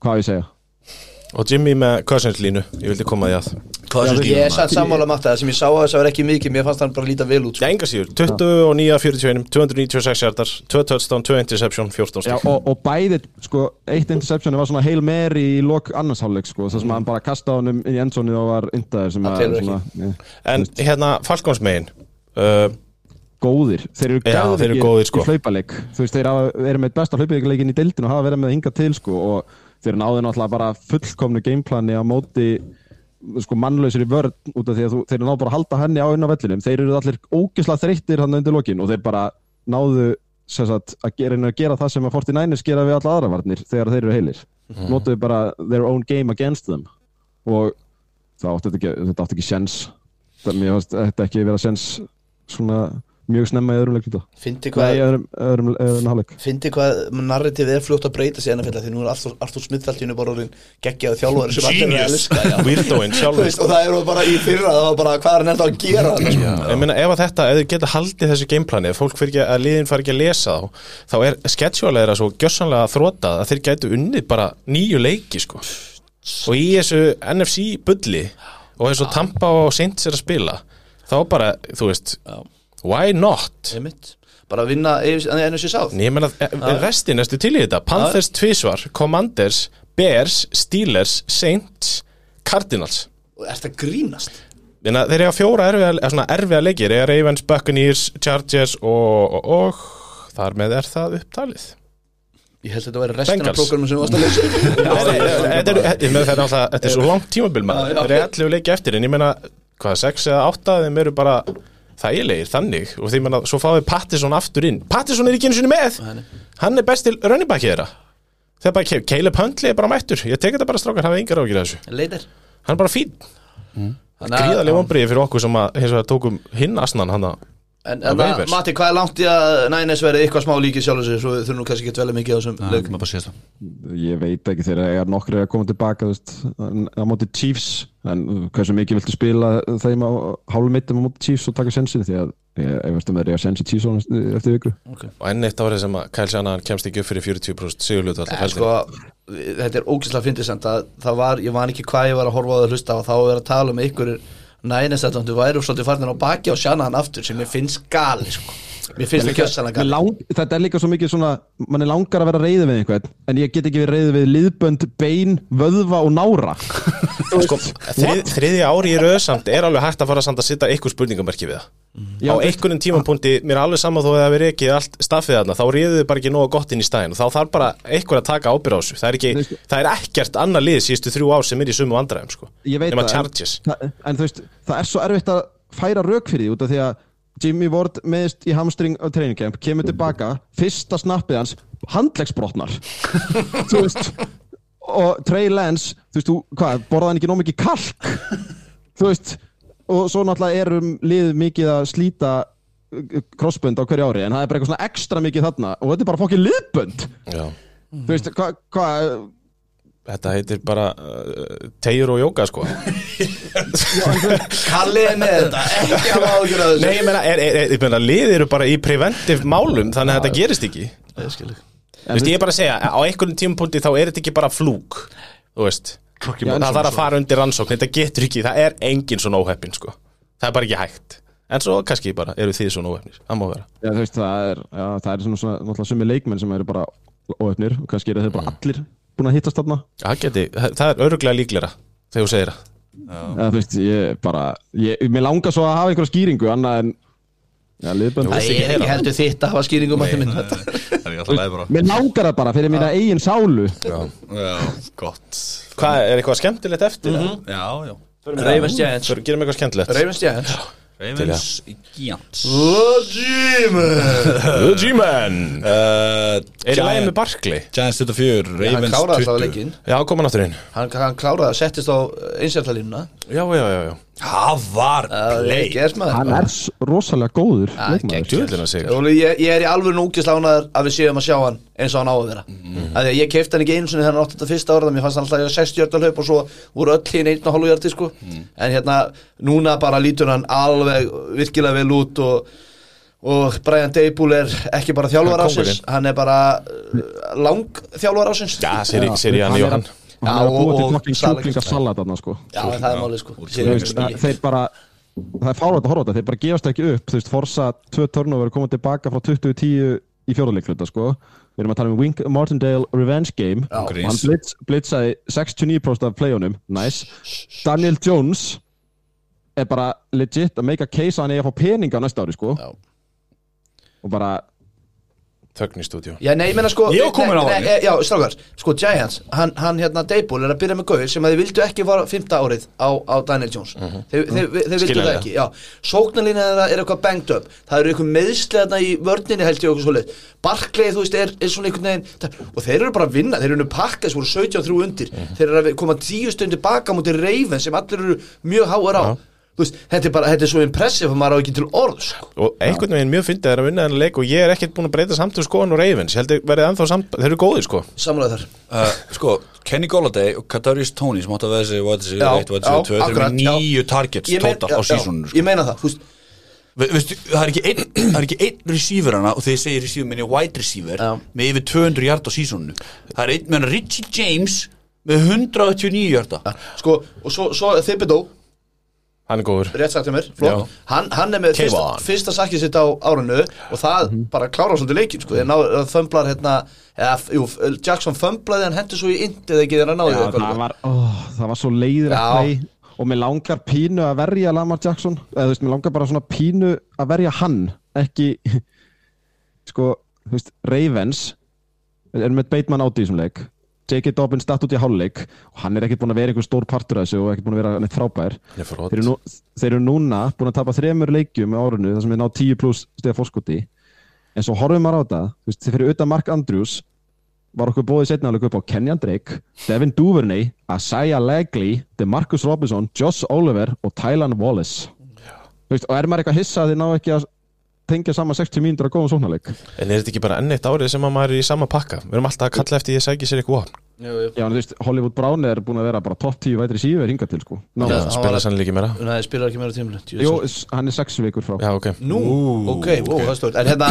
hvað á ég að segja Og Jimmy með Cousins línu, ég vildi koma því að Hvað Já, er þessi ég líka? er sann sammála Matta Það sem ég sá að þess að vera ekki mikið Mér fannst hann bara líta vel út sko. Já, enga síður, 29 af 41, 296 jardar 2 touchdown, 2 interception, 14 Já, stig og, og bæði, sko, eitt interceptioni var svona heil meri í lok annarsháleik sko, þess að maður bara kastaði honum inn í endsónið og var yndaður sem Mhm. Það að, telur svona, ne, En hérna, Falcons megin uh, góðir þeir eru Já, geðveikir þeir eru góðir, sko. í hlaupaleik þú veist, þeir hafa- eru með besta hlaupaleikin í deildin og hafa verið með hinga til, sko og þeir náðu náttúrulega bara fullkomnu gameplani á móti, sko, mannlausir í vörn út af því að þú, þeir náðu bara að halda henni á inn á vellinum, þeir eru allir ógislega þreyttir þannig undir lokin og þeir bara náðu sem sagt, að gera, reyna að gera það sem að 49ers gera við alla aðra varnir þegar þeir eru heilir Mhm. notuðu bara their own game against them og það átti þetta ekki, þetta átti ekki sjens það, mér fannst þetta ekki vera sjens svona mjög snemma í öðrum leikluta Fyndi nei, í hvað öðrum, öðrum, öðrum hálfleik Fyndi hvað narrativið er fljótt að breyta sér Því nú er Arthur, Arthur Smith allt í hennu bara orðin Geggjaðu þjálfari sem allir er að Genius, elska já. weirdoinn Þú sjálfur veist, Og það eru bara í fyrra Það var bara hvað er hann ennþá að gera þarna, sko? Ég meina ef að þetta, ef þið geta haldið þessu gameplanið, ef fólk fyrir ekki að liðin fari ekki að lesa þá, þá er schedule þeirra svo gjössanlega að þróta að þeir gætu unnið bara nýju leiki sko. Og í þessu NFC bulli og þessu Tampa og Saints er að spila, þá bara, þú veist, why not? Einmitt. Bara að vinna ennum sér sáð En Ég meina, e- e- restin næstu til í þetta, Panthers tvísvar, Commanders, Bears, Steelers, Saints, Cardinals. Er þetta grínast? Þeirna, þeir eiga fjóra erfiða, eða svona erfiða leikir eiga Ravens, Buccaneers, Chargers og, og, og þar með er það upptalið Ég held að þetta væri restina Bengals. af prógramum sem þú varst að Þetta leysa er- þetta er- ég meina, þetta er alltaf- þetta er svo langt tímabil maður Já, já. þeir eru allir leiki eftir en ég meina hvað, sex eða átta þeim eru bara þægilegir þannig og því meina svo fáið Pattinson aftur inn Pattinson er ekki einu sinni með hann er best til rönnibakki þeirra þegar bara Ke- Caleb Huntley er bara mættur ég tek þetta bara strákar, hafa yngar ágjur þessu Leitir hann er bara fín, gríðarlega vombriði fyrir okkur sem að, hins vegar tókum hinn asnan hann að En, Það er en að, Ravens. Mati, hvað er langt í að Nænes verið eitthvað smá líkið sjálf þessu Svo við þurfum nú kannski ekki að dvelja mikið á þessum leik maður bara séð það Ég veit ekki þegar ég er nokkur að koma tilbaka þú veist, en- á móti Chiefs en hversu mikið viltu spila þeim á hálfum mittum á móti Chiefs og taka sensin því að ég, ég veist um þeir eru að sensi Chiefs á næst- eftir viku og enn eitt árið sem að Kyle Shanahan kemst ekki upp fyrir 40% sigurlötu alltaf En sko, þetta er ógæslega fyndisend að það var, ég man ekki hvað ég var að horfa á það að hlusta og þá var að tala um ykkur nænes að þú væri svolítið farnir á baki og sjana hann aftur sem mér finnst gali sko. Mér finnst það kjössalega Mér gali lang, þetta er líka svo mikið svona mann er langar að vera reyði við einhvern en ég get ekki verið reyði við liðbönd, bein, vöðva og nára sko, þrið, þriðja ári í röð samt er alveg hægt að fara samt að sitta eitthvað spurningamerki við það Mm. Já, á einhverjum tímapunkti, mér er alveg saman þó að það verið ekki allt staffið þarna, þá réðu þið bara ekki nóga gott inn í stæðin og þá þarf bara einhver að taka ábyrð á þessu það er, Nei, ekki, sko. það er ekkert annað lið síðustu þrjú ár sem er í sumu andræðum sko. Ég veit nema það, en- Chargers Þa- en þú veist, það er svo erfitt að færa rauk fyrir því út af því að Jimmy Ward meðist í hamstring á training camp kemur tilbaka, fyrsta snappið hans handlegsbrotnar þú veist og Trey Lance, þú veist, þú- hvað, borðaði hann ekki nóg mikið kalk þú veist, og svo náttúrulega erum lið mikið að slíta uh, crossbund á hverju ári en það er bara eitthvað svona ekstra mikið þarna og þetta er bara fokkið liðbund Já. þú veist, hvað hva, þetta heitir bara uh, tegjur og jóka sko. Kalli er með þetta, ekki að ágjur að Nei, ég meina, er, er, er, ég meina lið eru bara í preventive málum þannig að þetta gerist ekki Þú þessu veist, ég er bara að segja, á einhverjum tímapunkti þá er þetta ekki bara flúk þú veist Já, það þarf að fara undir rannsókn, þetta getur ekki það er engin svona óheppin sko það er bara ekki hægt, en svo kannski bara eru þið svona óheppnir, það má vera Já, þú veist, það er, já, það er svona, svona náttúrulega sumi leikmenn sem eru bara óöfnir og kannski eru þeir Mm. bara allir búin að hittast þarna það, geti, það það er öruglega líklega þegar þú segir það eða þú veist, ég bara ég, mér langar svo að hafa einhverja skýringu annað en, já, liðbönd Það er ekki heldur þitt að hafa skýringum að minn Það er ég alltaf leið bara mér langar það bara fyrir mína eigin sálu Já, gott Hvað, er eitthvað skemmtilegt eftir? Mm -hmm. Já, já Ravens Giants Gerum eitthvað skemmtilegt Ravens Giants Ravens Giants The G-Man Uh, Er í lagi með Giants Barkley? Giants 24 Hann Ravens kláraði alltaf 20 leikinn Já, kom hann aftur inn Hann, hann kláraði að settist á einsættalínuna Já, já, já, já Það var Það er play ekki eða smaður hann er s- rosalega góður Ah, leikmaður Djúðlina sig Óli, ég, ég er í alveg núkislánaður að við séum að sjá hann eins og hann á að vera mm. að ég kefti hann ekki einu sinni þegar hann átti þetta fyrsta ára mér fannst hann alltaf að 60 hjörta hlaup og svo voru öll hinn einn og hálfu hjörti sko. en hérna núna bara lítur hann alveg virkilega vel út og, og Brian Dable er ekki bara þjálfar Hann er ásins hann er bara uh, lang þjálfar ásins Já, sér ég, sér ég hann Hann er Jóhann að- hann er að Já, búa til og- fucking og- sjúklinga salat þarna sko Já, það er málið sko Sér Þú ég veist, ekki að mikið. þeir bara það er fárvægt að horfa á þetta, þeir bara gefast ekki upp þú veist, Forza 2 törnum verið komið tilbaka frá 2010 í fjórðarleikfluta sko við erum að tala um Wink Martindale Revenge Game Já. og hann blitz, blitzaði 69% af playunum, nice Daniel Jones er bara legit að make a case að hann eigi að fá peninga á næsta ári sko Já. og bara, Þögn í stúdíu Já, nei, ég meina sko Ég var kominn á nei, hann. nei, Já, strákar, sko Giants Hann, hann hérna, Dable er að byrja með gauð sem að þið vildu ekki var fymta árið á, á Daniel Jones mm Mhm. -hmm. Þeir, þeir, þeir vildu það Skiljanlega. ekki, já Sóknarlína þeirra er eitthvað banged up Það eru eitthvað meðsleðna í vörninni held ég og eitthvað svoleið Barkley, þú veist, er, er svona einhvern veginn það- Og þeir eru bara að vinna, þeir eru nú pakkast voru 73 undir, Mhm. þeir eru að koma 10 stundir baka mútið Raven sem allir eru mjög háar á Þú veist, þetta er bara, þetta er svo impressive að maður á ekki til orð sko. Og einhvern veginn mjög fyndið er að vinna þennan leik og ég er ekkert búin að breyta samtöðu skoðan og Ravens Ég held að verið ennþá samt, þeir eru góðir sko Samlega þar uh, Sko, Kenny Golladay og Kadarius Tony sem átti að veða sig Væði sig Já, 1, væði sig já, 2 Þeir eru akkurat, með já. nýju targets Ég mein- total á já, já, sísoninu Ég sko. meina það, þú veist Ve- Veistu, það er ekki einn Það er ekki einn receiver hana og þeir segir receiver minni wide receiver Já. með yfir 200 hjart á sísoninu Það er einn með hann Richie James með 189 hjarta sko, og svo, svo Thibodeau, Hann er góður rétt sagt hjá mér, flott hann, hann er með Came fyrsta, on. fyrsta sakkið sitt á árinu og það Mhm. bara klárar svolítið leikin sko, þeir ná, fömblar hérna eða, jú, Jackson fömblaði, hann hendur svo í sko. indið eða ekki þegar hann náði það var, ó, það var svo leiðir Já. að play og og mér langar pínu að verja Lamar Jackson eða þú veist, mér langar bara svona pínu að verja hann ekki sko, þú veist, Ravens er með Bateman átt í þessum leik J.K. Dobbins datt út í háluleik og hann er ekkert búin að vera einhver stór partur af þessu og ekkert búin að vera neitt frábær Hann er frott. þeir eru, nú, þeir eru núna búin að tapa þremur leikjum á árinu þar sem þeir ná 10 pluss stiga fórskoti en svo horfum maður á þetta þú veist, þeir fyrir utan Mark Andrews var okkur bóðið setna alveg upp á Kenyan Drake Devin Duvernay, Isaiah Legley DeMarcus Robinson, Josh Oliver og Tylan Wallace Þú veist, og er maður eitthvað hissa að þeir ná ekki að tengja saman 60 mínútur að góðum sóknarleik En er þetta ekki bara enn eitt árið sem að maður er í sama pakka? Við erum alltaf að kalla eftir því að sækja sér eitthvað vopn. Já, en þú veist, Hollywood Brown er búin að vera bara topp 10 vætri síður hinga til sko Ná, Já. ja. hann var Spila að- sannlega ekki meira Nei, spilar ekki meira tímlu Jó, s- hann er 6 vikur frá Já, ok Nú, ok, wow, það er stórt En hérna,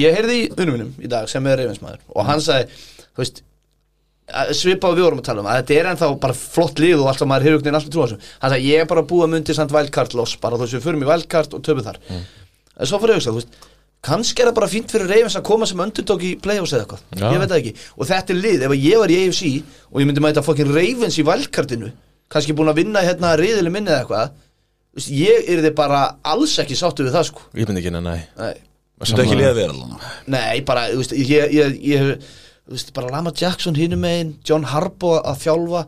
ég heyrði í unum mínum í dag sem er reyfinsmaður og hann sagði, þú veist að- svipað og við vorum að tala um að þetta er ennþá bara flott lið og alltaf maður hefur einhvern veginn alltaf trú á þessu hann sagði, ég er bara að búa myndi samt wildcard loss bara þú veist, við förum í wildcard og töfum þar en svo fyrir ég að hugsa, þú veist kannski er það bara fínt fyrir reyfins að koma sem öndundók í playoffs eða eitthvað, Já. ég veit það ekki og þetta er lið, ef ég var í AFC og ég myndi mæta fokkin reyfins í wildcardinu kannski búin að vinna hérna reyðileg minni eða eitthvað, þú veist, ég er bara alls ekki sáttu við það sko Ég myndi ekki neina, nei Nei, Þetta er ekki liða verið allan nei bara, þú veist, ég, ég, ég þú veist, bara Lama Jackson hinum megin, John Harbo að þjálfa,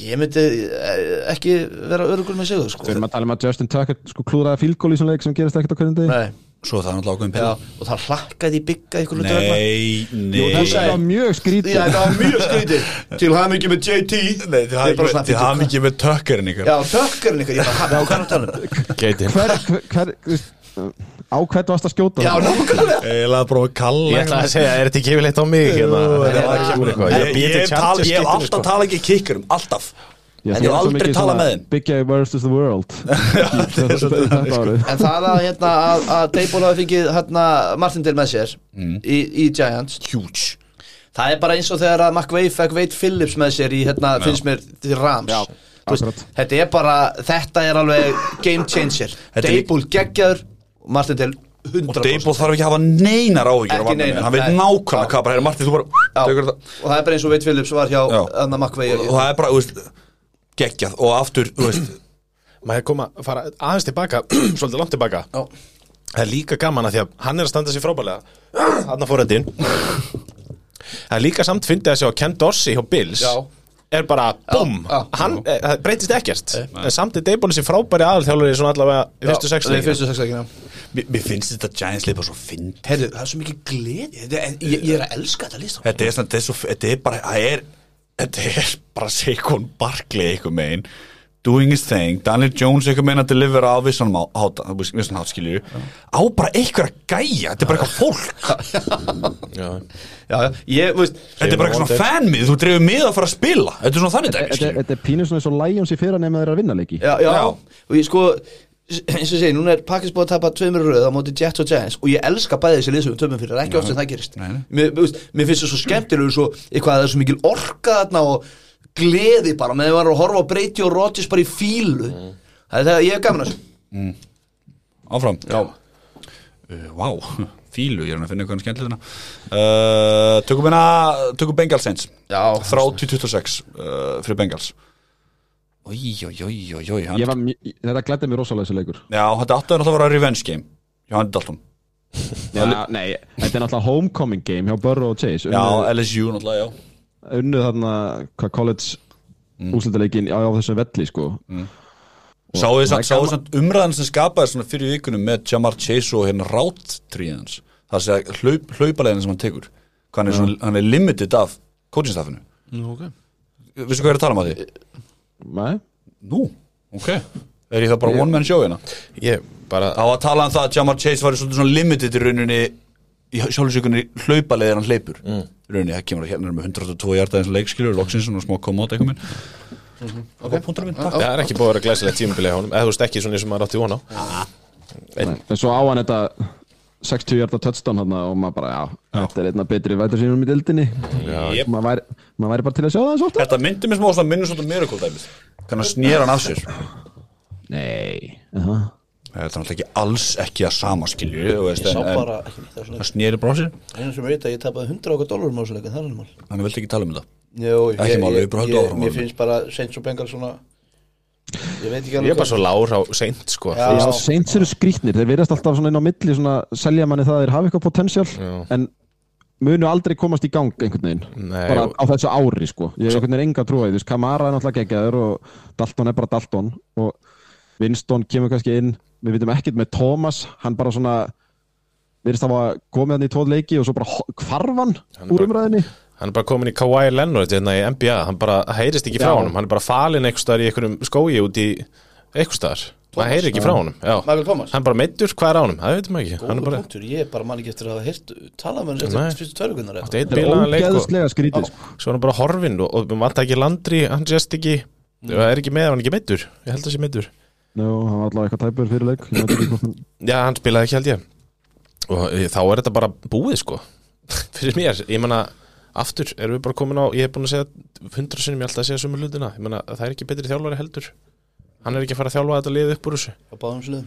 ég myndi eh, ekki vera örugur með sig sko. Við erum að tala um að Justin Tucker sko klúðraði fílgól í svona leik sem gerist ekkert á hverjum degi Nei, Svo er það er náttúrulega ákveðin já, pilla og það hlakkaði í bygga ykkur hlutu vegna. Nei, Jú, nei þetta var mjög skrítið Já, þetta var mjög skrítið Til hamingi með JT Nei, Ég þið er bara svona, hafði "Bíddu, hafði ekki með tökkarinn hvað- ykkar Já, tökkarinn ykkur, ég bara, "Ha, hvað er að tala um? Gæti hver, hver, hver, þú veist, á hvern varst að skjóta Já, nákvæmlega Ég laði bara að kalla Ég ætla að segja, er þetta ekki yfirleitt á mig hérna? þetta var Ég- ekki- hérna? ég- Ég- Ég ég- hef tal- ég hef skiptinu, alltaf sko. talað ekki kikkurum, alltaf Ég En ég hef svo aldrei mikið talað svona með þeim. Big Guy versus the world er svolítið þannig, Þetta sko. árið. En það að, hérna, að, að Dable hafi fengið hérna, Martindale með sér Mm. í, í Giants Huge Það er bara eins og þegar að McVay fekk Wade Phillips með sér í, hérna, finnst mér, til Rams Þú veist, akkurat. Þetta er bara, þetta er alveg game changer Þetta er líka- Dable geggjaður, Martindale 100% Og Dable þarf ekki að hafa neinar áhyggjur Ekki af varnarmönnum. neinar, Hann veit nei. nákvæmlega Já. hvað bara, heyra Martin, þú bara Já, tekur þetta og það er bara eins og Wade Phillips var hjá Já. hérna, McVay og það er bara, þú veist, geggjað og aftur, þú veist, Maður kom að fara aðeins tilbaka Svolítið langt tilbaka Já. Það er líka gaman að því að hann er að standa sér frábælega Hanna fóröndin Það er líka samt fyndið að sjá að Ken Dorsey hjá Bills Já. er bara búm já. hann eh, það breytist ekkert en samt er Dable sér frábæri aðalþjálfari svona allavega í fyrstu sex Nei, leikina. fyrstu sex leikina mér mér finnst þetta Giants lipa svo fynd Herru, það er svo mikið gleði Þetta er- Ég, ég er að elska þetta sko. list þetta er, svona, þetta er, svo, þetta er bara það er, þetta er bara Seikon Barkley einhver megin doing his thing, Daniel Jones einhver megin að delivera á vissan má- háta vissan hát skilur, á bara einhver að gæja þetta er bara eitthvað fólk, Já. Já, já, ég, veist þetta er bara eitthvað svona fanmið, þú drefur mið að fara að spila þetta er svona þannig dæmi, Þetta skilur þetta er pínu svona eins og Lions í fyrra nema þeir eru að vinna leiki já, já, Já. og ég sko eins og ég segi, núna er Pakkis búið að tapa tveimur í röð á móti Jets og Giants og ég elska bæði þessi liðsöfum tömum fyrir, ekki oft sem það gerist Nei, nei. mér, þú veist, mér finnst það svo skemmtilegur svo eitthvað að það er svo mikil orka þarna og gleði bara, með því var að horfa á breyti og rótis bara í fílu það er það, ég hef gaman að þessu áfram já. Uh, wow, fílu, ég er hann að finna eitthvað um skemmtilegna uh, tökum hérna tökum Bengals eins já, 30-26 uh, fyrir Bengals Í, oi, oi, oi, oi hann- Ég var mj- Þetta glæddi mér rosalega þessi leikur Já, þetta átti að náttúrulega að vera revenge game hjá Andy Dalton Já, Nei, þetta er náttúrulega homecoming game hjá Burrow og Chase Unnu- LSU náttúrulega, já Unnu þarna hvað college Mm. úslitaleikin á á þessum velli sko Sáu þið samt- það er gaman- sáu þið samt umræðan sem skapaði svona fyrir vikunum með Jamar Chase og hérna rátt tríðans Það sé að hlaup, hlaupalegin sem hann tekur Hvað hann er, svona, hann er limited af coachingstaffinu Nú, ok. Vissu hvað ég er að tala um að því? Nei, Nú, ok Er ég það bara one man show hérna? Ég bara Það var að tala um það að Jamar Chase var svolítið svona limited í rauninni í sjálfsökunni hlaupalegin hann hleypur mm. rauninni, það kemur að hérna með 102 hjarta eins leikskilur, loksins svona smá koma át eitthvað minn Það var punkturinn minn, takk Það er ekki búið að vera glæsilegt tímabilið hjá honum eða þú veist ekki svona eins og maður átti von á nei, en svo á hann þetta 60 hjarta touchdown hann og maður bara, já, þetta er einna betri vætur sínum í dildinni Jep. maður væri, maður væri bara til að sjá það eins og ofta Þetta myndi mér smá svona Minnesota Miracle dæmið Hvernig að snýra hann af sér sko. Nei uh Þetta er náttúrulega ekki alls ekki að sama skilju Þú veist, sá en, en bara, ekki neitt, það er hann svona snýri bara af sér einu sem veit að ég tapaði 100 okkar dólarum á þessu leikin, það er hann mál Hann vildi ekki tala um þetta Jó, Ekki máli, við bara höldum áfram. mér finnst bara Saints og Bengals svona Ég veit ekki Ég alveg er bara svo lágur á seint sko Já. Já, Saints eru skrýtnir, þeir verðast alltaf svona inn á milli svona selja manni það að þeir hafi eitthvað potential en munu aldrei komast í gang einhvern veginn, Nei, bara og- á þessu ári sko, ég hef einhvern veginn enga trúa í því Kamara er náttúrulega geggjaður og Dalton er bara Dalton og Winston kemur kannski inn, við vitum ekkert með Thomas hann bara svona verðist að hafa komið hann í tvo leiki og svo bara ho- hvarf hann er úr bara- umræðinni Hann er bara komin í Kawhi Leonard hérna í NBA Hann bara það heyrist ekki frá Já. honum Hann er bara falinn einhvers staðar í einhverjum skói út í einhvers staðar Það heyrir ekki frá honum Já. Michael Thomas Hann bara meittur, hvað er á honum? Það veitum við ekki Hann Góður er bara punktur, ég er bara mann ekki eftir að hafa heyrt talað með hann Nei. eftir fyrstu törfugunar átti eitt þetta er bílaðan leik og ógeðslega skrítið sko. svo er hann bara horfinn og, og við vantar ekki landri, hann sést ekki Það er ekki með, hann er ekki meittur Ég held að sé meittur Nú, hann var allavega eitthvað tæpur fyrir leik Ég veit ekki hvort hann- Já, hann spilaði ekki held ég og eh, þá er þetta bara búið sko fyrir mér, ég menna aftur erum við bara komin á, ég hef búin að segja hundra sinnum, ég er alltaf að segja sömu hlutina ég menna það er ekki betri þjálfari heldur hann er ekki að fara að þjálfa þetta lið upp úr þessu á báðum sluðum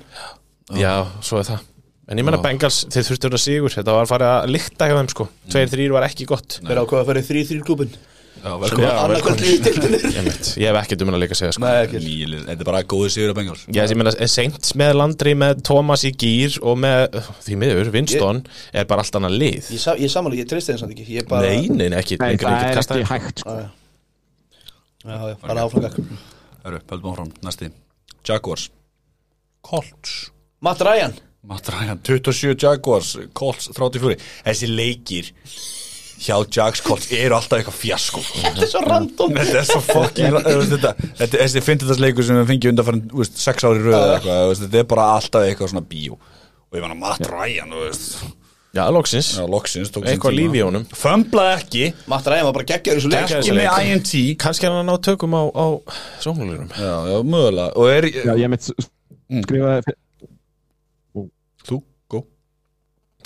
Já, svo er það En ég menna Bengals, þeir þurftu að sigur þetta var farið að lykta hjá þeim sko Mm. tveir, þrýr var ekki gott Hver ákvað að fara í 3-3 klubin velkomin. Annarkvæmt í tildinir ég, veit, ég hef ekki dumin að leika að segja sko Nei, ekki Nýlið, þetta er bara góði sigur að Bengals Já, ég meina, Saints með Landry, með Thomas í gýr og með, því miður, Winston er bara allt annað lið Ég, sa- ég samanlega, ég treysti þeim samt ekki Ég bara Nei, nei, nei, ekki, Nei, ekki, það ekki er kasta ekki þér. hægt sko. Já, já, bara áfram gakk Hörru, höldum áfram, næsti Jaguars Colts Matt Ryan Matt Ryan, 27 Jaguars Colts 34 Þessi leikir hjá Jags Colts eru alltaf eitthvað fjasko Þetta er svo random Þetta er svo fucking ra- þú veist, þetta, þetta, Þessi fyndið þess leikur sem við fengið undanfærin þú veist, sex ári röð eða eitthvað þú veist, Þetta er bara alltaf eitthvað svona bíó Og ég manna Matt Ryan þú veist, Já, loksins já, loksins, tók sinn Eitthvað tíma. líf í honum. Fömblaði ekki, Matt Ryan var bara geggjaður í þessu leik ekki með INT Já, Kannski er hann að ná tökum á, á sóknulegurum já, mögulega Og er, Já, ég mitt skrifaði þú, gó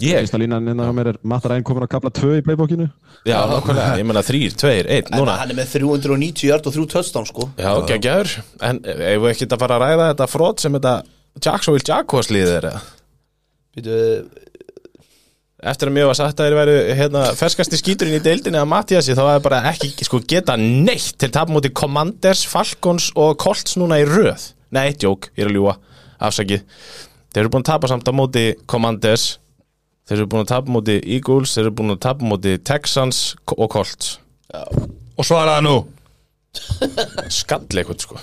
Ég? fyrsta línan innan á mér er Matt Ryan komin á kapla 2 í playbookinu Já, nákvæmlega, ég meina þrýr, tveir, einn, En núna hann er með 390 yard og 3 touchdown sko Já, geggjaður En eigum við ekki að fara að ræða þetta frót sem þetta Jacksonville Jaguars liðið er eða? Býtu, Eftir að mjög var sagt að þeir væru hérna, ferskasti skíturinn í deildinni að Mattiasi þá er bara ekki sko, geta neitt til tap móti Commanders, Falcons og Colts núna í röð Nei, djók, ég er að ljúa, afsakið Þeir eru búin að tapa samt á móti Commanders Þeir eru búin að tapa móti Eagles, þeir eru búin að tapa móti Texans og Colts Og svaraði nú Skalleikut sko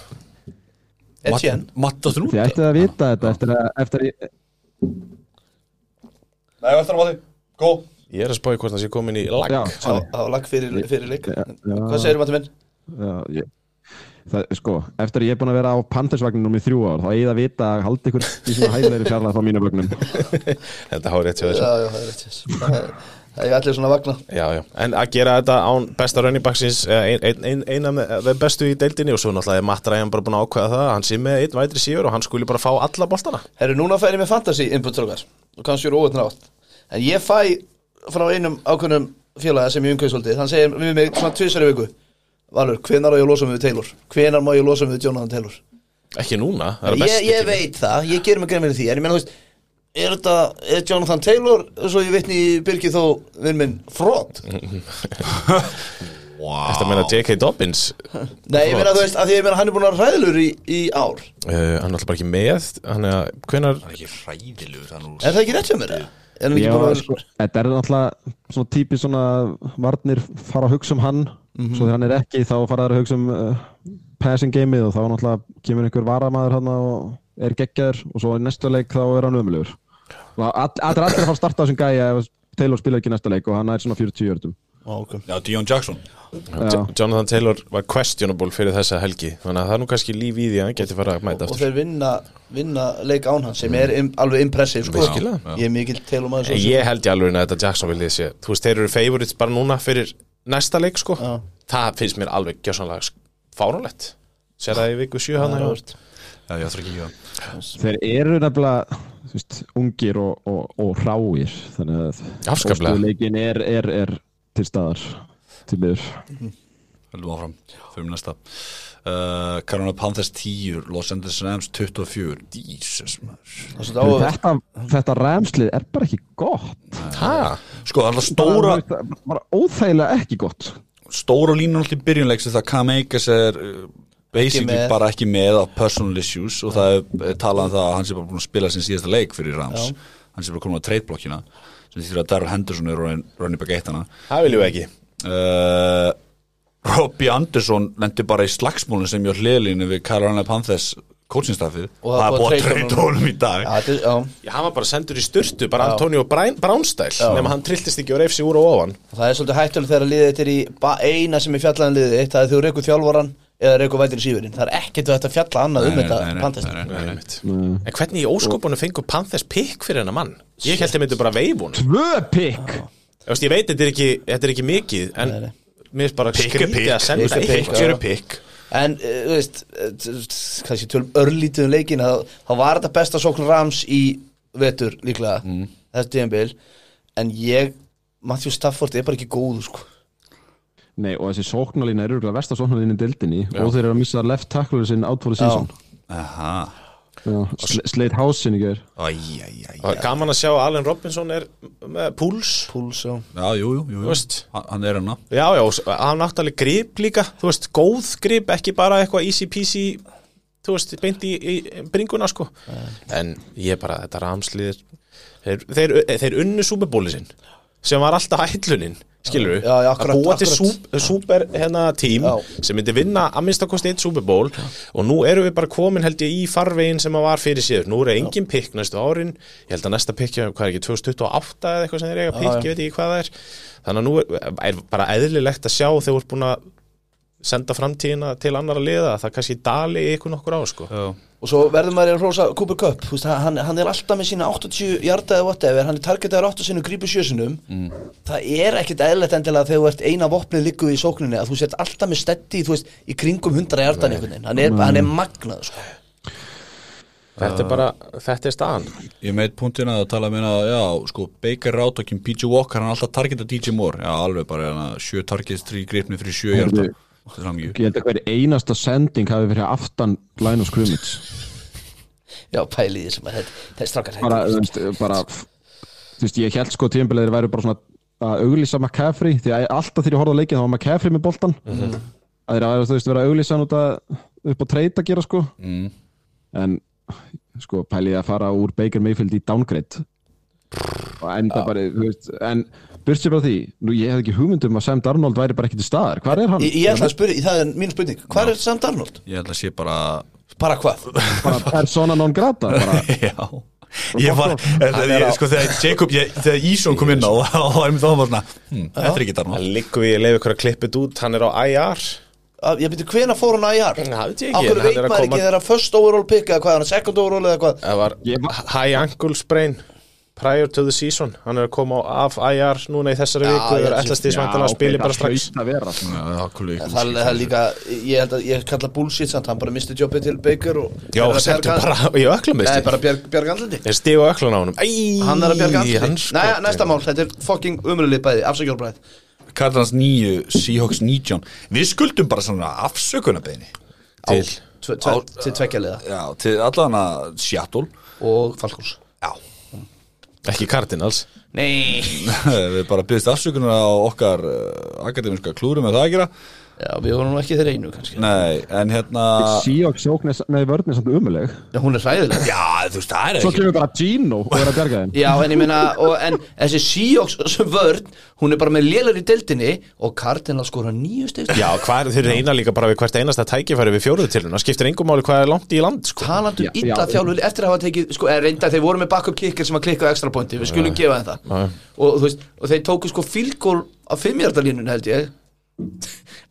Etienne Matt og Þið ættið að vita þetta eftir að, eftir að Nei, eftir að Matti, gó Ég er að spáði hvort það sé komin í lag Já, Það sorry var- það var lag fyrir, fyrir leik Já. Hvað segir maður minn? já, ég, það, Sko, eftir að ég er búin að vera á Panthersvagnum í þrjú ár þá eigið að vita að halda ykkur í svona hæðleiri fjarlæð frá mínu vögnum Þetta hár rétt hjá þessu Já, já, það er rétt yes. Það er- það er allir svona að vakna Já, já, en að gera þetta án besta runningbacksins ein, ein, ein, eina með með bestu í deildinni og svo náttúrulega er Matt Ryan bara búin að ákveða það hann sé með einn vætri síður og hann skuli bara fá alla boltana Herru, núna færi með fantasy input trókar og kannski eru óvætna átt en ég fæ frá einum ákveðnum félaga sem ég umkveð svolítið, hann segir við mig svona tvisari viku Valur, hvenar á ég að losa mig við Taylor? Hvenar má ég losa mig við Jonathan Taylor? Ekki núna, það er Ég, besti ég veit það, ég gerir mig grein fyrir því en ég meina, þú veist, er þetta er Jonathan Taylor, svo ég vitni í Birgir þó vinn minn frott Mhm. Vá Þetta meina J.K. Dobbins uh, Nei, ég meina, þú veist, að því ég meina hann er búin að ræðlur í, í ár eh, Hann er alltaf bara ekki með Hann er að, hvenar Það er ekki hræðilegur þannig Er það ekki rétt hjá mér? eða? Er hann Ég ekki búin var að sko, þetta er náttúrulega svona típis svona varnir fara að hugsa um hann svo þegar hann er ekki þá fara þær að hugsa um uh, passing gameið og þá náttúrulega kemur einhver varamaður hann og er geggjaður og svo í næsta leik þá er hann ömulegur Það er allir að fara að starta á þessum gæja ef Taylor spila ekki í næsta leik og hann er svona 40 jördum Ó, ok. Já, Dion Jackson J- Jonathan Taylor var questionable fyrir þessa helgi Þannig að það er nú kannski líf í því að hann geti fara að mæta og aftur þeir vinna, vinna leik án hans sem er im, alveg impressiv sko. Virkilega. ég er mikill teilum að En Ég held ég alveg að þetta Jackson viljið sé Þú veist, þeir eru favorites bara núna fyrir næsta leik sko Já. Það finnst mér alveg gjössanlega fáránlegt Sér það í viku sjö hann Já, ég ætla ekki ekki það Þeir eru nefnilega þú veist, ungir og, og, og ráir þannig að Afskaplega. óstöðuleikin er, er, er til staðar til miður Höldum áfram, fyrir næsta uh, Karona Panthers 10 Los Angeles Rams 24 Jesus maður já, þetta, þetta remslið er bara ekki gott Hæ? Sko, það er alltaf stóra bara, þú veist, bara óþægilega ekki gott Stóra línur alltaf í byrjunleik sem það Cam Akers er uh, basically með. bara ekki með af personal issues og það er er talað um það að hann sé bara búin að spila sinn síðasta leik fyrir Rams hann sé bara komin á trade-blokkina sem þýttir að Darrell Henderson er running running back 1 hana Það viljum við ekki uh, Robbie Anderson lendi bara í slagsmólinu sem ég á hliðlínu við Carolina Panthers coachingstaffið Og og það er búið að treyta treyta honum í dag Já, þetta er- já, Já, hann var bara sendur í sturtu, bara Antonio Brown- Brownstyle nema hann trilltist ekki og reyfsi úr og ofan það er svolítið hættulega þegar liðið þetta er í ba- eina sem er fjallaðan liðið eitt að þú reyku þjálfvaran eða reyku vætin síðurinn það er ekkert að þetta fjalla annað um Nei, þetta nei, nei, pantest nei, nei. Einmitt. En hvernig í óskopunum fengur Panthers pikk fyrir hennar mann? Ég held að myndu bara veif hún Tvö pikk Ég veit, þetta er ekki, þetta er ekki mikið en Nei, nei. mér er bara skrítið að senda Pikk er pikk, Pikk eru já. pikk en eh, þú veist eh, t- t- kannski tölum örlítið um leikin þá, þá var þetta besta sókn Rams í vetur líklega mm. þetta tíðanbil en ég Matthew Stafford er bara ekki góð sko. Nei, og þessi sóknarlína er örgulega versta sóknarlína í deildinni og þeir eru að missa left tackler sinn out for the season Aha, Já, Sle- Slade House sinn í gær æjæjæj Og Gaman að sjá að Allen Robinson er með púls púls og Já, jú, jú, jú, Þú jú. veist. Hann, hann er hérna. hann Já, já, og s- hann náttúrulega grip líka Þú veist, góð grip, ekki bara eitthvað easy peasy Þú veist, beint í, í bringuna sko En ég bara, þetta ramsliðir Þeir, þeir, þeir unnu súperbóli sinn Sem var alltaf ætlunin, skilur við Já, já, akkurat, Að búa til akkurat. súp, super hérna tím Já. Sem myndi vinna að minnsta kosti eitt súperból Og nú erum við bara komin held ég í farvegin sem að var fyrir sér Nú eru engin pikk næstu árin Ég held að næsta pikk, hvað er ekki, 2028 eða eitthvað sem þeir eiga pikk, já. ég veit ekki hvað það er Þannig að nú er, er bara eðlilegt að sjá þegar þú ert búin að senda framtíðina til annara liða að það kannski dali ykkur nokkur á sko. Og svo verður maður að hrósa Cooper Cup þú veist, hann, hann er alltaf með sína 80 hjarta eða whatever, hann er targetaður 8 sinu grípu sjösunum mm. það er ekkit eðlætt endilega þegar þú ert eina vopnið líkuð í sókninni að þú sett alltaf með stetti veist, í kringum 100 hjartan einhvern veginn hann Mm. er, hann er magnað sko. Þetta er bara, þetta er staðan Ég meit punktin að tala meina Já, sko, Baker Rátokin, PJ Walker Hann er alltaf targeta DJ Moore Já, alveg bara hana, sjö targets, trí gripni fyrir sjö hjarta Heyrðu. Þetta er hamingju. Ég held að hver einasta sending hafi verið aftan line of scrimmage já, pæliði sem að þetta, þetta er strakkar bara, þú veist, bara þú veist, ég held sko tíðanbilið þeir væri bara svona að auglýsa McCaffrey því að alltaf þegar ég horfði á leikið þá var McCaffrey með boltan Mhm. að þeir að þú veist vera að auglýsa hann út að upp á treyta að gera sko Mhm. Mm. en sko pæliði að fara úr Baker Mayfield í downgrade og enda bara, þú veist en byrst sér bara því, nú ég hef ekki hugmynd um að Sam Darnold væri bara ekki til staðar, hvar er hann? ég, ég ætla að spyrja, það er mín spurning hvað er Sam Darnold? Ég held að sé bara bara hvað? bara persona non grata bara, Já Ég var, er, er, ég, sko, þegar Jacob, ég, þegar Ísson kom inn á og það var einmitt þá var svona, hm, þetta er ekki þarna Það liggur við, ég leif ykkur að klippa þetta út hann er á IR Að- ég byrju hvena fór hann að IR? Nei, það veit ég ekki, Á en hverju hann veit er að maður koma- ekki þegar að first overall pick eða hvað, hann er second overall eða hvað Það var Ég var- high ankle sprain prior to the season hann er að koma á- af IR núna í þessari Já, viku ég- og ætlast því svæntalega að spili bara strax hlaut að vera sko. Já, það er kúli, En Það er- það er líka, ég held að ég kalla bullshit samt, hann bara misti jobbið til Baker og Já, Er það sendur bjarga- bara í öklum Nei, bara bjarg, bjarg andliti Er stig á öklan á honum Æ, Hann er að bjarga hann andliti Næja, skotinn. næsta mál, þetta er fucking umröðlið bæði, afsakjól bræð Cardinals 9, Seahawks 19 Við skuldum bara svona afsökunarbeini Til, Tve- tve- Til tveggjaliða já, til allan að Seattle og Falkons Já, Ekki Cardinals Nei við bara byrðist afsökunar á okkar uh, akademiska klúrum með það að gera Já, við vorum nú ekki þeir einu kannski Nei, en hérna Seahawks sjókn er, nei, vörn er samt umuleg Já, hún er hræðilega Já, þú veist, það er Svo ekki kemur bara Gino og er að bjarga þeim Já, en ég meina, og, en þessi Seahawks sem vörn, hún er bara með lélar í deildinni og Cardinal skora nýju stegst Já, hvað er þeir reyna líka bara við hvert einasta tækifæri við fjóruðu til hún skiptir engum máli hvað er langt í land sko. talandi Já, um illa já. þjálfur eftir að hafa tekið, sko, eða reynda þeir voru með backup kicker sem að klikka á extra pointi, við skulum gefa þeim það og, þú veist, og þeir tóku sko fylgól á fimmjardalínun held ég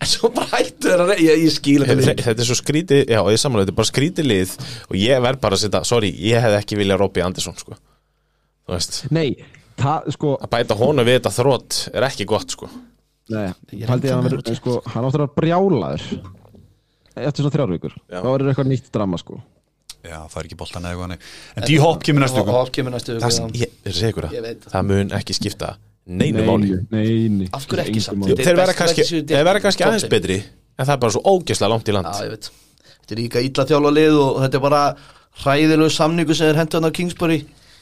en svo bara hættu þeir að reyna ég, ég skil þetta Þetta við þetta er svo skrítið, já, ég samanlega, þetta er bara skrítið lið og ég verð bara að setja, sorry, ég hef ekki viljað Robby Andersson, sko. Þú veist, Nei, það sko að bæta honu við þetta þrótt er ekki gott, sko. Nei, Ég er haldi ég að hann ennþá verður sko, hann áttur að brjálaður eftir svona þrjár vikur Já. þá verður eitthvað nýtt drama sko Já, það er ekki boltan eða eitthvað nei. En D-Hop kemur næstu og ykkur hopp kemur næstu Það, viku, já. ég, er segur Ég það, veit það. það mun ekki skipta neinu máli. neini Af hverju ekki samt? Þetta er Þeir verða best kannski, leggja sig í þeir verða kannski toppin. aðeins betri, en það er bara svo ógeðslega langt í land. já, ég veit þetta er líka illa þjálfur lið og þetta er bara hræðilegu samningu sem er hendur hann á Kingsbury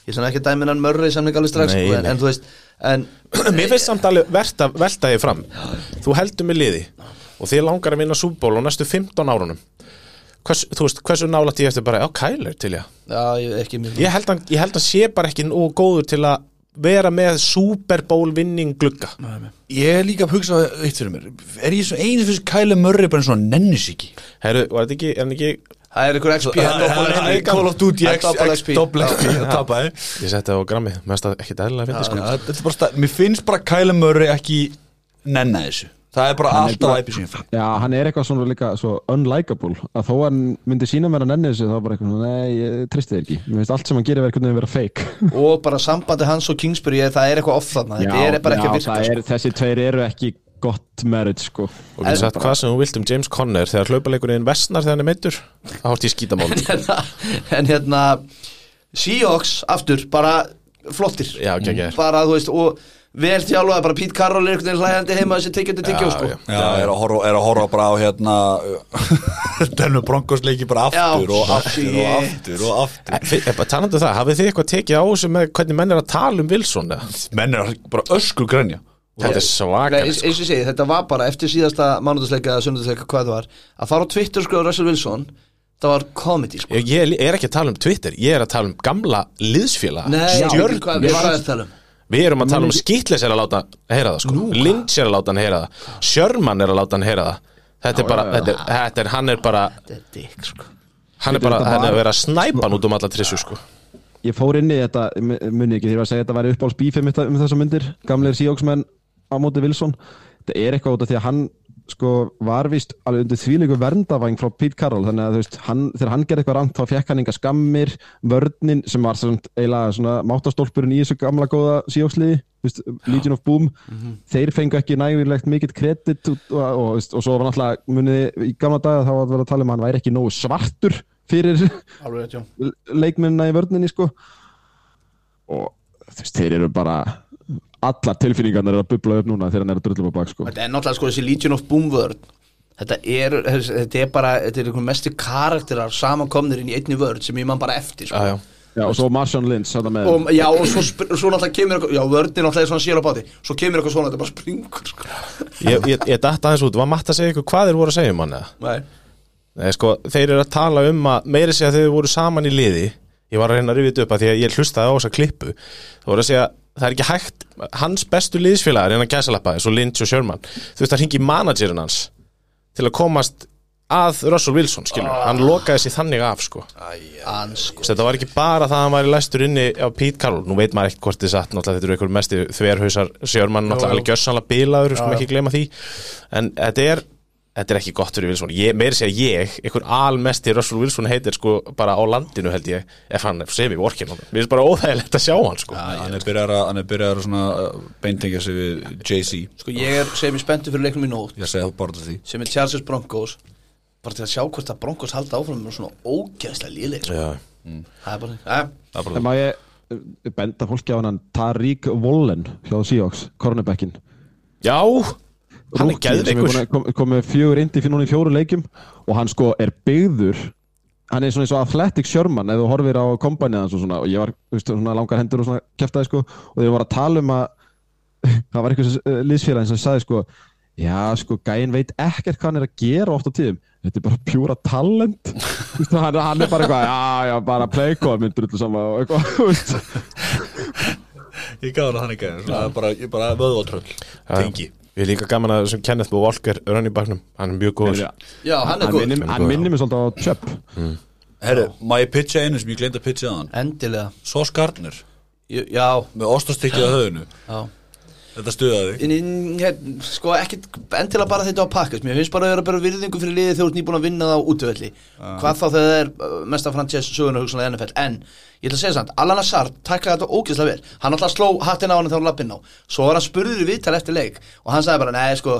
ég sann ekki að dæmin hann mörri samning alveg strax Nei, sko, en, nei. en þú veist en Mér finnst samt alveg verta, velta ég fram Þú heldur með liði og þið langar að vinna súból á næstu 15 árunum Hvers, þú veist, hversu nálætt ég eftir bara, já, Kyle er til ég Já, ég, ekki mjög ég held, hann, ég held hann sé bara ekki nú góður til að vera með Super Bowl vinning glugga Ég er líka að hugsa eitt fyrir mér Er ég svo einu fyrir kæle mörri bara eins og nennis ekki Herru, var þetta ekki, er hann ekki Það er ykkur XP Það er- það er Call of Duty Það er X, double X, XP. double XP Það tapaði ég setti það á grammi, mér finnst það ekki dælilega fyrir sko. Já, þetta er bara stað- Mér finnst bara kæle mörri ekki nenni þessu Það er bara alltaf æpi sem ég fæ Já, hann er eitthvað svona líka svo unlikable að þó hann myndi sína mér að nenni þessu þá bara eitthvað, svona, nei, ég tristi þér ekki mér finnst allt sem hann gerir verið hvernig að vera fake Og bara sambandi hans og Kingsbury er- Það er eitthvað off þarna Þetta er bara ekki að virka það sko. er, þessi tveir eru ekki gott marriage sko og við sagt hvað sem þú vilt um James Conner þegar hlaupaleikurinn vestnar þegar hann er meittur þá hórt ég skítamál sko. En hérna Seahawks aftur Bara flottir já, ekki, ekki, Bara þú veist Og vel þjálfaði Bara Pete Carroll er einhvern veginn hlæðandi heima Þessi tekjandi tekjó sko já. Já, er að horfa, er að horfa bara á hérna Denver Broncos leiki bara aftur Já, og aftur og shit. aftur og aftur Talandi um það, hafið þið eitthvað tekið á þessu með hvernig menn er að tala um Wilson eða? Menn er bara öskur grænja Þetta er Nei, eins, svakar eins og ég segi, þetta var bara eftir síðasta mánudagsleika eða sunnudagsleika hvað það var að fara á Twitter sko á Russell Wilson það var comedy sko Ég, ég er ekki að tala um Twitter, ég er að tala um gamla liðsfélaga Nei, Stjörn- hvað við varum að tala um Við erum að tala um skýtles er að láta hann heyra það sko. Lynch er að láta hann heyra það Sjörman er að láta hann heyra það Þetta er bara, þetta er, þetta er, hann er bara Þetta er dick sko Hann er bara, þetta hann er bara- að vera að snæpa hann út um alla trissu sko ég fór inn í þetta, mu- muni ekki þegar ég var að segja að þetta væri uppáhalds bífið mitt um þessa myndir gamleir síjóksmenn á móti Wilson þetta er eitthvað út af því að hann sko var vist alveg undir þvílegu verndavæng frá Pete Carroll þannig að þú veist, hann, þegar hann gerði eitthvað rangt þá fekk hann enga skammir vörnin sem var svona, eiginlega svona máttastólpurinn í þessu gamla góða síjóksliði þú veist, Legion of Boom þeir fengu ekki nægurlegt mikill kredit og, og, og, þú veist, og svo var náttúrulega muniði í gamla daga þá var það verið að tala um að hann væri ekki nógu svartur fyrir Alveg rétt, já leikmennina í vörninni sko. og þú veist, þeir eru bara allar tilfinningarnar eru að bubla upp núna þegar hann er að drullum á bak sko. Þetta er náttúrulega sko þessi Legion of Boom vörn Þetta er, þetta er bara, þetta er einhvern mestu karakterar samankomnir inn í einni vörn sem ég man bara eftir sko. Já, já já, og svo Marshawn Lynch þarna með, og, Já, og svo, spr- svo náttúrulega kemur eitthvað, já, vörnin náttúrulega er svona síl á báti Svo kemur eitthvað svona, þetta bara springur sko Ég, ég, ég datt aðeins út, var matt að segja ykkur hvað þeir voru að segja um hann eða? Nei, Nei, sko, þeir eru að tala um að meiri segja að þeir voru saman í liði ég var að reyna að rifja þetta upp að því að ég hlustaði á þessa klippu þú voru að segja það er ekki hægt hans bestu liðsfélagar innan gæsalappa eins og Lynch og Sherman þú veist að ringi managerinn hans til að komast að Russell Wilson skilur, hann lokaði sér þannig af sko. Þú hann sko veist, þetta var ekki bara það að hann væri læstur inni á Pete Carroll, nú veit maður ekkert hvort þið satt náttúrulega þetta eru einhver mesti þverhausar Sherman náttúrulega alveg gjössanlega bilaður, við skulum ekki gleyma því en þetta er þetta er ekki gott fyrir Wilson, ég, meiri segja ég einhver almesti Russell Wilson heitir sko bara á landinu held ég, ef hann sem ég vorkin honum, mér finnst bara óþægilegt að sjá hann sko. Hann er byrjar að, hann er byrjar að svona uh, beintengja sig við Jay-Z Sko ég er, segjum ég spenntu fyrir leiknum í nótt Ég segi það bara til því sem er Chargers Broncos bara til að sjá hvort að Broncos halda áfram með svona ógeðslega líðleik sko. Já. það er bara að, en má ég eh, benda fólki á hann Tarik Wollen hjá Seahawks, cornerbackin já, hann er Rookie sem geðveikur búinn að kom, kom með fjögur indi fyrir núna í fjóru leikjum og hann sko er byggður hann er svona eins og athletic Sherman ef þú horfir á kombanið hans og svona og ég var þú veist, svona langar hendur og svona kæftaði sko og þeir voru að tala um að það var eitthvað liðsfélagin sem sagði sko já sko gæin veit ekkert hvað hann er að gera oft á tíðum þetta er bara pjúra talent Þú veist, hann, hann er bara eitthvað já já bara playcall myndur öllu saman og eitthvað þú veist. Ég gaf hann að hann ekki Það er bara, ég bara vöðvatröll Tengi Við erum líka gaman að sem Kenneth Bó Walker running backnum, hann er mjög góður já, hann er hann góð minnir- hann minnir mig svolítið á Chubb Herru, má ég pitcha einu sem ég glemt að pitcha að hann endilega, Sos Gardner Jú, já, Með ostastykkið að höfunu já Þetta stuðaði þig. In, in, he, sko ekkit endilega bara þetta á pakkast mér finnst bara að vera bara virðingu fyrir liðið þegar þú ert nýbúin að vinna það á útvöldi hvað þá þegar það er uh, mesta franchise söguna hugsanlega í NFL en ég ætla að segja samt Alan Hazard tækkaði þetta ógeðslega vel hann alltaf sló hattin á hann þegar hann lappinn á svo var hann spurður í viðtal eftir leik og hann sagði bara nei sko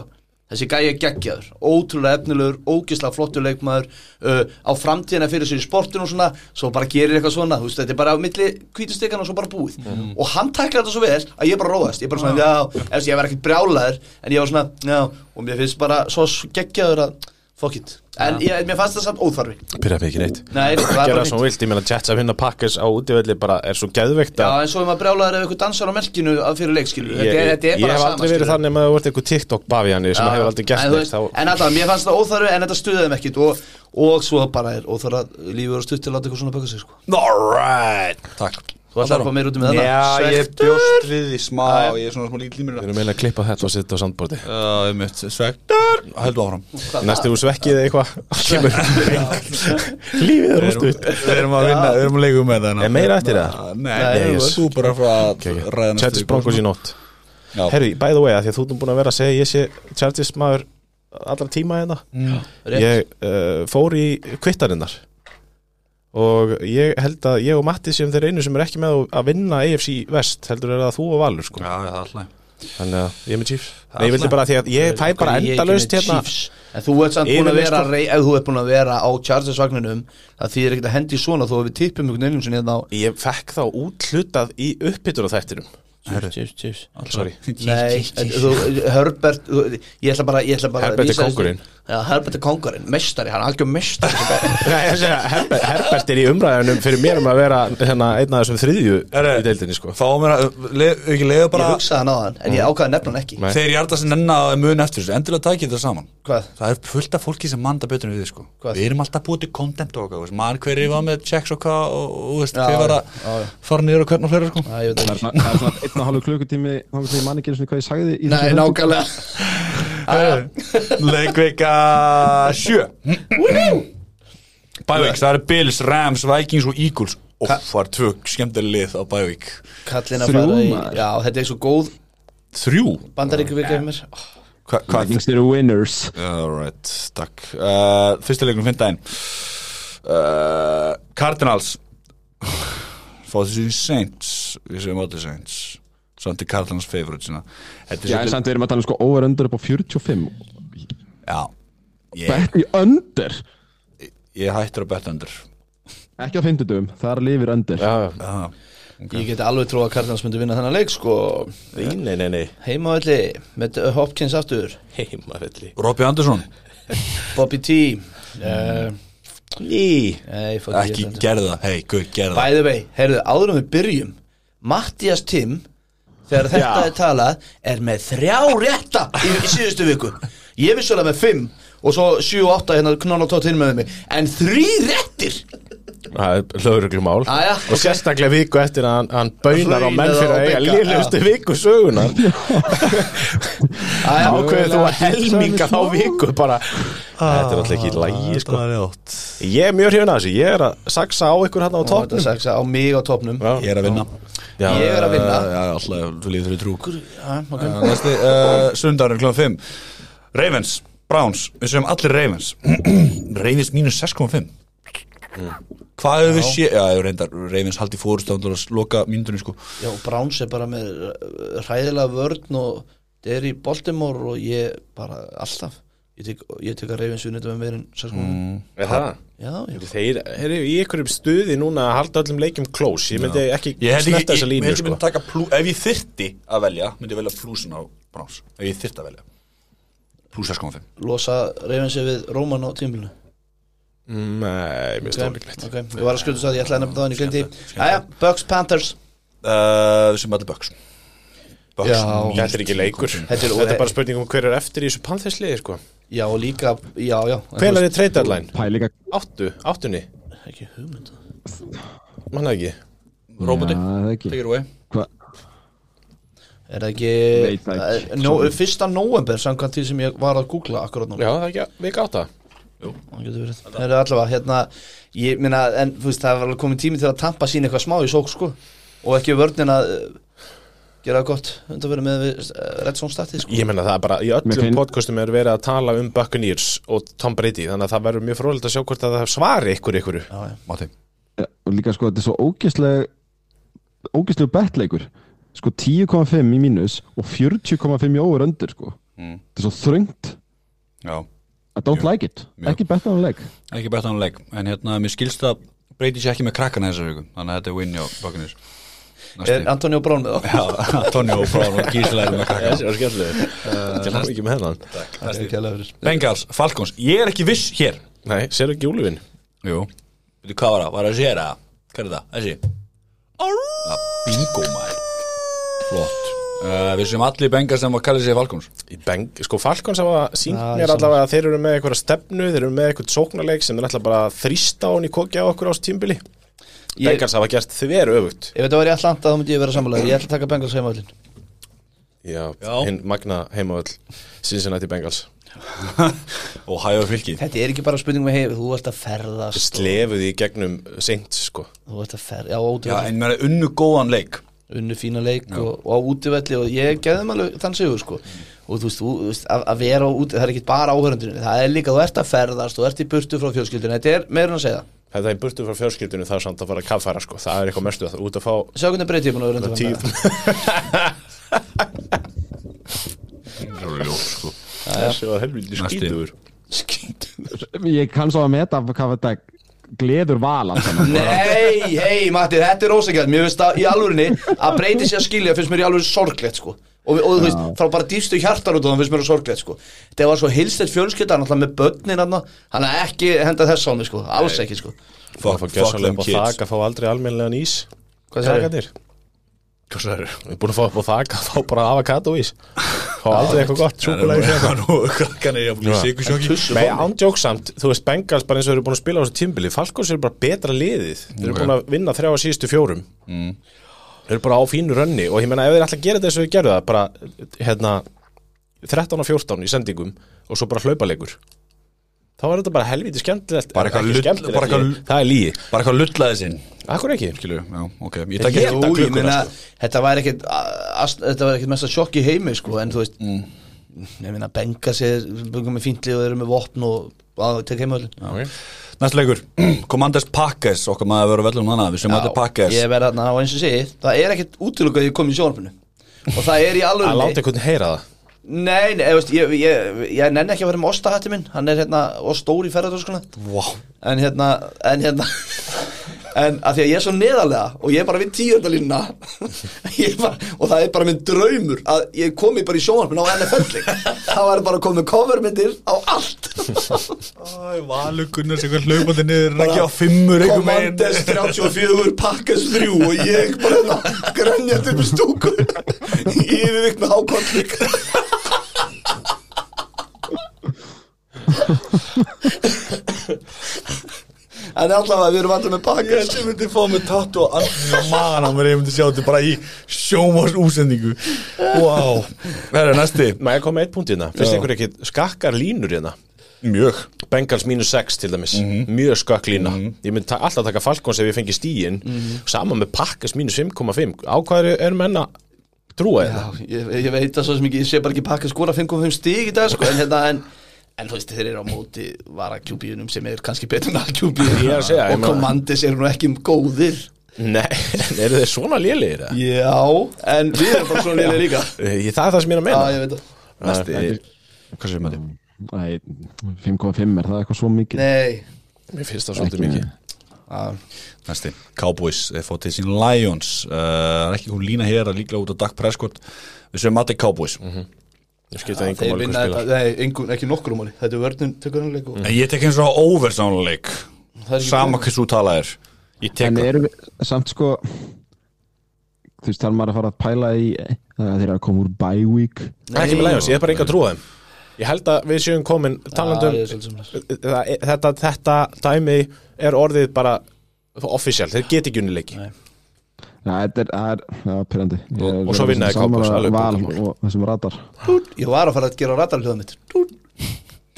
þessi gæi er geggjaður, ótrúlega efnilegur, ógeðslega flottur leikmaður uh, á framtíðina fyrir sér í sportinu og svona svo bara gerir eitthvað svona, þú veist, þetta er bara á milli kvítustekan og svo bara búið Mhm. og hann tæklar þetta svo vel að ég bara róðast ég bara svona, já, eftir, ég var ekkert brjálaður en ég var svona, já, og mér finnst bara svo geggjaður að fuck it En ég, mér fannst það samt óþarfi Pyrraði mig ekki neitt Nei, það var Gerða bara svo fínt vilt, ég meina Jets að vinna Packers á útivelli bara er svo geðveikt Já, að en svo er maður brjálaður ef eitthvað dansar á melkinu að fyrir leikskilu Ég, Þetta er, ég, þetta er bara hef sama aldrei verið skilurðu. þannig með að það vart eitthvað TikTok bafi hann sem Já, hefur aldrei en, gert þú neitt veist, þá en alltaf, mér fannst það óþarfi en þetta stuðaði mig ekkit og, og svo bara er óþarfa lífið og stutt til að láta eitthvað svona baka sig sko. Alright Takk Þú ætlar að fá meir út um þetta Já, ég bjóst við því smá Ég er svona smá lítil Við límur erum eiginlega að klippa þetta og setja á sandbordi Það er mitt svektur Höldu áfram Næstu úr svekkið eða eitthvað kemur Lífið er rústu upp Við erum að vinna, við erum að leika með það Er meira eftir það? Nei, Nei, nei, yes. þú bara frá að ræða næstu Chargers viku. Broncos í nótt Já. Herri, by the way, að því að þú erum búin að vera að segja ég sé Chargers maður allra tíma hérna Mm. Rétt. Ég uh, fór í kvittarinnar og ég held að ég og Matti sem þeir einu sem er ekki með á- að vinna AFC Vest heldur er það þú og Valur sko Já, það er alltaf Þannig að ég er með Chiefs Nei, ég vildi bara því að ég tæ bara endalaust Ég er ekki með hérna Chiefs. En þú ert samt búin að Yfirleitt, vera sko. rey, ef þú ert búin að vera á Chargers vagninum það þýðir ekkert að hendi í svona þó að við tippum einhvern veginn hérna á Ég fekk þá útlutað í uppbyttur á þættinum Chiefs, Chiefs Sorry Nei, en þú, Herbert þú, Ég ætla bara, ég ætla bara að Herbert er lýsa þessu. kóngurinn. Já, Herbert er kongurinn, mestari, hann er algjör mestari Nei, ég segja, Herbert, Herbert er í umræðunum fyrir mér um að vera hérna, einn af þessum þriðju í deildinni sko. Fá mér að, le- ekki leiða Ég bara hugsaði hann á hann, en ég ákvaði nefnan ekki Nei. Þeir hjarta sem nenna að mun eftir þessu Endilega takk þetta saman Hvað? Það er fullt af fólki sem manda betur en við sko Hvað? Við erum alltaf búið til content og okkar Man hverju var með checks og hvað og, og, og veist, Já, hver var að já, já. fara niður og hvern og fleira sko Æ, ég veit Það ekki er svona- það er svona einn og halvu klukkutími þá til ég manni ekki einu sinni hvað ég sagði í Nei, þessum þætti. nákvæmlega Leikvika 7 Bævík, það eru Bills, Rams, Vikings og Eagles Og það er tvö skemmtileg lið á Bævík Kallin að Þrjú, fara í maður. Já, þetta er svo góð Þrjú bandaríku vika hjá mér Hva- Hvað? Vikings eru winners Alright, takk uh, Fyrsta leikum finn daginn uh, Cardinals Fá þessu Saints Við segjum allir Saints Samt er Cardinals hérna. favorite sína Já, Þetta er en svolítið- samt við erum að tala um sko over-under upp á 45 Já, ég, Betti under ég hættur að betta undir Ekki á 50 dögum, þar lifir under Já, Ég geti alveg trú að Cardinals myndi vinna þennan leik sko nei, nei, nei, nei Heimavalli með Hopkins aftur Heimafelli Robby Andersson, Bobby T Eh, Ný Nei, fuck ég ekki ætla- gerða Hei, guð, gerða By the way, heyrðu, áður en við byrjum Mattias Tim Þegar þetta Já. er talað Er með þrjá rétta í, í síðustu viku Ég vissi alveg með fimm Og svo 7 og 8 hérna knón og tótt hinn með mig En þrý réttir Lögreglumál Jæja, Og sérstaklega viku eftir að hann, hann baunar á menn Raunar fyrir á að eiga bygga, liðlustu viku sögunar Æja, Ákveðið þú að helminga þá viku bara Ah, Þetta er alltaf ekki í lægi sko er átt Ég er mjög hrifin að þessu, ég er að saxa á ykkur hann á Tótt toppnum að segja á mig á topnum Já. Ég er að vinna Já. Ég er að vinna. Já, alltaf líður þurri trúk Já, ok. Næsti, uh, sundarinn kl. 5 Ravens, Browns, við segjum allir Ravens Ravens mínus 6,5 Hvað hefur við sé Já, ef reyndar, Ravens haldi fórust ándur að loka mínundunni sko Já, og Browns er bara með uh, hræðilega vörn og þeir eru í Baltimore og ég bara alltaf Ég tek, ég tek að reyfins unnið með meirinn mm. Er það? Já, ég Þeir eru í ykkurum stuði núna að halda öllum leikjum close Ég myndi ekki Ég held snerta ekki, þessa ég, ég, línu ég sko. myndi taka plú, Ef ég þyrti að velja, myndi ég velja plúsin á Browns Ef ég þyrti að velja Plús 6,5 losa reyfinsi við Róman á tímbilinu Nei, mér stóð ekki Ok, ég var að skjóta það, ég ætlaði að nefna það en ég glemdi Jæja, Bucks, Panthers uh, Við segjum allir Bucks Bucks Já. Þetta er ekki leikur Þetta er- Þetta er bara spurning um hver er eftir í þessu panþesliði sko. Já, og líka, já, já en Hvenær er trade deadline? Pælinga Áttu, áttunni, þú veist, Ekki hugmynd manna ekki Róboti, Já, það er ekki take it away Hva? Er það ekki, Veit það ekki. Eh, nó, Fyrsta november, samkvæmt því sem ég var að googla akkurat núna Já, það er ekki að vika átta Það getur verið. Það eru allavega, hérna, ég minna, en þú veist, það var alveg komið tími til að tampa sín eitthvað smá í sók, sko, og ekki vörnin að uh, gera það gott undanverið með við uh, Redson statið, sko. Ég menna það er bara, í öllum Mér finn- podcastum er verið að tala um Buccaneers og Tom Brady Þannig að það verður mjög frólægt að sjá hvort að það svari ykkur ykkur Já, já. Mati Já, og líka sko þetta er svo ógeðslega ógeðslega bettleikur sko 10,5 í mínus og 40,5 í over under sko þetta er svo þröngt Já I don't like it, Mm. Mjög. ekki betta á leik ekki bett hann leik en hérna, mér skilst að breyti sér ekki með krakkana þessar viku þannig að þetta er win hjá Buccaneers Er Antonio Brown með þá? Já, Antonio Brown og Gísla erum að kaka Þessi var skemmtilegur Til hann ekki með hennan Takk kærlega fyrir. Bengals, Falcons, ég er ekki viss hér Nei, sér ekki júluvin Jú Veitu hvað var það, var það að séra Hvað er það, þessi? Ja, bingo maður Flott uh, Við sem allir Bengals sem að kalla sig Falcons Í beng, sko Falcons hafa sínt Já, ég mér sammála. allavega að þeir eru með eitthvað stefnu þeir eru með eitthvað sóknarleik sem er alltaf bara að þrýsta á hann í kokja á okkur ás tímbili Ég- Bengals hafa gert þver öfugt Ef þetta var í Atlanta þá myndi ég vera sammálaður Ég ætla að taka Bengals heimavöllin Já, Já. hinn magna heimavöll Cincinnati Bengals Og hægur fylgið Þetta er ekki bara spurning með heim Þú ert að ferðast Slefuð í gegnum seint sko Þú ert að ferð Já, ótrúð Já, en mér er unnu góðan leik unnu fína leik og, og á útivelli og ég gerði þeim alveg þann sigur sko og þú veist, þú, þú veist að, að vera á úti, það er ekki bara áhörundinu það er líka, þú ert að ferðast, þú ert í burtu frá fjölskyldinu, þetta er meira en að segja Ef Það er burtu frá fjörskiptinu það er samt að fara að kaffæra sko Það er eitthvað mestu að það út að fá sjá hvernig breytið mun að vera tíu undanfarið. Þessi var helviti sko. Næsti. skítur Ég kann svo að meta hvað þetta gleður val allt saman. Nei, hei Matti, þetta er ósækjað mér finnst það í alvörinni að breyti sér að skilja finnst mér í alvörinni sorglegt sko og, og þú veist, frá bara dýfstu hjartar út og það finnst mér sorglegt sko þetta var svo hilstett fjölskylda náttúrulega með börnin hann hann er ekki henda þess á mig sko, alls ekki sko Það fá gjössanlega upp á þak að fá aldrei almennilegan ís Hvað sagði? Krakkarnir. Hvað sagði Við þau? erum búin að fá upp á þak að fá bara avokadóís Fá aldrei eitthvað gott súkulæði Nú, krakkan er jafnvel í sikursjóki Nei, ándjóksamt, þú veist Bengals bara eins og þeir eru búin að spila á þessu tímbili Falkons eru bara betra liðið Þeir eru Ok. búin að vinna þrjá að síðustu fjórum Mm. Þeir eru bara á fínu rönni og ég meina ef þeir ætla að gera þetta eins og þeir gerðu það bara, hérna 13 og 14 í sendingum og svo bara hlaupalegur þá er þetta bara helviti skemmtilegt Bara eitthvað ekki lull- skemmtilegt bara eitthvað lið, lull- það er líi Bara eitthvað lullaði sinn Akkur ekki, Skilur, já, ok Ég Ég- takk Ég- ekki Jú, Þetta ég klukkuna, meina, þetta var ekkit a- ast- þetta var ekkit mesta sjokk í heimi sko, en þú veist ég meina, benga sér, bengum með fíntli og þeir eru með vopn og að tek heimöðlin Næst leikur Commanders Packers Okkar maður að vera vellum hana Við sem allir Packers ég verð þarna og eins og sé það er ekkit útilöku að ég kom í sjónarpinu og það er í að láta alveg einhvern heyra það nei, nei, ég, veist, ég, ég, ég nenni ekki að vera með ostahatti minn hann er hérna og stór í ferðardóskuna Vá en hérna, en hérna en að því að ég er svo neðarlega og ég er bara við tíundalínuna og það er bara minn draumur að ég komi bara í sjónvarpin á NFL það var bara komið covermyndir á allt Æ, Valur Gunnars eitthvað hlaupandi niður Rækja á fimmur einhver megin Commanders 34, Pakkas 3 og ég bara hérna, grænjast upp í stúku yfirvikt með hákotlik en allavega við erum allir með Pakkas Ég myndi fá mig tattu á andinu og magan á mér Ég myndi sjá þetta bara í sjómas úsendingu Vá Það er næsti Má ég koma með eitt punkt hérna, finnst ykkur ekki skakkar línur hérna Mjög Bengals mínus 6 til dæmis, mjög skökk lína Mhm. Ég myndi ta alltaf taka Falcons ef ég fengi stíin Sama með Pakkas mínus 5,5 Á hvað eru er menna trúa þetta? Já, ég, ég veit það svo sem ekki, ég sé bara ekki pakka skora 5.5 stík í dag sko, en hérna, en En þú veist, þeir eru á móti vara QB-unum sem er kannski betur en að QB-unum Ég er að segja, ég Og meina- komandis eru nú ekki um góðir Nei, eru þeir svona lélegir? Yeah. Já, en við erum bara svona liðlega líka Ég, það er það sem ég er að Já, meina ég veit það Næsti, Hvað sér með þetta? Nei, 5,5 er það eitthvað svo mikið Nei Mér finnst það svolítið mikið Já, Næsti Cowboys eh, fá til sín Lions Eh, Það er ekki hún lína hér að líkla út á Dak Prescott Við sem allir Cowboys Ég skipta engum máli Þeir hvað vinna spila þetta, nei, engum, ekki nokkrum máli Þetta er vörnum, tekur hann leik og En ég tek eins og á oversánleik Mm. Það er ekki Sama góð. hvað svo tala er Ég tek En erum við samt sko Þú veist, þarf maður að fara að pæla í Það þeir eru að koma úr bye week Ekki með Lions, ég er bara enga trúa þeim Ég held að við séum komin talandum Já, ég er svolítið sammála. þetta, þetta dæmi er orðið bara official, þeir geti ekki unni leiki Já, þetta er, það er, það er pyrrandi Og- og svo vinna þeir Cowboys, alveg Val bókamál. og þessum radar Dút, Ég var að fara að gera radarljóða mitt Dút,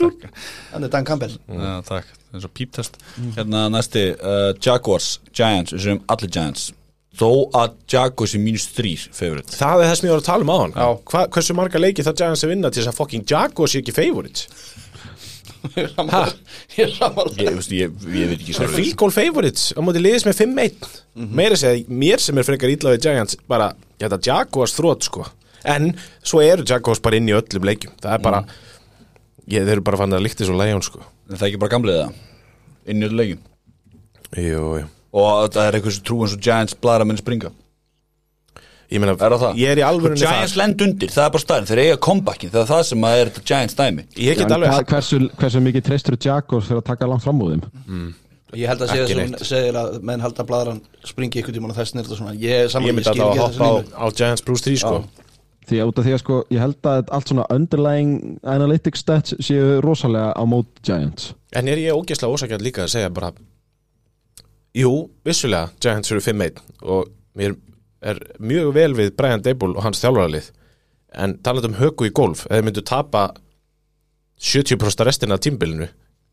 dút Þannig Dan Campbell Mm. Já, takk, það er svo píptest Hérna næsti, uh, Jaguars, Giants Við sem allir Giants Þó að Jaguars er mínus þrýr favorite Það er það sem ég var að tala um á hann Já. Hva, Hversu marga leiki það Giants að vinna til þess að fucking Jaguars sé ekki favorite Ég er sammála- Ég er sammála Ég, veist, ég, ég veit ekki Þeir fíkól favorites á móti liðis með 5-1 Meira segja, mér sem er frekar illa við Giants bara, ég held að Jaguars þrótt sko En svo eru Jaguars bara inn í öllum leikjum Það er bara ég, Þeir eru bara fann að líkti svo Lions sko En það er ekki bara gamlega það Inn í öllu leikin Jú, jú Og það er eitthvað sem trú eins og Giants blara menn springa ég meina, Er það það? ég er í alvörunni Giants lend undir, það er bara stærn, þeir eiga comebackið Það er það sem að er þetta Giants dæmi ég get En alveg hvað- hversu, hversu mikið treystur Jaguars fyrir að taka langt fram úr þeim Ég held að sé Ekki þess að neitt. hún segir að menn halda bladran springi ykkur tíma og þess nýrt og svona Ég er saman, ég ég, myndi skil alltaf að ekki þess hoppa að á, línu á Giants Bruce 3 sko. því að út af því að sko ég held að allt svona underlying analytics stats séu rosalega á mót Giants en er ég ógeðslega ósakjart líka að segja bara jú, vissulega Giants eru 5-1 og mér er mjög vel við Brian Dable og hans þjálfaralið en talað um höku í golf eða myndu tapa 70% restina af tímbilinu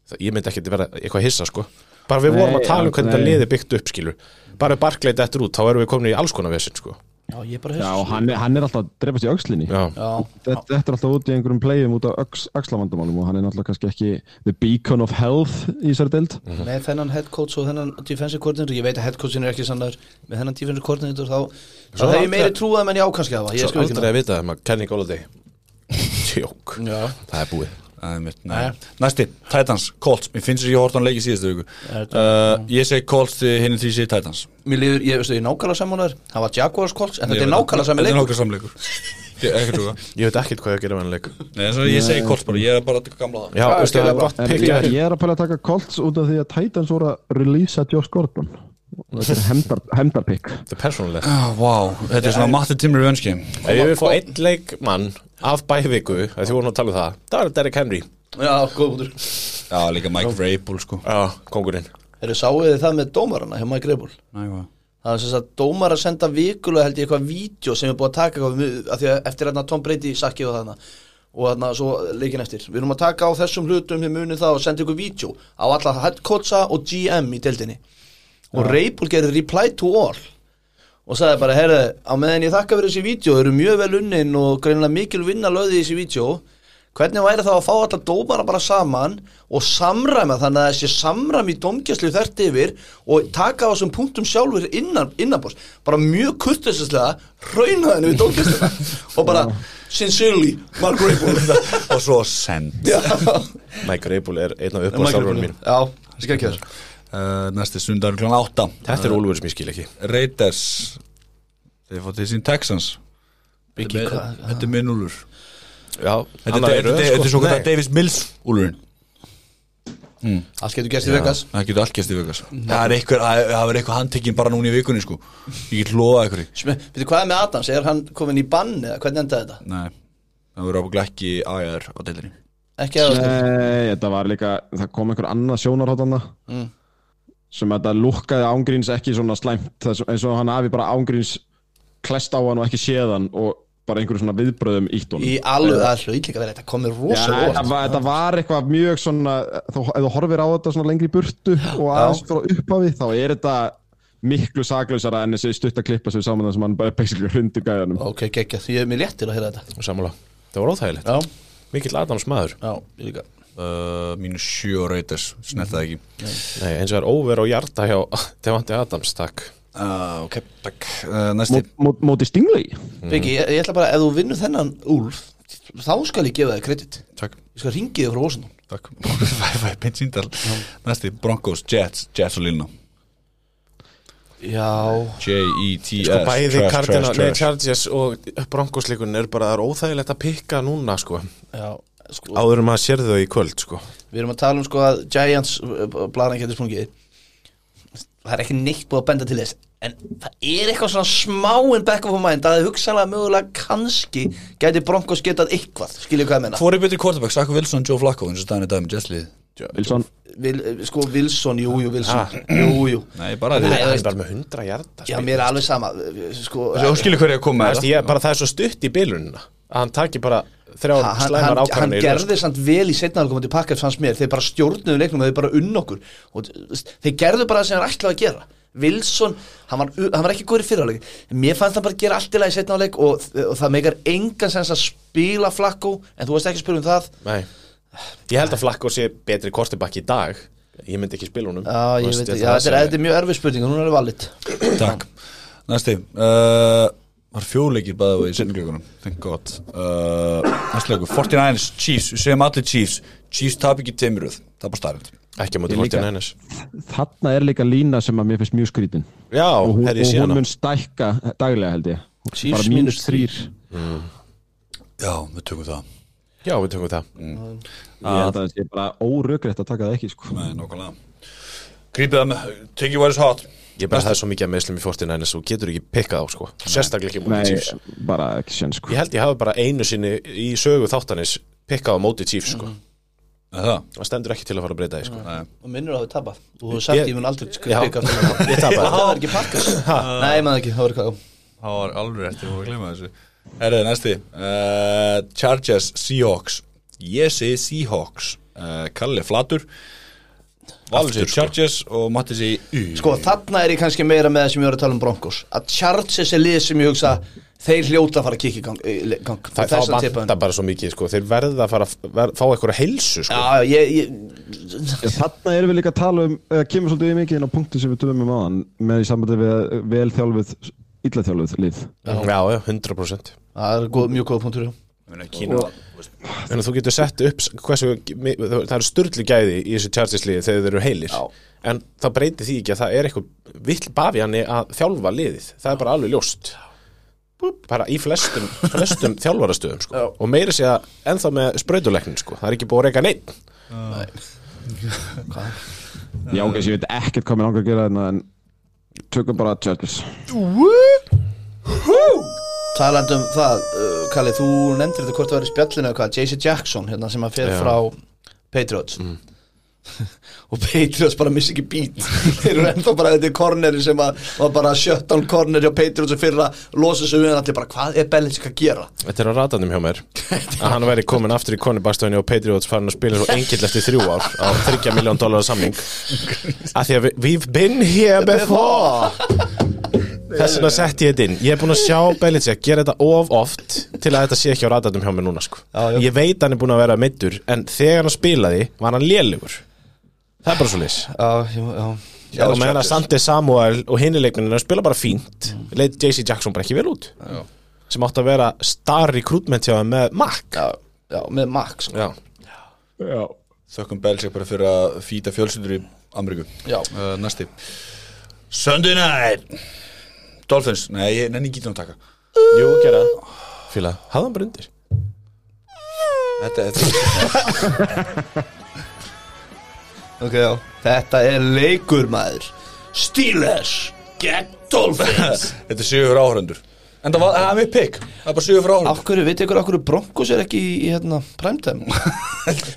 það- ég myndi ekki vera eitthvað hissa sko bara við Nei, vorum að tala um hvernig nei. þetta liði byggt upp skilur bara ef Barkley dettur út, þá erum við komin í alls konar vesinn sko Já, ég er bara Já, hissa. hann, hann er alltaf að drefast í aukslinni Já. Já, þetta, þetta er alltaf út í einhverjum playum út af öx, axlavandamálum og hann er náttúrulega kannski ekki the beacon of health í þessari deild Mhm. með þennan head coach og þennan defensive coordinator Ég veit að head coachin er ekki sannar Með þennan defensive coordinator þá Þá hef ég aldrei- meiri trúað menn ég ákanski að það Ég Svo skil aldrei ekki að vita það, maður kenni góla þig Tjók, Já. það er búið Það er mitt, nei. Næsti, Titans, Colts Mér finnst þess að ég hortan leikið síðustu viku uh, Ég segi Colts, hinn því segi Titans Mér líður, ég veist, ég er nákvæmlega saman þar Það var Jaguars Colts, en Ég þetta er veit- nákvæmlega saman Þetta er leik nákvæmlega samleikur Ég- Ekki trúka Ég veit ekkert hvað ég að gera með hann leik Nei, þess að ég segi Colts bara, ég er bara að gamla það Já, veistu, það er gott en pikk ég, hjá þér. ég er að pæla að taka Colts út af því að Titans voru að releasa Josh Gordon og þetta er hemdar, hemdarpick Þetta er persónulegt Ah, Vá, þetta er svona Matti Timri vönski Ef ég vil fá einn leik mann af bæviku að því vorum að tala um það, það er Derek Henry Já, góð bútur Já, líka Mike Vrabel sko Já, kongurinn Þeir sáuð þið það með dómarana, hef maður greifból Nei, hvað Það er sem sagt dómar að senda vikulega held ég eitthvað vídeo sem er búið að taka eitthvað mjög- af því að eftir hérna Tom Brady sakki og þarna og þarna svo leikin eftir við erum að taka á þessum hlutum við munið það og senda ykkur vídeo á alla headcoacha og GM í deildinni og ja. Reipul gerir reply to all og sagði bara, herru, á meðan ég þakka fyrir þessi vídeo, eru mjög vel unnin og greinilega mikil vinna löði í þessi vídeo hvernig væri þá að fá alla dómara bara saman og samræma þannig að þessi samræmi dómgjæslu þert yfir og taka á þessum punktum sjálfur innan, innanbors, bara mjög kurtisislega raunaðinu við dómgjæsluna og bara, sincerely Mark Rayburn Og svo send Já, Mike Rabel er einn af uppáð Mark sjálfurinn Rayburn mín Já, skekkja þess uh, Næsti sundar kl. 8 Þetta er Úlfur sem ég skil ekki Raiders Þeir fótt til sín Texans Biggie, hvað- Þetta er minn úlur Já, Þetta er, sko. er, sko. er, er svo hvað Davis Mills úlurinn Allt getur gerst í Vegas Það getur allt gæst í vikas Það er eitthvað, það er eitthvað handtekinn bara núna í vikunni sko Ég get loðað eitthvað í. Veitir hvað er með Adams, er hann komin í bann eða hvernig endaði þetta? Nei, það verður ábúinlega ekki æðar á deildinni Ekki að Nei, þetta var líka, það kom einhver annað sjónarhóttanna Mm. sem þetta lukkaði ángríns ekki svona slæmt það er svo- eins og hann hafi bara ángríns klest á hann og ekki séð hann og bara einhverjum svona viðbröðum ítt honum Í alveg, það hljóð líka verið, þetta komið Já, rosa þetta var- þetta var eitthvað mjög svona þú, ef þú horfir á þetta svona lengri í burtu og aðeins frá upphafi þá er þetta miklu saklausara en þessi stutt að klippa sem við saman það sem hann bara basically hrundi gæðanum Ok, geggja, því ég er mér léttir að heyra þetta Sammála, það var óþægilegt Já, Mikill Adams maður já, ég líka uh, Mínu sjö og Raiders, snettaði ekki Nei, eins og er óver og hjarta hjá Devante Adams, takk uh, Ok, takk uh, Næsti Mó- Móti Stingley Biggi, ég, ég ætla bara, ef þú vinnur þennan úlf Þá skal ég gefa þér kredit Takk, Ég skal ringi þig frá Ósendum takk Það er beint síndal Næsti, Broncos, Jets, Jets og Lilna Já, J-E-T-S Sko bæði E trash, Cardinal, trash, nei trash. Chargers og Broncos-leikun er bara, það er óþægilegt að pikka núna sko já, sko áður en maður sér þau í kvöld sko Við erum að tala um sko að Giants blaðan getur sprungið Það er ekki neitt búið að benda til þess En það er eitthvað svona smáin back of mind að hugsanlega mögulega kannski gæti Broncos getað eitthvað, skilju hvað ég menna Hvor er betri quarterback, Saku Wilson, Joe Flacco eins og staðan í dag með Jets liðið Wilson Vil, Sko Wilson, jú, jú, Wilson Jú, jú Nei, bara Nei, því þú hann er veist- bara með 100 hjarta Já, mér er alveg sama sko, Þú skilur hverju að Það koma með veist, það ég, bara það er svo stutt í bilunina að hann taki bara þrjár Ha- hann, slæmar hann, hann ákvarðanir í röð. gerði samt vel í setna komandi pakkert fannst mér, þeir bara stjórnuðu leiknum þeir bara unn okkur og þú veist, þeir gerðu bara það sem hann ætlaði að gera Wilson, hann var, hann var ekki góður í fyrirháleik mér fannst hann bara gera allt í lagi setna áleik og, og það meikar engan sens að spila flakku, en þú veist ekki að spila um það Nei. ég held að Flakko sé betri kortibakki í dag ég myndi ekki spila honum Já, ég Þú veist, veit, ég já, það þetta er, segi. þetta er mjög erfið spurning og hún er valit Takk Næsti uh, Var fjóleikir bæðið í sinningleikunum Thank god uh, Næsti leikur 49ers Chiefs Við segjum allir Chiefs Chiefs tap ekki teimuruð Það er bara starrend ekki á Ég móti líka. Fortin Hennes þarna er líka lína sem að mér finnst mjög skrítin já, og hún, herri og síðan hún mun... mun stækka daglega held ég Chiefs bara mínus mínus þrýr Já, við tökum það Já, við tökum það ég held að það er bara órökrétt að taka það ekki sko. Nei, nokkulega Grípið það með, take you what is hot Ég bara það er svo mikið að meðslum í fortina en þú getur ekki pikkað á sko Sérstaklega ekki mútið Chiefs Nei, bara ekki sén sko. Ég held ég hafi bara einu sinni í sögu þáttanis pikkað á móti Chiefs sko Mhm. Er Það, Það stendur ekki til að fara að breyta því sko og minnur að þau tapa og þú hefur sagt Ég- ég mun aldrei Já, skrifa eitthvað ég tapaði. það var ekki parkas nei, maður ekki, það var eitthvað það var alveg eftir að glemma þessu Herðið, næsti uh, Chargers Seahawks Ég segi Seahawks uh, Kalli flatur Valur Aftur, segi Chargers og Matti segi U sko, þarna er ég kannski meira með það sem ég var að tala um Broncos að Chargers er lið sem ég hugsa þeir hljóta að fara að kikki gang, eh, gang Það, það þess að tippa vantar bara svo mikið sko Þeir verða að fara að ver, fá eitthvað heilsu sko já, já, ég, ég Ég, Þarna erum við líka að tala um eða kemur svolítið í mikið inn á punktin sem við töfum um aðan með í sambandi við að vel þjálfuð illa þjálfuð lið Já, já, 100% það er góð, mjög góð punktur já. Kína En þú getur sett upp hversu, mi- það eru styrlu gæði í þessu tjartisliði þegar þeir eru heilir Já. en það breyti því ekki að það er eitthvað vill bafjani að þjálfa liðið það er bara alveg ljóst bara í flestum, flestum þjálfarastöðum sko. Já. og meira sé að ennþá með sprautuleiknin sko. það er ekki búið að reyka neitt Já, ok, ég veit ekkert hvað mér langar að gera þarna en tökum bara Chargers Talandi um það, uh, Kalli, þú nefndir þetta hvort það var í spjallinu eða hvað, J.C. Jackson hérna sem að fer Já. frá Patriots og Patriots bara missi ekki bít þeir eru ennþá bara þetta korneri sem að var bara shutdown corneri á Patriots og fyrir að losa sig við hann allir bara hvað er Belichick að gera Þetta er á ratanum hjá mér að hann væri komin aftur í konubastöðinni og Patriots farin að spila svo engill eftir þrjú ár á 30 miljón dólar samning að því að við, we've been here before þess vegna sett ég þetta inn ég er búin að sjá Belichick gera þetta of oft til að þetta sé ekki á ratanum hjá mér núna sko. Já, já. ég veit hann er búin að vera meittur en þegar hann spilaði var hann lélugur það er bara svo leys Já, já, já, já og meðan að Sandi Samuel og hinni leikminni spila bara fínt Mm. leit JC Jackson bara ekki vel út Já. sem átti að vera star recruitment hjá þeim með Mac já, já, með Max sko. Já. Já Þökkum Belichick bara fyrir að fýta fjölskyldur í Ameríku Já. uh, Næsti Sunday night Dolphins, nei, ég nenni ekki að taka Jú, gera Fíla, hafði hann bara undir Þetta, þetta, Ok, já Þetta er leikur maður Steelers gegn Dolphins þetta er sjöfur áhörendur En það var, það er mér pikk Það er bara sjöfur Af áhörendur hverju, veit ykkur, af hverju Broncos er ekki í, í hérna, primetime?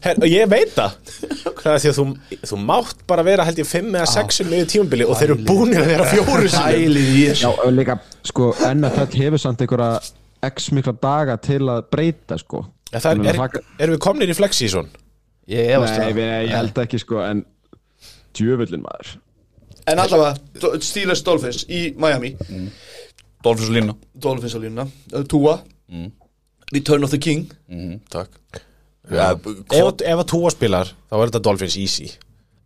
Her, Ég veit það Það er því að þú, þú mátt bara vera held ég 5 eða 6 um yfir tímabili og þeir eru búinir að vera fjóru sinni Ælið í þessu Já, og líka, sko, NFL hefur samt einhverja x mikla daga til að breyta, sko En það Ég er, meina, er, það- erum við komnir í flexi svon Ég efast um Nei, það við, ég held ekki, sko, en djöfullin maður En allavega, Do- Steelers Dolphins í Miami Dolphins og lína Dolphins á línuna, uh, Tua Return of the King mm, Takk Ef, ef að túa spilar þá er þetta Dolphins easy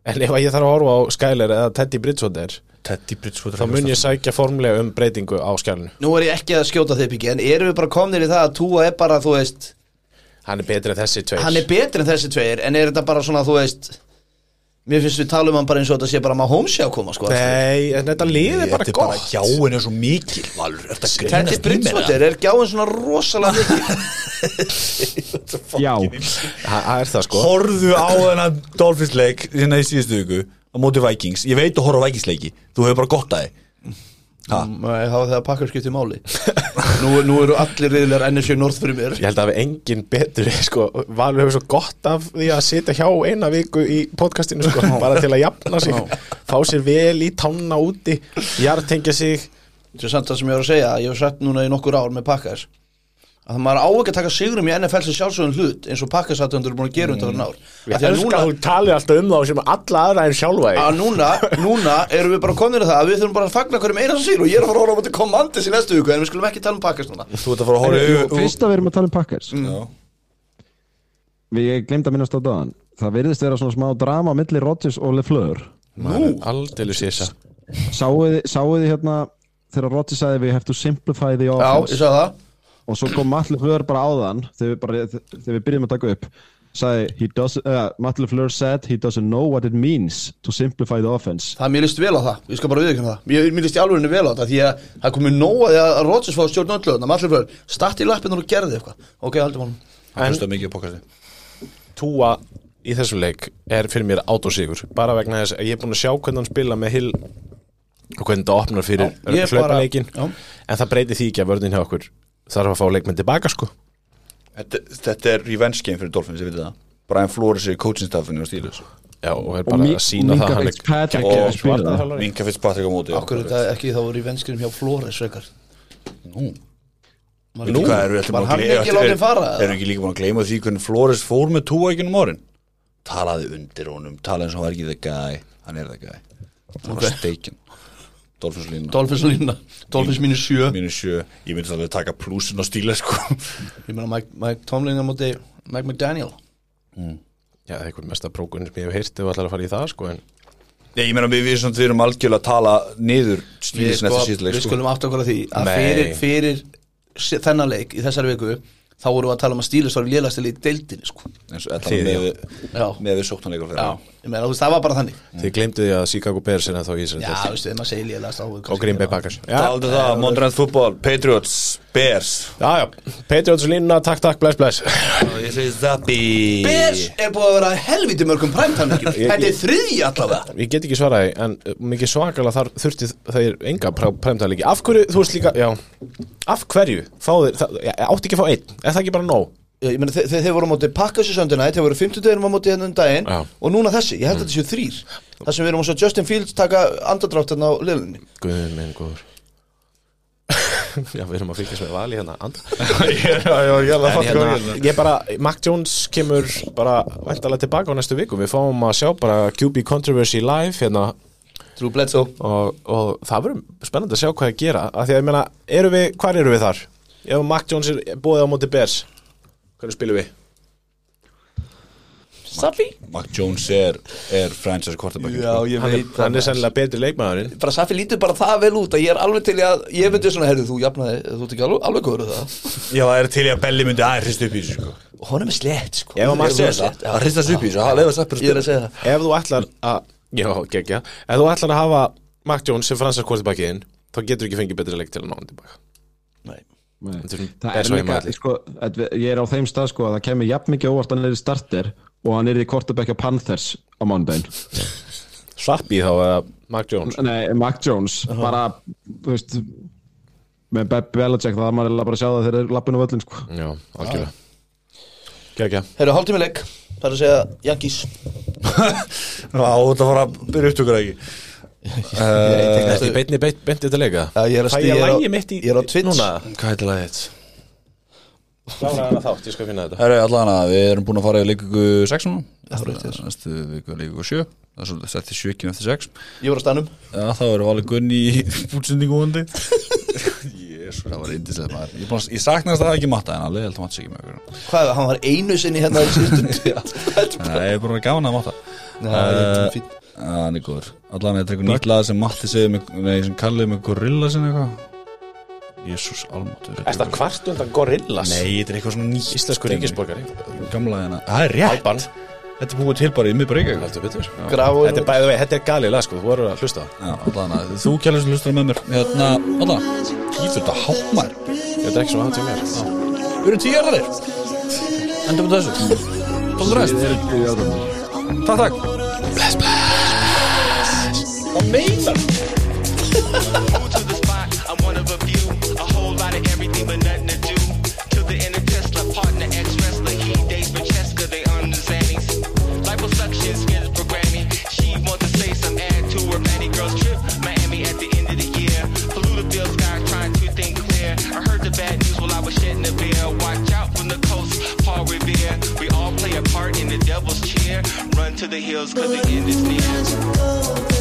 En ef að ég þarf að horfa á Skyler eða Teddy Bridgewater Teddy Bridgewater þá mun ég sækja formlega um breytingu á skjálinu Nú er ég ekki að skjóta þeim ekki En erum við bara komnir í það að Tua er bara, þú veist Hann er betri en þessi tveir Hann er betri en þessi tveir En er þetta bara svona, þú veist Mér finnst við tala um hann bara eins og þetta sé bara Mahomes sé að koma, sko Nei, en þetta lið er bara Þetta er bara gott hjáin er svo mikil Valur, er þetta grínast Teddy Bridgewater er gjáin svona rosalega mikið Já, Ha- Það er það sko Horðu á þennan Dolphins leik hérna í síðustu viku á móti Vikings Ég veit að horfa á Vikings leiki, þú hefur bara gott að þið Nei, það var þegar pakkar skipti máli nú, nú eru allir riðilegar NFC North fyrir mér Ég held að við enginn betur sko, Valur hefur svo gott af því að sitja hjá eina viku í podcastinu sko, bara til að jafna sig fá sér vel í tanna úti jartengja sig sem samt það sem ég var að segja, ég hef sagt núna í nokkur ár með Packers að maður á ekki að taka sigurum í NFL sem sjálfsögum hlut eins og Packers aðtöndur eru búin að gera undan fyrir ár Af Ég því að elska núna, að þú talir alltaf um þá sem alla aðra en sjálfa þig. að núna, núna erum við bara komin í það að við þurfum bara að fagna hverjum einan sigur og ég er að fara að horfa á þetta komandis í næstu viku en við skulum ekki tala um Packers núna Þú ert að fara að Jú, horfa fyrst að við erum að tala um Packers Já. Við ég glemd að minnast á dagann Það virðist vera svona smá drama milli Rodgers og LeFleur Maður er Aldeilis ég þess Sáuði, sáuði hérna þegar Rodgers sagði við have to simplify the Já, ég offense sagði það og svo kom allir hlöður bara á þann þegar við, bara, þegar við byrjum að taka upp sagði, he does, uh, Matt LeFleur said he doesn't know what it means to simplify the offense Það mér líst vel á það, ég skal bara viðkynna það Mér, mér líst í alvegurinu vel á það Því að það komið nóga því að Rodgers fá að stjórn öllu Þannig að allir fyrir, start í lappinu og gerði eitthvað Ok, haldum honum Hann En- hlusta mikið á pokasti Túa í þessum leik er fyrir mér autosígur bara vegna þess að ég er búin að sjá hvernig hann spila með Hill og hvernig þetta opnar fyrir Já, ég bara- hlaupaleikin já. en það breytir því ekki að vörðin hjá okkur þarf að fá leikmenn tilbaka sko þetta, þetta er revenge game fyrir Dolphins, ég veit það Brian Flores er í coaching staffinu og stílus já, og er bara Mi- að sína það Minka hann er Fitzpatrick er geggjaður að spila. varnarþjálfari. Minka Fitzpatrick á móti já. Akkur þetta ekki þá voru í venskriðum hjá Flores frekar Nú, Var Nú, ekki- hvað eru Var hann ekki látið fara? Erum ekki líka búin að gleyma því hvernig Flores fór með túa ekki um árin Talaði undir honum, talaði eins og hann var ekki the guy Hann er the guy Það var okay. steikin Dolphins lína, Dolphins lína, Dolphins mínus sjö mínu sjö Ég myndi það að taka plusin á stíla sko Ég meina Mike, Mike Tomlin er á móti Mike McDaniel já, það er einhver mesta prókun sem ég hef heyrt ef allar að fara í það sko en Nei, ég meina við, við, svona, við erum algjörlega að tala niður Við, stílis sko, næsta síðleik við sko. skulum átt okkur að því að Nei. fyrir, fyrir se- þennan leik í þessari viku þá vorum við að tala um að stílist var lélastil í deildinni sko. En svo allan Þið, með, Já. með við sóknarleikar Já, ég meina þú veist það var bara þannig þið glemdu því að Chicago Bears er ennþá í þessum Já, deild. þú veist, ef maður segir lélastil og Green Bay Packers já, Taldi það, Mondrand fútbol, Patriots, Bears já, já, Patriots línuna, takk, takk, bless, bless Ég segi Zappi Bers er búið að vera helviti mörgum præmtanningjum Ég- Þetta er þriðji allavega ég get ekki svaraði, en uh, mikið svakalega þar þurfti þeir enga præmtæðleiki af hverju, þú veist líka, já af hverju, fá þeir, það, já, átti ekki að fá einn er það ekki bara nóg, Ég meina, þeir, þeir voru á móti Packers í söndunætt Þeir voru 50 daginn á móti hennan daginn Já. Og núna þessi, ég held að þetta séu þrýr Það sem við erum að sjá Justin Fields taka andadrátt hérna á liðunni guðum minn góður já, við erum að fylgjast með vali hérna andra, Já, já, já, það en fattu hvað ég hérna, ég bara Mac Jones kemur bara væntalega tilbaka á næstu viku, við fáum að sjá bara QB Controversy live hérna Drew Bledsoe og, og það verður spennandi að sjá hvað að gera af því að ég meina, eru við, hvar eru við þar ef Mac Jones er búið á móti Bears hvernig spilum við? Safi Mac Jones er, er franchise quarterback Já, ég hann, veit er- hann er sennilega betri leikmaðurinn Bara Safi lítur bara það vel út að ég er alveg til í að Ég myndi svona, herrðu, þú jafnaði, þú ert ekki alveg, alveg góður á það Já, það er til í að Belli myndi aðeins hrista upp í þessu sko. Og hann er með slett, sko Ef að maður Hann er segir með Það slétt, já. að hrista upp í þessu, það lefa sæppur Ég er að segja það ef þú ætlar að já, geggja, ef þú ætlar að hafa Mac Jones sem fransar kvortibakkiðin þá getur ekki fengið betri leik til að ná hann tilbaka Nei. Þetta það er svo líka, heimavelli. sko, að við- ég er á þeim stað sko, að það kemur jafn mikið óvart að hann er í starter og hann er í quarterback á Panthers á mánudaginn Svappi þá eða Mac Jones Nei, Mac Jones, bara þú veist með Beb Belichick, það er maður eiginlega bara að sjá það þegar þeir lappinu völlin, sko já, algjörlega geggja, Herru, hálftími leik Það er að segja Yankees Já, þetta var að byrja upptökur ekki þetta er beinni beint, beint þetta leika Já, ég er Eh, að Fæ stíga- ég ég er á- lægi mitt í ég er á Twitch. núna Hvað heitir lagið þetta? klára hana þátt, ég skal finna þetta Það eru allan að við erum búin að fara í leikungu 6 Það er rétt, já. Næstu viku er leikungu 7 Það er svolítið setti 7 ekki eftir 6 Ég var á stanum Já, þá eru valið Gunni í útsendingu hundi Jésu, það var yndislega maður Ég, búin að- ég saknast það ekki matta en alveg held að matta sig ekki með okkur Hvað, hann var einu sinni hérna í síðustu Þetta Nei, ég er bara gána að matta Eh, er fínt. Þannig góður Allan þetta er eitthvað nýtt lag sem Matti segir með, Nei, sem kallið með gorilla sinni eitthvað Jésús almáttur Er þetta kvart undan Gorillas? Nei, þetta er eitthvað svona nýtt Íslensku ríkisborgari Gamla hérna Það er rétt Alban Þetta er búið til bara í miðbæri eitthvað Heldur betur Grafur Þetta er bæðið vei, þetta er galið sko, þú voru að hlusta á það. Já, allan að þú kjælur sem hlustar með mér Hérna, allan Gýtur þetta hátmær Þetta er ekki svo hann til mér Við erum tíu erðarir Endum við þessu Tóttur ræst Takk, takk Move to the spot. I'm one of a few. A whole lot of everything, but nothing to do. To the inner Tesla, partner, ex wrestler. He dates Francesca, they on the Xannies. Liposuction, skins for Grammy. She wants to say some ad to her Manny Girls trip. Miami at the end of the year. Flew the Bill Sky, trying to think clear. I heard the bad news while I was shedding a beer. Watch out from the coast, Paul Revere. We all play a part in the devil's cheer. Run to the hills, cause the end is near. Let you go,